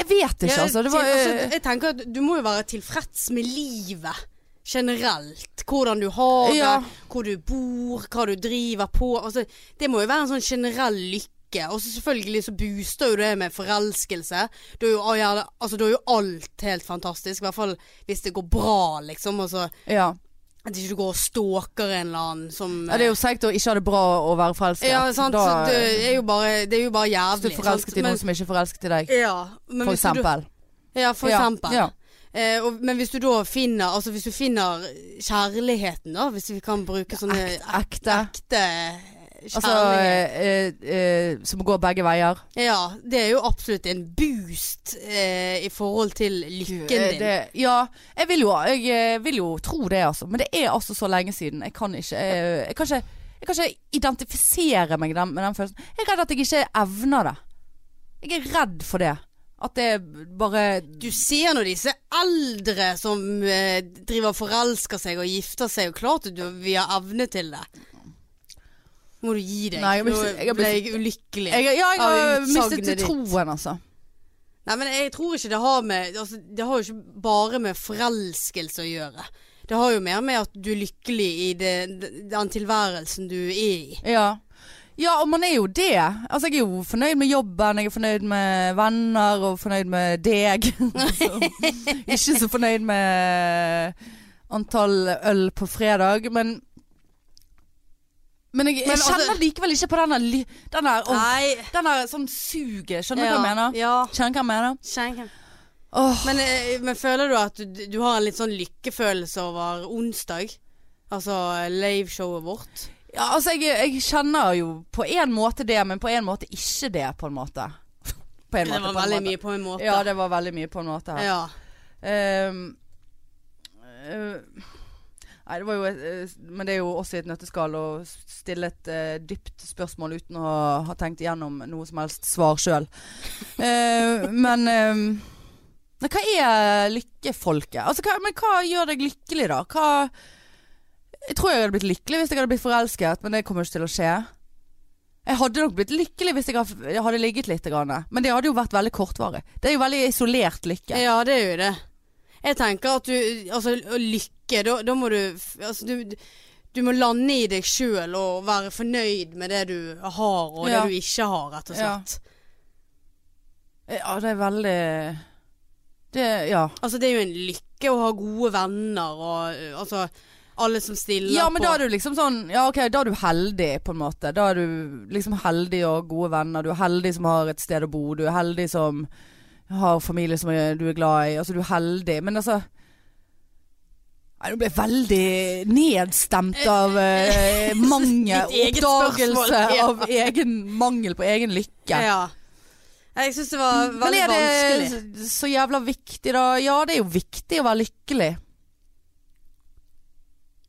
[SPEAKER 1] Jeg vet ikke,
[SPEAKER 2] Ja,
[SPEAKER 1] altså. Det var
[SPEAKER 2] til, altså, jeg tenker at du må jo være tilfreds med livet generelt. Hvordan du har det,
[SPEAKER 1] Ja.
[SPEAKER 2] hvor du bor, hva du driver på. Altså, det må jo være en sånn generell lykke. Og så selvfølgelig så booster jo det med forelskelse. Da er jo, å, ja, altså, da er jo alt helt fantastisk. I hvert fall hvis det går bra, liksom. Altså,
[SPEAKER 1] ja.
[SPEAKER 2] at ikke du går og stalker en eller annen som eh,
[SPEAKER 1] ja, det er jo seigt å ikke ha det bra å være forelsket.
[SPEAKER 2] Ja, sant.
[SPEAKER 1] Da eh,
[SPEAKER 2] så det, er jo bare, det er jo bare
[SPEAKER 1] hvis du
[SPEAKER 2] jævlig.
[SPEAKER 1] er forelsket
[SPEAKER 2] sant?
[SPEAKER 1] i noen som ikke er forelsket i deg,
[SPEAKER 2] Men- ja, men
[SPEAKER 1] for
[SPEAKER 2] hvis du da-
[SPEAKER 1] eksempel.
[SPEAKER 2] Ja, for
[SPEAKER 1] Ja,
[SPEAKER 2] eksempel.
[SPEAKER 1] ja.
[SPEAKER 2] Eh, og, men hvis du da finner Altså hvis du finner kjærligheten, da, hvis vi kan bruke sånne ek-
[SPEAKER 1] Ekte.
[SPEAKER 2] ekte
[SPEAKER 1] Altså
[SPEAKER 2] kjærlighet
[SPEAKER 1] eh, eh, som går begge veier.
[SPEAKER 2] Ja, det er jo absolutt en boost eh, i forhold til lykken
[SPEAKER 1] Eh,
[SPEAKER 2] din.
[SPEAKER 1] Det, ja, jeg vil, jo, jeg eh, vil jo tro det, altså. Men det er altså så lenge siden. Jeg kan ikke eh, Jeg kan ikke, jeg kan ikke identifisere meg den, med den følelsen. Jeg er redd at jeg ikke evner det. Jeg er redd for det. At det bare
[SPEAKER 2] Du ser nå disse eldre som eh, driver og forelsker seg og gifter seg, og klart at du, vi har evne til det. Må du gi deg.
[SPEAKER 1] Nei, jeg blir-
[SPEAKER 2] nå
[SPEAKER 1] jeg
[SPEAKER 2] ble
[SPEAKER 1] blir-
[SPEAKER 2] jeg ulykkelig.
[SPEAKER 1] jeg, Ja, jeg
[SPEAKER 2] Av
[SPEAKER 1] har
[SPEAKER 2] utsagnet
[SPEAKER 1] mistet
[SPEAKER 2] ditt.
[SPEAKER 1] troen, altså.
[SPEAKER 2] Nei, men jeg tror ikke det har med altså, Det har jo ikke bare med forelskelse å gjøre. Det har jo mer med at du er lykkelig i det, den tilværelsen du er i.
[SPEAKER 1] Ja. ja, og man er jo det. Altså, jeg er jo fornøyd med jobben, jeg er fornøyd med venner og fornøyd med deg. Så, Ikke så fornøyd med antall øl på fredag, men men jeg, jeg
[SPEAKER 2] Men altså-
[SPEAKER 1] kjenner likevel ikke på den der, li- den der, åh,
[SPEAKER 2] Nei.
[SPEAKER 1] den der sånn suget. Skjønner du
[SPEAKER 2] ja,
[SPEAKER 1] hva jeg mener?
[SPEAKER 2] Ja.
[SPEAKER 1] Kjenner du hva jeg mener?
[SPEAKER 2] Skjenken.
[SPEAKER 1] Åh,
[SPEAKER 2] Men, eh, men føler du at du, du har en litt sånn lykkefølelse over onsdag? Altså liveshowet vårt?
[SPEAKER 1] ja, altså, jeg, jeg kjenner jo på en måte det, men på en måte ikke det, på en måte. På en
[SPEAKER 2] Det
[SPEAKER 1] måte,
[SPEAKER 2] var
[SPEAKER 1] på en
[SPEAKER 2] veldig
[SPEAKER 1] måte.
[SPEAKER 2] mye på en måte.
[SPEAKER 1] Ja, det var veldig mye på en måte her.
[SPEAKER 2] Ja.
[SPEAKER 1] Ehm, eh, Nei, det var jo et, eh, men det er jo også i et nøtteskall å stille et eh, dypt spørsmål uten å ha, ha tenkt igjennom noe som helst svar sjøl. men eh, nei, hva er lykkefolket? Altså, hva, men hva gjør deg lykkelig, da? Hva Jeg tror jeg hadde blitt lykkelig hvis jeg hadde blitt forelsket, men det kommer jo ikke til å skje. Jeg hadde nok blitt lykkelig hvis jeg hadde- jeg hadde ligget litt, grann. men det hadde jo vært veldig kortvarig. Det er jo veldig isolert lykke.
[SPEAKER 2] Ja, det er jo det. Jeg tenker at du Altså, å lykke, da, da må du f- Altså, du, du må lande i deg sjøl og være fornøyd med det du har, og
[SPEAKER 1] Ja.
[SPEAKER 2] det du ikke har, rett og
[SPEAKER 1] Ja.
[SPEAKER 2] slett.
[SPEAKER 1] Eh, Ja, det er veldig Det, ja.
[SPEAKER 2] Altså, det er jo en lykke å ha gode venner og eh, altså alle som stiller
[SPEAKER 1] Ja, men
[SPEAKER 2] på.
[SPEAKER 1] da er du liksom sånn Ja, ok, da er du heldig, på en måte. Da er du liksom heldig og gode venner. Du er heldig som har et sted å bo. Du er heldig som har familie som er- du er glad i. Altså, du er heldig. Men altså Nei, Nå ble jeg veldig nedstemt av eh, mangel
[SPEAKER 2] Ditt eget
[SPEAKER 1] Oppdagelse
[SPEAKER 2] spørsmål, ja.
[SPEAKER 1] av egen mangel på egen lykke.
[SPEAKER 2] ja. Jeg syns det var
[SPEAKER 1] Men
[SPEAKER 2] veldig
[SPEAKER 1] er
[SPEAKER 2] vanskelig.
[SPEAKER 1] det så jævla viktig, da? Ja, det er jo viktig å være lykkelig.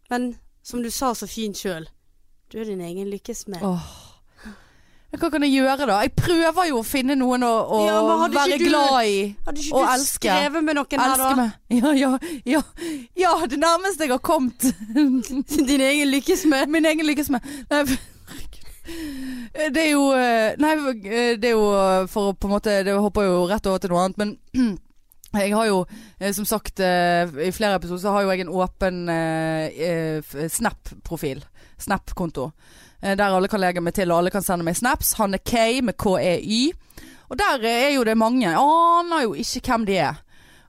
[SPEAKER 2] Men som du sa så fint sjøl, du er din egen lykkes smed.
[SPEAKER 1] Åh. Men Hva kan jeg gjøre da? Jeg prøver jo å finne noen å, å
[SPEAKER 2] Ja, men hadde ikke
[SPEAKER 1] være
[SPEAKER 2] du-
[SPEAKER 1] glad i.
[SPEAKER 2] Hadde
[SPEAKER 1] Og
[SPEAKER 2] ikke du
[SPEAKER 1] elske.
[SPEAKER 2] skrevet med noen her,
[SPEAKER 1] Elske
[SPEAKER 2] da?
[SPEAKER 1] meg. Ja, ja, ja, ja, det nærmeste jeg har kommet
[SPEAKER 2] Din egen lykkes smed.
[SPEAKER 1] min egen lykkesmed. Nei, for- Det er jo eh, Nei, eh, det er jo for å på en måte Det hopper jo rett over til noe annet, men jeg har jo, eh, som sagt eh, i flere episoder, så har jo jeg en åpen eh, eh, f- Snap-profil. Snap-konto. Eh, der alle kan legge meg til, og alle kan sende meg snaps. Hanne K med KEY. Og der eh, er jo det mange. Jeg aner jo ikke hvem de er.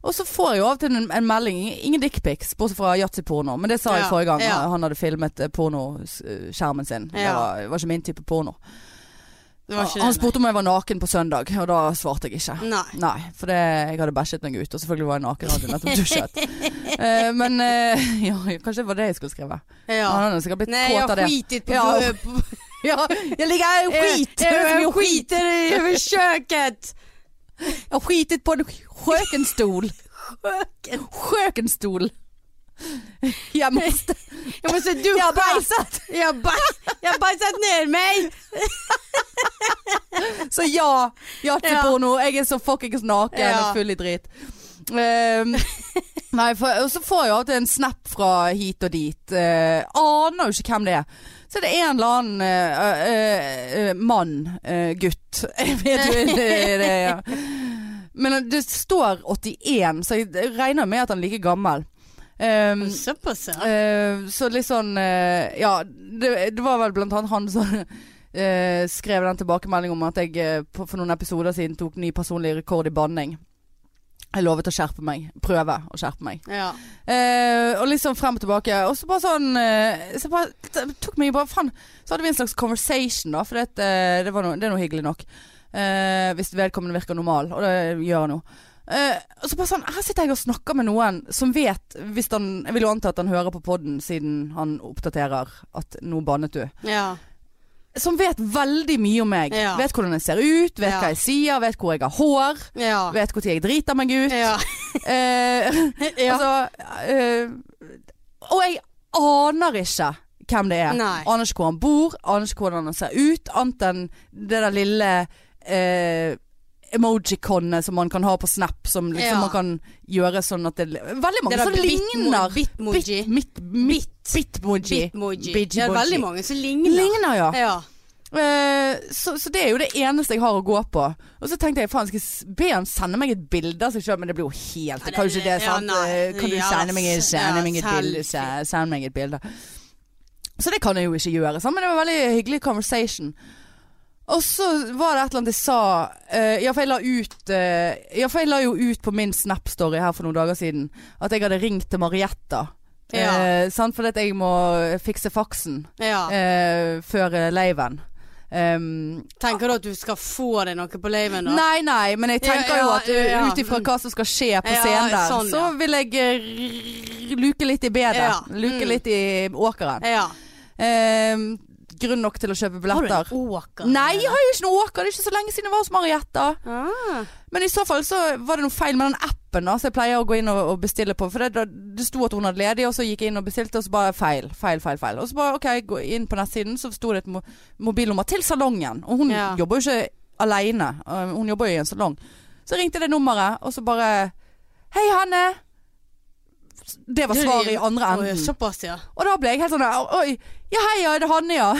[SPEAKER 1] Og så får jeg jo av og til en, en melding. Ingen dickpics, bortsett fra Yatzy-porno. Men det sa jeg
[SPEAKER 2] Ja,
[SPEAKER 1] forrige gang.
[SPEAKER 2] ja.
[SPEAKER 1] Han hadde filmet eh, pornoskjermen sin. Det
[SPEAKER 2] Ja.
[SPEAKER 1] var, det var ikke min type porno.
[SPEAKER 2] Det var ikke
[SPEAKER 1] Han
[SPEAKER 2] det.
[SPEAKER 1] spurte om jeg var naken på søndag, og da svarte jeg ikke.
[SPEAKER 2] nei. Nei.
[SPEAKER 1] Nei, for det, jeg hadde bæsjet meg ut, og selvfølgelig var jeg naken. Hadde jeg nettopp dusjet. Eh, men eh, ja, kanskje det var det jeg skulle skrive.
[SPEAKER 2] Ja.
[SPEAKER 1] Han hadde sikkert blitt
[SPEAKER 2] Nei, jeg
[SPEAKER 1] kåt av
[SPEAKER 2] har
[SPEAKER 1] det.
[SPEAKER 2] skitet på,
[SPEAKER 1] Ja.
[SPEAKER 2] på, på
[SPEAKER 1] Ja, jeg ligger her og
[SPEAKER 2] Eh,
[SPEAKER 1] skiter. Det
[SPEAKER 2] Jeg,
[SPEAKER 1] er så mye
[SPEAKER 2] jeg
[SPEAKER 1] skit.
[SPEAKER 2] skiter i over kjøkkenet!
[SPEAKER 1] Jeg har skitet på en skjøkenstol. Skjøkenstol. Jeg må
[SPEAKER 2] Jeg må se du
[SPEAKER 1] Jeg har
[SPEAKER 2] beis-
[SPEAKER 1] beiset.
[SPEAKER 2] Jeg har beis- jeg har beiset ned meg!
[SPEAKER 1] Så ja, ja til
[SPEAKER 2] Ja.
[SPEAKER 1] porno. Jeg er så fuckings naken
[SPEAKER 2] Ja.
[SPEAKER 1] og full i drit. Ehm, nei, for, og så får jeg alltid en snap fra hit og dit. eh, aner jo ikke hvem det er. Så er det en eller annen eh, eh, eh, mann, eh, gutt Jeg vet jo ikke det, det ja. Men det står 81, så jeg regner med at han er like gammel. Um,
[SPEAKER 2] Såpass, ja.
[SPEAKER 1] Eh, så litt sånn eh, Ja, det, det var vel blant annet han som eh, skrev den tilbakemeldingen om at jeg eh, på, for noen episoder siden tok ny personlig rekord i banning. Jeg lovet å skjerpe meg. Prøve å skjerpe meg.
[SPEAKER 2] ja.
[SPEAKER 1] Eh, og litt sånn frem og tilbake. Og så bare sånn eh, Så bare t- tok meg bare Faen. Så hadde vi en slags conversation, da. For det, eh, det, var noe, det er noe hyggelig nok. Eh, hvis vedkommende virker normal, og det gjør han jo. Eh, og så bare sånn Her sitter jeg og snakker med noen som vet hvis han, Jeg vil jo anta at han hører på poden siden han oppdaterer at 'nå bannet du'
[SPEAKER 2] ja.
[SPEAKER 1] som vet veldig mye om meg.
[SPEAKER 2] Ja.
[SPEAKER 1] Vet hvordan jeg ser ut, vet
[SPEAKER 2] Ja.
[SPEAKER 1] hva jeg sier, vet hvor jeg har hår.
[SPEAKER 2] Ja.
[SPEAKER 1] Vet når jeg driter meg ut.
[SPEAKER 2] Ja.
[SPEAKER 1] Eh,
[SPEAKER 2] Ja.
[SPEAKER 1] altså, eh, og jeg aner ikke hvem det er.
[SPEAKER 2] Nei.
[SPEAKER 1] Aner ikke hvor han bor, aner ikke hvordan han ser ut, annet enn det der lille eh, emojiconet som man kan ha på Snap, som liksom
[SPEAKER 2] Ja.
[SPEAKER 1] man kan gjøre sånn at det Veldig
[SPEAKER 2] Det
[SPEAKER 1] mange
[SPEAKER 2] er
[SPEAKER 1] som
[SPEAKER 2] da
[SPEAKER 1] ligner
[SPEAKER 2] Bitmo- Bitmoji.
[SPEAKER 1] Bit- mitt- mitt- Bitmoji.
[SPEAKER 2] Bitmoji.
[SPEAKER 1] Bitmoji.
[SPEAKER 2] Det er veldig mange som ligner.
[SPEAKER 1] Ligner, ja.
[SPEAKER 2] Ja.
[SPEAKER 1] Eh, så, så det er jo det eneste jeg har å gå på. Og så tenkte jeg faen, skal jeg s- be han sende meg et bilde av seg sjøl, men det blir jo helt
[SPEAKER 2] Ja,
[SPEAKER 1] Kan jo
[SPEAKER 2] det-
[SPEAKER 1] ikke det,
[SPEAKER 2] ja,
[SPEAKER 1] sant?
[SPEAKER 2] nei.
[SPEAKER 1] Eh, kan du
[SPEAKER 2] Ja,
[SPEAKER 1] sende meg,
[SPEAKER 2] s-
[SPEAKER 1] sende
[SPEAKER 2] ja,
[SPEAKER 1] meg et bilde?
[SPEAKER 2] selfie.
[SPEAKER 1] Send meg et bilde. Så det kan jeg jo ikke gjøre, sant? men det var veldig hyggelig conversation. Og så var det et eller annet jeg sa eh, Ja, for jeg la ut eh, Ja, for jeg la jo ut på min Snap-story her for noen dager siden at jeg hadde ringt til Marietta.
[SPEAKER 2] Ja.
[SPEAKER 1] Eh, sant? Fordi at jeg må fikse faksen
[SPEAKER 2] ja.
[SPEAKER 1] eh, før eh, laven. Um,
[SPEAKER 2] Tenker du at du skal få deg noe på laven, da?
[SPEAKER 1] nei, nei, men jeg tenker
[SPEAKER 2] Ja, ja,
[SPEAKER 1] jo at
[SPEAKER 2] ja, ja.
[SPEAKER 1] ut ifra hva som skal skje på
[SPEAKER 2] Ja,
[SPEAKER 1] scenen der,
[SPEAKER 2] sånn,
[SPEAKER 1] så
[SPEAKER 2] ja.
[SPEAKER 1] vil jeg eh, luke litt i bedet.
[SPEAKER 2] Ja,
[SPEAKER 1] Luke
[SPEAKER 2] mm.
[SPEAKER 1] litt i åkeren.
[SPEAKER 2] Ja.
[SPEAKER 1] Ehm, grunn nok til å kjøpe billetter.
[SPEAKER 2] åker?
[SPEAKER 1] Nei, jeg har jo ikke noe åker. Det er ikke så lenge siden jeg var hos Marietta.
[SPEAKER 2] Ah.
[SPEAKER 1] Men i så fall så var det noe feil med den appen appen da, som jeg pleier å gå inn og, og bestille på. For det, da- det sto at hun hadde ledig, og så gikk jeg inn og bestilte, og så bare feil, feil, feil. feil. Og så bare OK, gå inn på nettsiden, så sto det et mo mobilnummer til salongen. Og hun
[SPEAKER 2] Ja.
[SPEAKER 1] jobber jo ikke aleine, øh, hun jobber jo i en salong. Så ringte det nummeret, og så bare Hei, Hanne! Det var
[SPEAKER 2] Du,
[SPEAKER 1] svaret i andre
[SPEAKER 2] Oi,
[SPEAKER 1] enden.
[SPEAKER 2] Såpass, ja.
[SPEAKER 1] Og da ble jeg helt sånn der, Oi, ja hei, ja, det er Hanne, ja.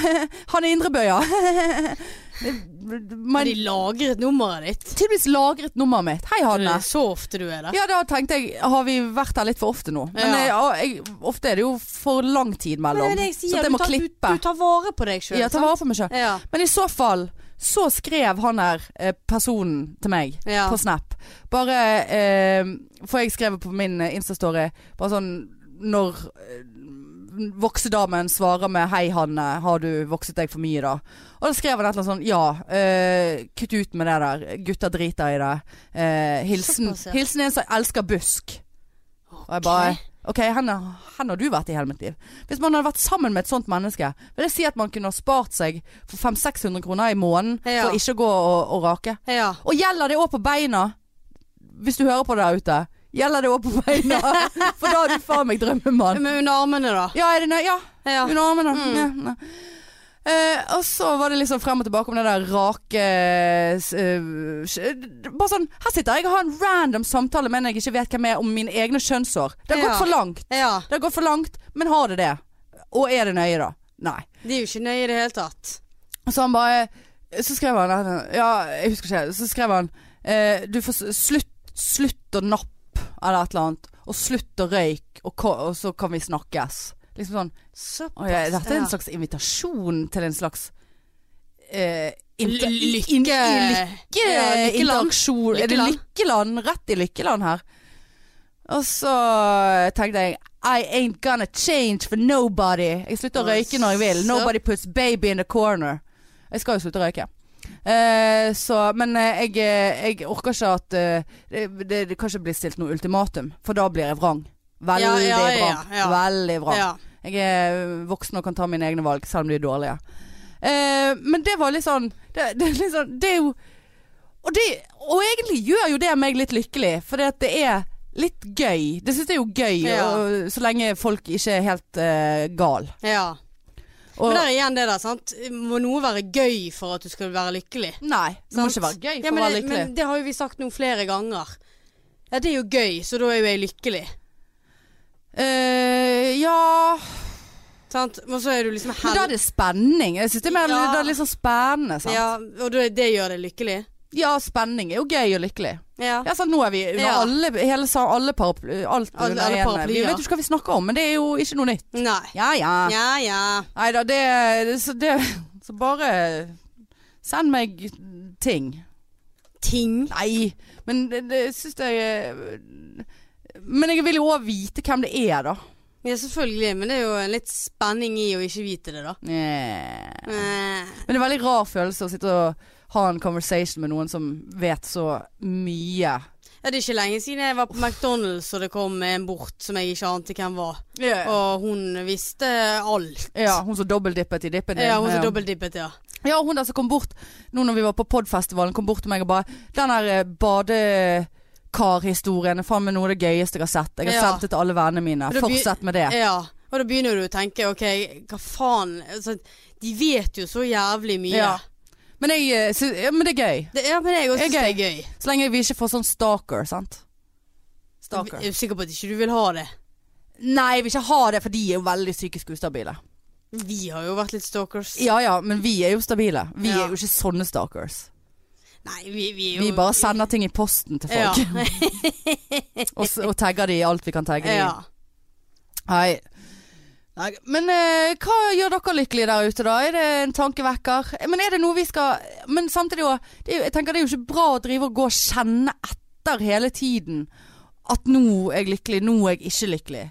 [SPEAKER 1] Hanne Indrebø, ja.
[SPEAKER 2] Har
[SPEAKER 1] Men
[SPEAKER 2] de lagret nummeret ditt?
[SPEAKER 1] tydeligvis lagret nummeret mitt. Hei,
[SPEAKER 2] Er
[SPEAKER 1] Hanne.
[SPEAKER 2] det så ofte du er der?
[SPEAKER 1] Ja, da tenkte jeg Har vi vært her litt for ofte nå? Men jeg,
[SPEAKER 2] Ja.
[SPEAKER 1] jeg, ofte er det jo for lang tid mellom. så Sånn at jeg må
[SPEAKER 2] du, tar,
[SPEAKER 1] klippe.
[SPEAKER 2] Du, du tar vare på deg sjøl.
[SPEAKER 1] ja, ta vare på meg sjøl.
[SPEAKER 2] Ja.
[SPEAKER 1] Men i så fall så skrev han her eh, personen til meg
[SPEAKER 2] Ja.
[SPEAKER 1] på Snap. Bare eh, For jeg skrev på min eh, Insta-story bare sånn Når eh, voksedamen svarer med 'Hei, Hanne, har du vokset deg for mye, da?' Og da skrev han et eller annet sånn 'Ja, eh, kutt ut med det der. Gutter driter i det. Eh, hilsen,
[SPEAKER 2] Såpass, ja.
[SPEAKER 1] hilsen en som elsker busk'. Og jeg bare Ok, hen, er- hen har du vært i hele mitt liv. Hvis man hadde vært sammen med et sånt menneske, vil det si at man kunne ha spart seg for 500-600 kroner i måneden
[SPEAKER 2] Ja.
[SPEAKER 1] for ikke å gå og, og rake?
[SPEAKER 2] Ja.
[SPEAKER 1] Og gjelder det òg på beina? Hvis du hører på det der ute. Gjelder det òg på beina? For da er du faen meg drømmemann.
[SPEAKER 2] Men under armene, da?
[SPEAKER 1] Ja, er det nøye? Ja.
[SPEAKER 2] Ja.
[SPEAKER 1] Under armene. Ja, nei. Eh, og så var det liksom frem og tilbake om det der rake eh, s- eh, sj- Bare sånn Her sitter jeg og har en random samtale med en jeg ikke vet hvem er, om mine egne kjønnshår. Det har
[SPEAKER 2] Ja.
[SPEAKER 1] gått for langt.
[SPEAKER 2] ja.
[SPEAKER 1] Det har gått for langt, men har det det? Og er det nøye, da? Nei.
[SPEAKER 2] De er jo ikke nøye i det hele tatt.
[SPEAKER 1] Så han bare Så skrev han Ja, jeg husker ikke. Så skrev han eh, Du får s- slutt, slutt å nappe, eller et eller annet. Og slutt å røyke, og, ko- og så kan vi snakkes. Liksom sånn.
[SPEAKER 2] Såpass.
[SPEAKER 1] Å, ja, dette er
[SPEAKER 2] ja.
[SPEAKER 1] en slags invitasjon til en slags eh,
[SPEAKER 2] L-
[SPEAKER 1] inter-
[SPEAKER 2] Lykke
[SPEAKER 1] in- i lykke,
[SPEAKER 2] Ja, lykkeland.
[SPEAKER 1] interaksjon. Er det
[SPEAKER 2] Lykkeland.
[SPEAKER 1] Lykkeland? Rett i Lykkeland her. Og så tenkte jeg I ain't gonna change for nobody. Jeg slutter å
[SPEAKER 2] Oi,
[SPEAKER 1] røyke når jeg vil.
[SPEAKER 2] så-
[SPEAKER 1] Nobody puts baby in the corner. Jeg skal jo slutte å røyke. Eh, så, men eh, jeg, eh, jeg orker ikke at eh, det, det, det kan ikke bli stilt noe ultimatum, for da blir jeg vrang. Veldig
[SPEAKER 2] Ja, ja, ja,
[SPEAKER 1] vrang.
[SPEAKER 2] ja.
[SPEAKER 1] Veldig vrang.
[SPEAKER 2] Ja.
[SPEAKER 1] Jeg er voksen og kan ta mine egne valg, selv om de er dårlige. Eh, men det var litt sånn Det, det, er litt sånn, det er jo og, det, og egentlig gjør jo det meg litt lykkelig, for det er litt gøy. Det syns jeg er jo gøy,
[SPEAKER 2] Ja.
[SPEAKER 1] og, så lenge folk ikke er helt eh, gal.
[SPEAKER 2] ja.
[SPEAKER 1] Og,
[SPEAKER 2] Men der er igjen det der, sant. Må noe være gøy for at du skal være lykkelig?
[SPEAKER 1] nei, det må
[SPEAKER 2] Sant?
[SPEAKER 1] ikke være gøy for
[SPEAKER 2] Ja, men,
[SPEAKER 1] å være
[SPEAKER 2] det-
[SPEAKER 1] lykkelig.
[SPEAKER 2] Men det har jo vi sagt nå flere ganger. Ja, det er jo gøy, så da er jo jeg lykkelig.
[SPEAKER 1] Eh, ja
[SPEAKER 2] Sant? Men så er du liksom
[SPEAKER 1] Men da er
[SPEAKER 2] heldig.
[SPEAKER 1] det spenning. Jeg syns det er mer
[SPEAKER 2] Ja.
[SPEAKER 1] det er litt sånn spennende. Sant? Ja.
[SPEAKER 2] Ja, og det, det gjør deg lykkelig?
[SPEAKER 1] spenning er jo gøy og lykkelig.
[SPEAKER 2] Ja.
[SPEAKER 1] Ja, sant, nå er vi under
[SPEAKER 2] Ja.
[SPEAKER 1] alle, hele, sa- alle paraply... Alt
[SPEAKER 2] Alle-
[SPEAKER 1] under
[SPEAKER 2] alle
[SPEAKER 1] ene. Vi
[SPEAKER 2] paraplyer.
[SPEAKER 1] vet jo ikke hva vi snakker om, men det er jo ikke noe nytt.
[SPEAKER 2] Nei.
[SPEAKER 1] Ja, ja.
[SPEAKER 2] Ja, ja.
[SPEAKER 1] Nei da, det, det, så det Så bare send meg ting.
[SPEAKER 2] Ting.
[SPEAKER 1] Nei, men det, det syns jeg eh, Men jeg vil jo òg vite hvem det er, da.
[SPEAKER 2] Ja, selvfølgelig. Men det er jo en litt spenning i å ikke vite det, da.
[SPEAKER 1] Eh.
[SPEAKER 2] Eh,
[SPEAKER 1] Men det er en veldig rar følelse å sitte og ha en conversation med noen som vet så mye.
[SPEAKER 2] Ja, det er ikke lenge siden jeg var på McDonald's og det kom en bort som jeg ikke ante hvem var. Og hun visste alt.
[SPEAKER 1] Ja, hun som dobbeldippet i dippen din.
[SPEAKER 2] Ja, hun som dobbeltdippet, ja.
[SPEAKER 1] Ja, hun der som kom bort nå når vi var på podfestivalen, kom bort til meg og bare Den der eh, badekarhistorien er faen meg noe av det gøyeste jeg har sett. Jeg har
[SPEAKER 2] Ja.
[SPEAKER 1] sendt det til alle vennene mine.
[SPEAKER 2] Men da by-
[SPEAKER 1] Fortsett med det. eh,
[SPEAKER 2] Ja, og da begynner du å tenke OK, hva faen altså, De vet jo så jævlig mye.
[SPEAKER 1] Ja. Men, jeg, eh, sy- ja, men det er gøy.
[SPEAKER 2] Det, ja men jeg
[SPEAKER 1] Det
[SPEAKER 2] også
[SPEAKER 1] er
[SPEAKER 2] syns det er gøy.
[SPEAKER 1] Så lenge vi ikke får sånn stalker, sant.
[SPEAKER 2] Jeg
[SPEAKER 1] Stalker.
[SPEAKER 2] er sikker på at ikke du vil ha det.
[SPEAKER 1] eh, Nei, jeg vil ikke ha det, for de er jo veldig psykisk ustabile.
[SPEAKER 2] Vi har jo vært litt stalkers.
[SPEAKER 1] Ja ja, men vi er jo stabile. Vi
[SPEAKER 2] Ja.
[SPEAKER 1] er jo ikke sånne stalkers.
[SPEAKER 2] Nei, vi, vi er jo
[SPEAKER 1] Vi bare sender ting i posten til folk.
[SPEAKER 2] Ja.
[SPEAKER 1] og, s- og tagger de i alt vi kan tagge de i.
[SPEAKER 2] ja.
[SPEAKER 1] Nei. Nei. Men eh, hva gjør dere lykkelige der ute, da? Er det en tankevekker? Eh, Men er det noe vi skal Men samtidig òg Jeg tenker det er jo ikke bra å drive og gå og kjenne etter hele tiden at nå er jeg lykkelig, nå er jeg ikke lykkelig.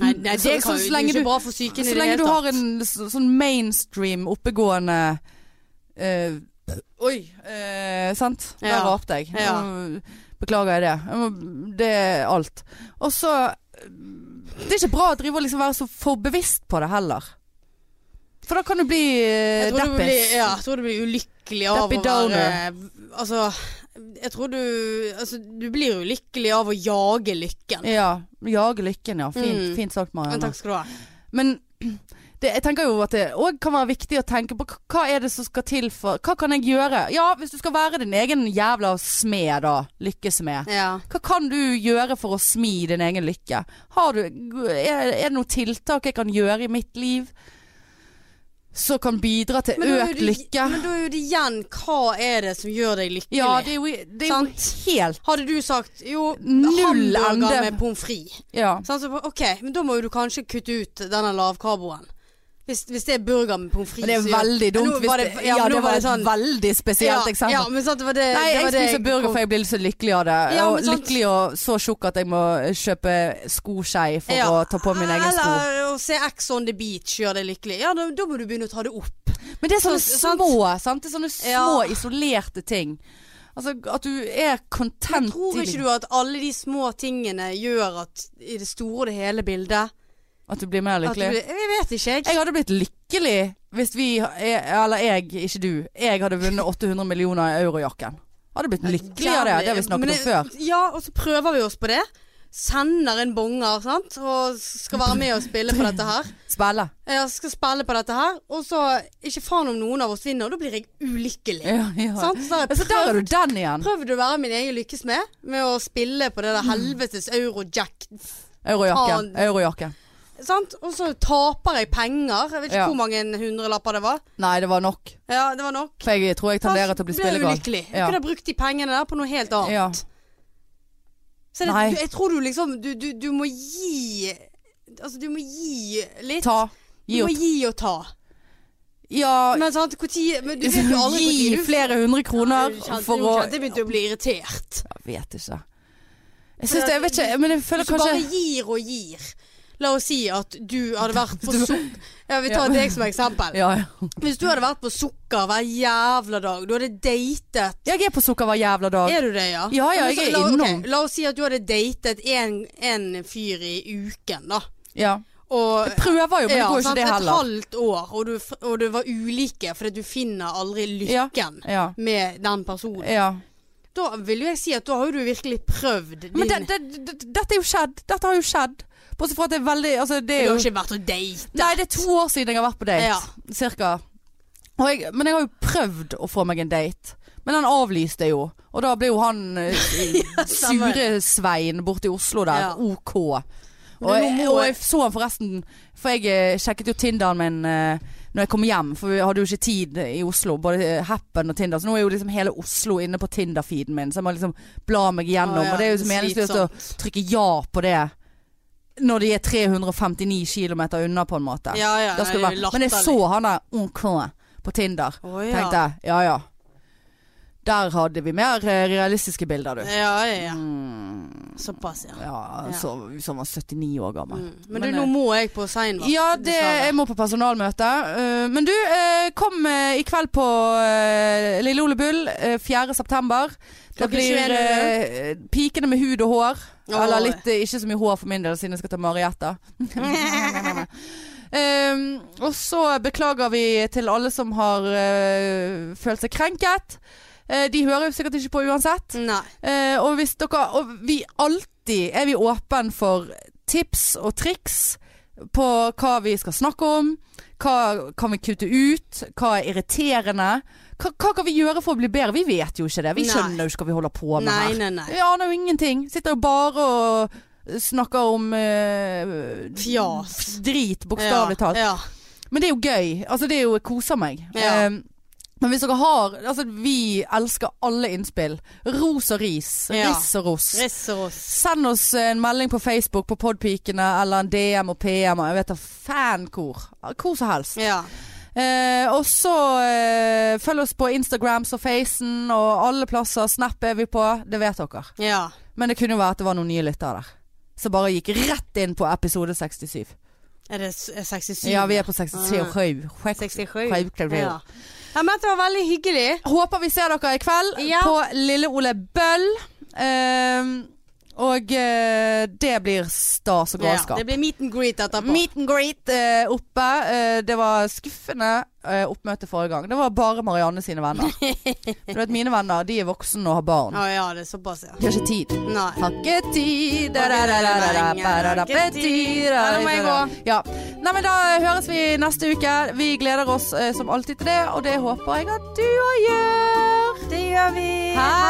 [SPEAKER 2] Nei, nei,
[SPEAKER 1] Så- så
[SPEAKER 2] det, kan,
[SPEAKER 1] så
[SPEAKER 2] jo- det er
[SPEAKER 1] lenge
[SPEAKER 2] jo
[SPEAKER 1] du-
[SPEAKER 2] ikke bra for psyken
[SPEAKER 1] Så
[SPEAKER 2] i det
[SPEAKER 1] lenge
[SPEAKER 2] hele
[SPEAKER 1] du har
[SPEAKER 2] tatt.
[SPEAKER 1] en s- sånn mainstream, oppegående eh, Oi! eh, sant? Der
[SPEAKER 2] Ja.
[SPEAKER 1] rapte jeg. Nå
[SPEAKER 2] Ja.
[SPEAKER 1] Beklager jeg det. Jeg må- Det er alt. Og så eh, Det er ikke bra å drive og liksom være så for bevisst på det heller. For da kan du bli eh,
[SPEAKER 2] Jeg tror, du
[SPEAKER 1] deppis.
[SPEAKER 2] blir, ja, jeg tror du blir ulykkelig av
[SPEAKER 1] Deppy
[SPEAKER 2] å være Altså, Jeg tror du Altså, du blir jo lykkelig av å jage lykken.
[SPEAKER 1] Ja. Jage lykken, ja. Fint,
[SPEAKER 2] Mm.
[SPEAKER 1] fint sagt,
[SPEAKER 2] Men
[SPEAKER 1] Marianne.
[SPEAKER 2] takk skal du ha.
[SPEAKER 1] Men det, jeg tenker jo at det òg kan være viktig å tenke på hva- hva er det som skal til for Hva kan jeg gjøre? Ja, hvis du skal være din egen jævla smed, da. Lykkesmed.
[SPEAKER 2] Ja.
[SPEAKER 1] Hva kan du gjøre for å smi din egen lykke? Har du, er, er det noen tiltak jeg kan gjøre i mitt liv som kan bidra til
[SPEAKER 2] Men da er jo
[SPEAKER 1] økt
[SPEAKER 2] det-
[SPEAKER 1] lykke?
[SPEAKER 2] Men da er jo det igjen Hva er det som gjør deg lykkelig?
[SPEAKER 1] Ja, det er jo, det er jo helt
[SPEAKER 2] Hadde du sagt jo,
[SPEAKER 1] Null
[SPEAKER 2] hamburger
[SPEAKER 1] ende.
[SPEAKER 2] med pommes frites.
[SPEAKER 1] Ja.
[SPEAKER 2] Sånn, så, OK, men da må jo du kanskje kutte ut denne lavkarboen. Hvis, hvis det er burger med pommes frites
[SPEAKER 1] Men det er
[SPEAKER 2] så gjør-
[SPEAKER 1] veldig
[SPEAKER 2] Men
[SPEAKER 1] dumt
[SPEAKER 2] nå
[SPEAKER 1] hvis
[SPEAKER 2] var
[SPEAKER 1] det,
[SPEAKER 2] det-
[SPEAKER 1] ja,
[SPEAKER 2] men nå
[SPEAKER 1] det
[SPEAKER 2] var
[SPEAKER 1] var et
[SPEAKER 2] det sånn-
[SPEAKER 1] veldig spesielt eksempel.
[SPEAKER 2] Ja, men sant, det var det
[SPEAKER 1] Nei,
[SPEAKER 2] det
[SPEAKER 1] jeg
[SPEAKER 2] var det
[SPEAKER 1] spiser burger for jeg blir så lykkelig av det.
[SPEAKER 2] Ja, men sånn-
[SPEAKER 1] og
[SPEAKER 2] sant.
[SPEAKER 1] lykkelig og så tjukk at jeg må eh, kjøpe skoskei for
[SPEAKER 2] Ja,
[SPEAKER 1] å ta på min egen sko.
[SPEAKER 2] Eller å se X on the beach gjør deg lykkelig. Ja, da, da må du begynne å ta det opp.
[SPEAKER 1] Men det er sånne
[SPEAKER 2] Så- sant?
[SPEAKER 1] små, sant? Det er sånne små
[SPEAKER 2] Ja.
[SPEAKER 1] isolerte ting. Altså at du er content
[SPEAKER 2] Tror
[SPEAKER 1] i
[SPEAKER 2] ikke
[SPEAKER 1] din-
[SPEAKER 2] du at alle de små tingene gjør at i det store og det hele bildet
[SPEAKER 1] At du blir mer
[SPEAKER 2] at du,
[SPEAKER 1] lykkelig.
[SPEAKER 2] Jeg vet ikke, jeg.
[SPEAKER 1] Jeg hadde blitt lykkelig hvis vi, eller jeg, ikke du, jeg hadde vunnet 800 millioner i eurojakken. Hadde blitt lykkelig av det, det har vi snakket
[SPEAKER 2] Men
[SPEAKER 1] om
[SPEAKER 2] det-
[SPEAKER 1] før.
[SPEAKER 2] Ja, og så prøver vi oss på det. Sender en bonger, sant, og skal være med og spille på dette her.
[SPEAKER 1] Spille.
[SPEAKER 2] Jeg skal spille på dette her, og så ikke faen om noen av oss vinner, og da blir jeg ulykkelig.
[SPEAKER 1] Ja, ja.
[SPEAKER 2] Sant? Så har jeg
[SPEAKER 1] Ja, Så der er du Mm. den igjen.
[SPEAKER 2] prøvd å være min egen lykkes med, med å spille på det der helvetes eurojack.
[SPEAKER 1] Eurojakken.
[SPEAKER 2] Faen.
[SPEAKER 1] Eurojakken.
[SPEAKER 2] Sant? Og så taper jeg penger. Jeg vet
[SPEAKER 1] Ja.
[SPEAKER 2] ikke hvor mange hundrelapper det var.
[SPEAKER 1] Nei, det var nok.
[SPEAKER 2] Ja, det var nok.
[SPEAKER 1] For jeg tror jeg tenderer til å bli
[SPEAKER 2] Ble jeg
[SPEAKER 1] spillegal.
[SPEAKER 2] ulykkelig. Jeg
[SPEAKER 1] Ja.
[SPEAKER 2] kunne ha brukt de pengene der på noe helt annet.
[SPEAKER 1] Ja.
[SPEAKER 2] Så det,
[SPEAKER 1] Nei.
[SPEAKER 2] du- jeg tror du liksom du, du, du må gi Altså, du må gi litt.
[SPEAKER 1] Ta. Gi
[SPEAKER 2] Du må
[SPEAKER 1] opp.
[SPEAKER 2] gi og ta.
[SPEAKER 1] Ja,
[SPEAKER 2] Men sant, hvor tid, men du vet jo aldri hvor
[SPEAKER 1] gi
[SPEAKER 2] tid du
[SPEAKER 1] flere hundre kroner
[SPEAKER 2] Kjente-
[SPEAKER 1] for å
[SPEAKER 2] jo, kjente Jeg begynte å bli irritert.
[SPEAKER 1] Jeg vet ikke. Jeg syns det Jeg vet ikke, men jeg føler
[SPEAKER 2] Hvis du bare
[SPEAKER 1] kanskje
[SPEAKER 2] gir og gir. La oss si at du hadde vært på
[SPEAKER 1] Du-
[SPEAKER 2] sukker... Jeg vil ta
[SPEAKER 1] Ja.
[SPEAKER 2] deg som eksempel.
[SPEAKER 1] Ja, ja.
[SPEAKER 2] Hvis du hadde vært på sukker hver jævla dag, du hadde datet
[SPEAKER 1] Jeg er på sukker hver jævla dag.
[SPEAKER 2] Er du det, ja?
[SPEAKER 1] Ja, ja,
[SPEAKER 2] men så-
[SPEAKER 1] jeg er
[SPEAKER 2] la, ok,
[SPEAKER 1] innom.
[SPEAKER 2] la oss si at du hadde datet en, en fyr i uken, da.
[SPEAKER 1] Ja.
[SPEAKER 2] Og
[SPEAKER 1] Jeg prøver jo, men det
[SPEAKER 2] ja,
[SPEAKER 1] går jo ikke
[SPEAKER 2] sant,
[SPEAKER 1] det
[SPEAKER 2] Et
[SPEAKER 1] heller.
[SPEAKER 2] halvt år, og du, f- og du var ulike fordi du finner aldri
[SPEAKER 1] Ja.
[SPEAKER 2] lykken
[SPEAKER 1] Ja.
[SPEAKER 2] med den personen.
[SPEAKER 1] ja.
[SPEAKER 2] Da vil jo jeg si at da har jo du virkelig prøvd din
[SPEAKER 1] Men det, det, det, dette er jo skjedd. Dette har jo skjedd. Bortsett fra at det er veldig altså, det
[SPEAKER 2] Du
[SPEAKER 1] er
[SPEAKER 2] har
[SPEAKER 1] jo,
[SPEAKER 2] ikke vært og date.
[SPEAKER 1] Nei, det er to år siden jeg har vært på date. Cirka. Og jeg, men jeg har jo prøvd å få meg en date. Men han avlyste jo. Og da ble jo han eh,
[SPEAKER 2] stemmer.
[SPEAKER 1] sure Svein borte i Oslo der.
[SPEAKER 2] Ja.
[SPEAKER 1] OK. Og
[SPEAKER 2] Men
[SPEAKER 1] jeg,
[SPEAKER 2] nå må
[SPEAKER 1] og
[SPEAKER 2] jeg-
[SPEAKER 1] jeg så han forresten For jeg eh, sjekket jo Tinderen min eh, Når jeg kom hjem, for vi hadde jo ikke tid i Oslo. Både eh, Happen og Tinder. Så nå er jo liksom hele Oslo inne på Tinder-feeden min, så jeg må liksom bla meg gjennom.
[SPEAKER 2] Å, ja,
[SPEAKER 1] og det er jo så meningsløst å
[SPEAKER 2] slitsomt.
[SPEAKER 1] trykke ja på det når de er 359 km unna, på en måte.
[SPEAKER 2] Ja, ja,
[SPEAKER 1] Da skal det
[SPEAKER 2] nei,
[SPEAKER 1] være.
[SPEAKER 2] latterlig.
[SPEAKER 1] Men jeg så han der OK på Tinder.
[SPEAKER 2] Å, ja.
[SPEAKER 1] Tenkte jeg, ja ja. Der hadde vi mer eh, realistiske bilder, du.
[SPEAKER 2] Ja, ja, ja.
[SPEAKER 1] Mm,
[SPEAKER 2] Såpass, ja.
[SPEAKER 1] ja,
[SPEAKER 2] Ja.
[SPEAKER 1] så, så han var 79 år gammel.
[SPEAKER 2] Mm. Men, du,
[SPEAKER 1] eh,
[SPEAKER 2] nå må jeg på seinvakt.
[SPEAKER 1] ja, det, jeg må på personalmøte. Eh, men du, eh, kom eh, i kveld på eh, Lille Ole Bull eh, 4. september. Det
[SPEAKER 2] Klokken
[SPEAKER 1] blir
[SPEAKER 2] 21.00.
[SPEAKER 1] eh, Pikene med hud og hår.
[SPEAKER 2] Åh.
[SPEAKER 1] Eller litt eh, ikke så mye hår for min del, siden jeg skal ta Marietta. Ehm, og så beklager vi til alle som har eh, følt seg krenket. Eh, de hører jo sikkert ikke på uansett.
[SPEAKER 2] Nei.
[SPEAKER 1] Eh, og hvis dere Og vi alltid er vi åpen for tips og triks på hva vi skal snakke om. Hva kan vi kutte ut? Hva er irriterende? Hva, hva kan vi gjøre for å bli bedre? Vi vet jo ikke det. Vi
[SPEAKER 2] Nei.
[SPEAKER 1] skjønner jo ikke hva vi holder på med
[SPEAKER 2] Nei,
[SPEAKER 1] her.
[SPEAKER 2] nei, nei.
[SPEAKER 1] Vi aner jo ingenting. Sitter jo bare og snakker om eh,
[SPEAKER 2] Fjas.
[SPEAKER 1] Drit, bokstavelig talt.
[SPEAKER 2] Ja.
[SPEAKER 1] Men det er jo gøy. Altså, det er jo Jeg koser meg.
[SPEAKER 2] Ja.
[SPEAKER 1] Eh, men hvis dere har Altså, vi elsker alle innspill. Ros og ris.
[SPEAKER 2] Ja.
[SPEAKER 1] Riss og ros.
[SPEAKER 2] ja. Riss og ross.
[SPEAKER 1] Send oss en melding på Facebook på Podpikene eller en DM og PM og jeg vet da fankor. Hvor som helst.
[SPEAKER 2] Ja.
[SPEAKER 1] Eh, og så eh, følg oss på Instagrams og Facen og alle plasser. Snap er vi på. Det vet dere.
[SPEAKER 2] ja.
[SPEAKER 1] Men det kunne jo være at det var noen nye lyttere der. Som bare gikk rett inn på episode 67.
[SPEAKER 2] Er det s- er 67?
[SPEAKER 1] Ja, vi er på 67. Sjau, sjau, sjau.
[SPEAKER 2] Ja. ja, men det var veldig hyggelig.
[SPEAKER 1] Håper vi ser dere i kveld
[SPEAKER 2] Ja.
[SPEAKER 1] på Lille Ole Bøll. Ehm, Og eh, det blir stas og
[SPEAKER 2] Ja,
[SPEAKER 1] galskap.
[SPEAKER 2] det blir meet and greet etterpå.
[SPEAKER 1] Meet and greet eh, oppe. Eh, det var skuffende eh, oppmøte forrige gang. Det var bare Marianne sine venner. For du vet, mine venner de er voksne og har barn.
[SPEAKER 2] Å ja, det er såpass, ja.
[SPEAKER 1] De har ikke tid.
[SPEAKER 2] Nei.
[SPEAKER 1] Har ikke tid da, da, da, da, da, da, da, da, da, tid, da,
[SPEAKER 2] Ja, da må jeg gå.
[SPEAKER 1] Ja. Nei, men da høres vi neste uke. Vi gleder oss eh, som alltid til det, og det håper jeg at du òg gjør.
[SPEAKER 2] Det gjør vi.
[SPEAKER 1] Hei!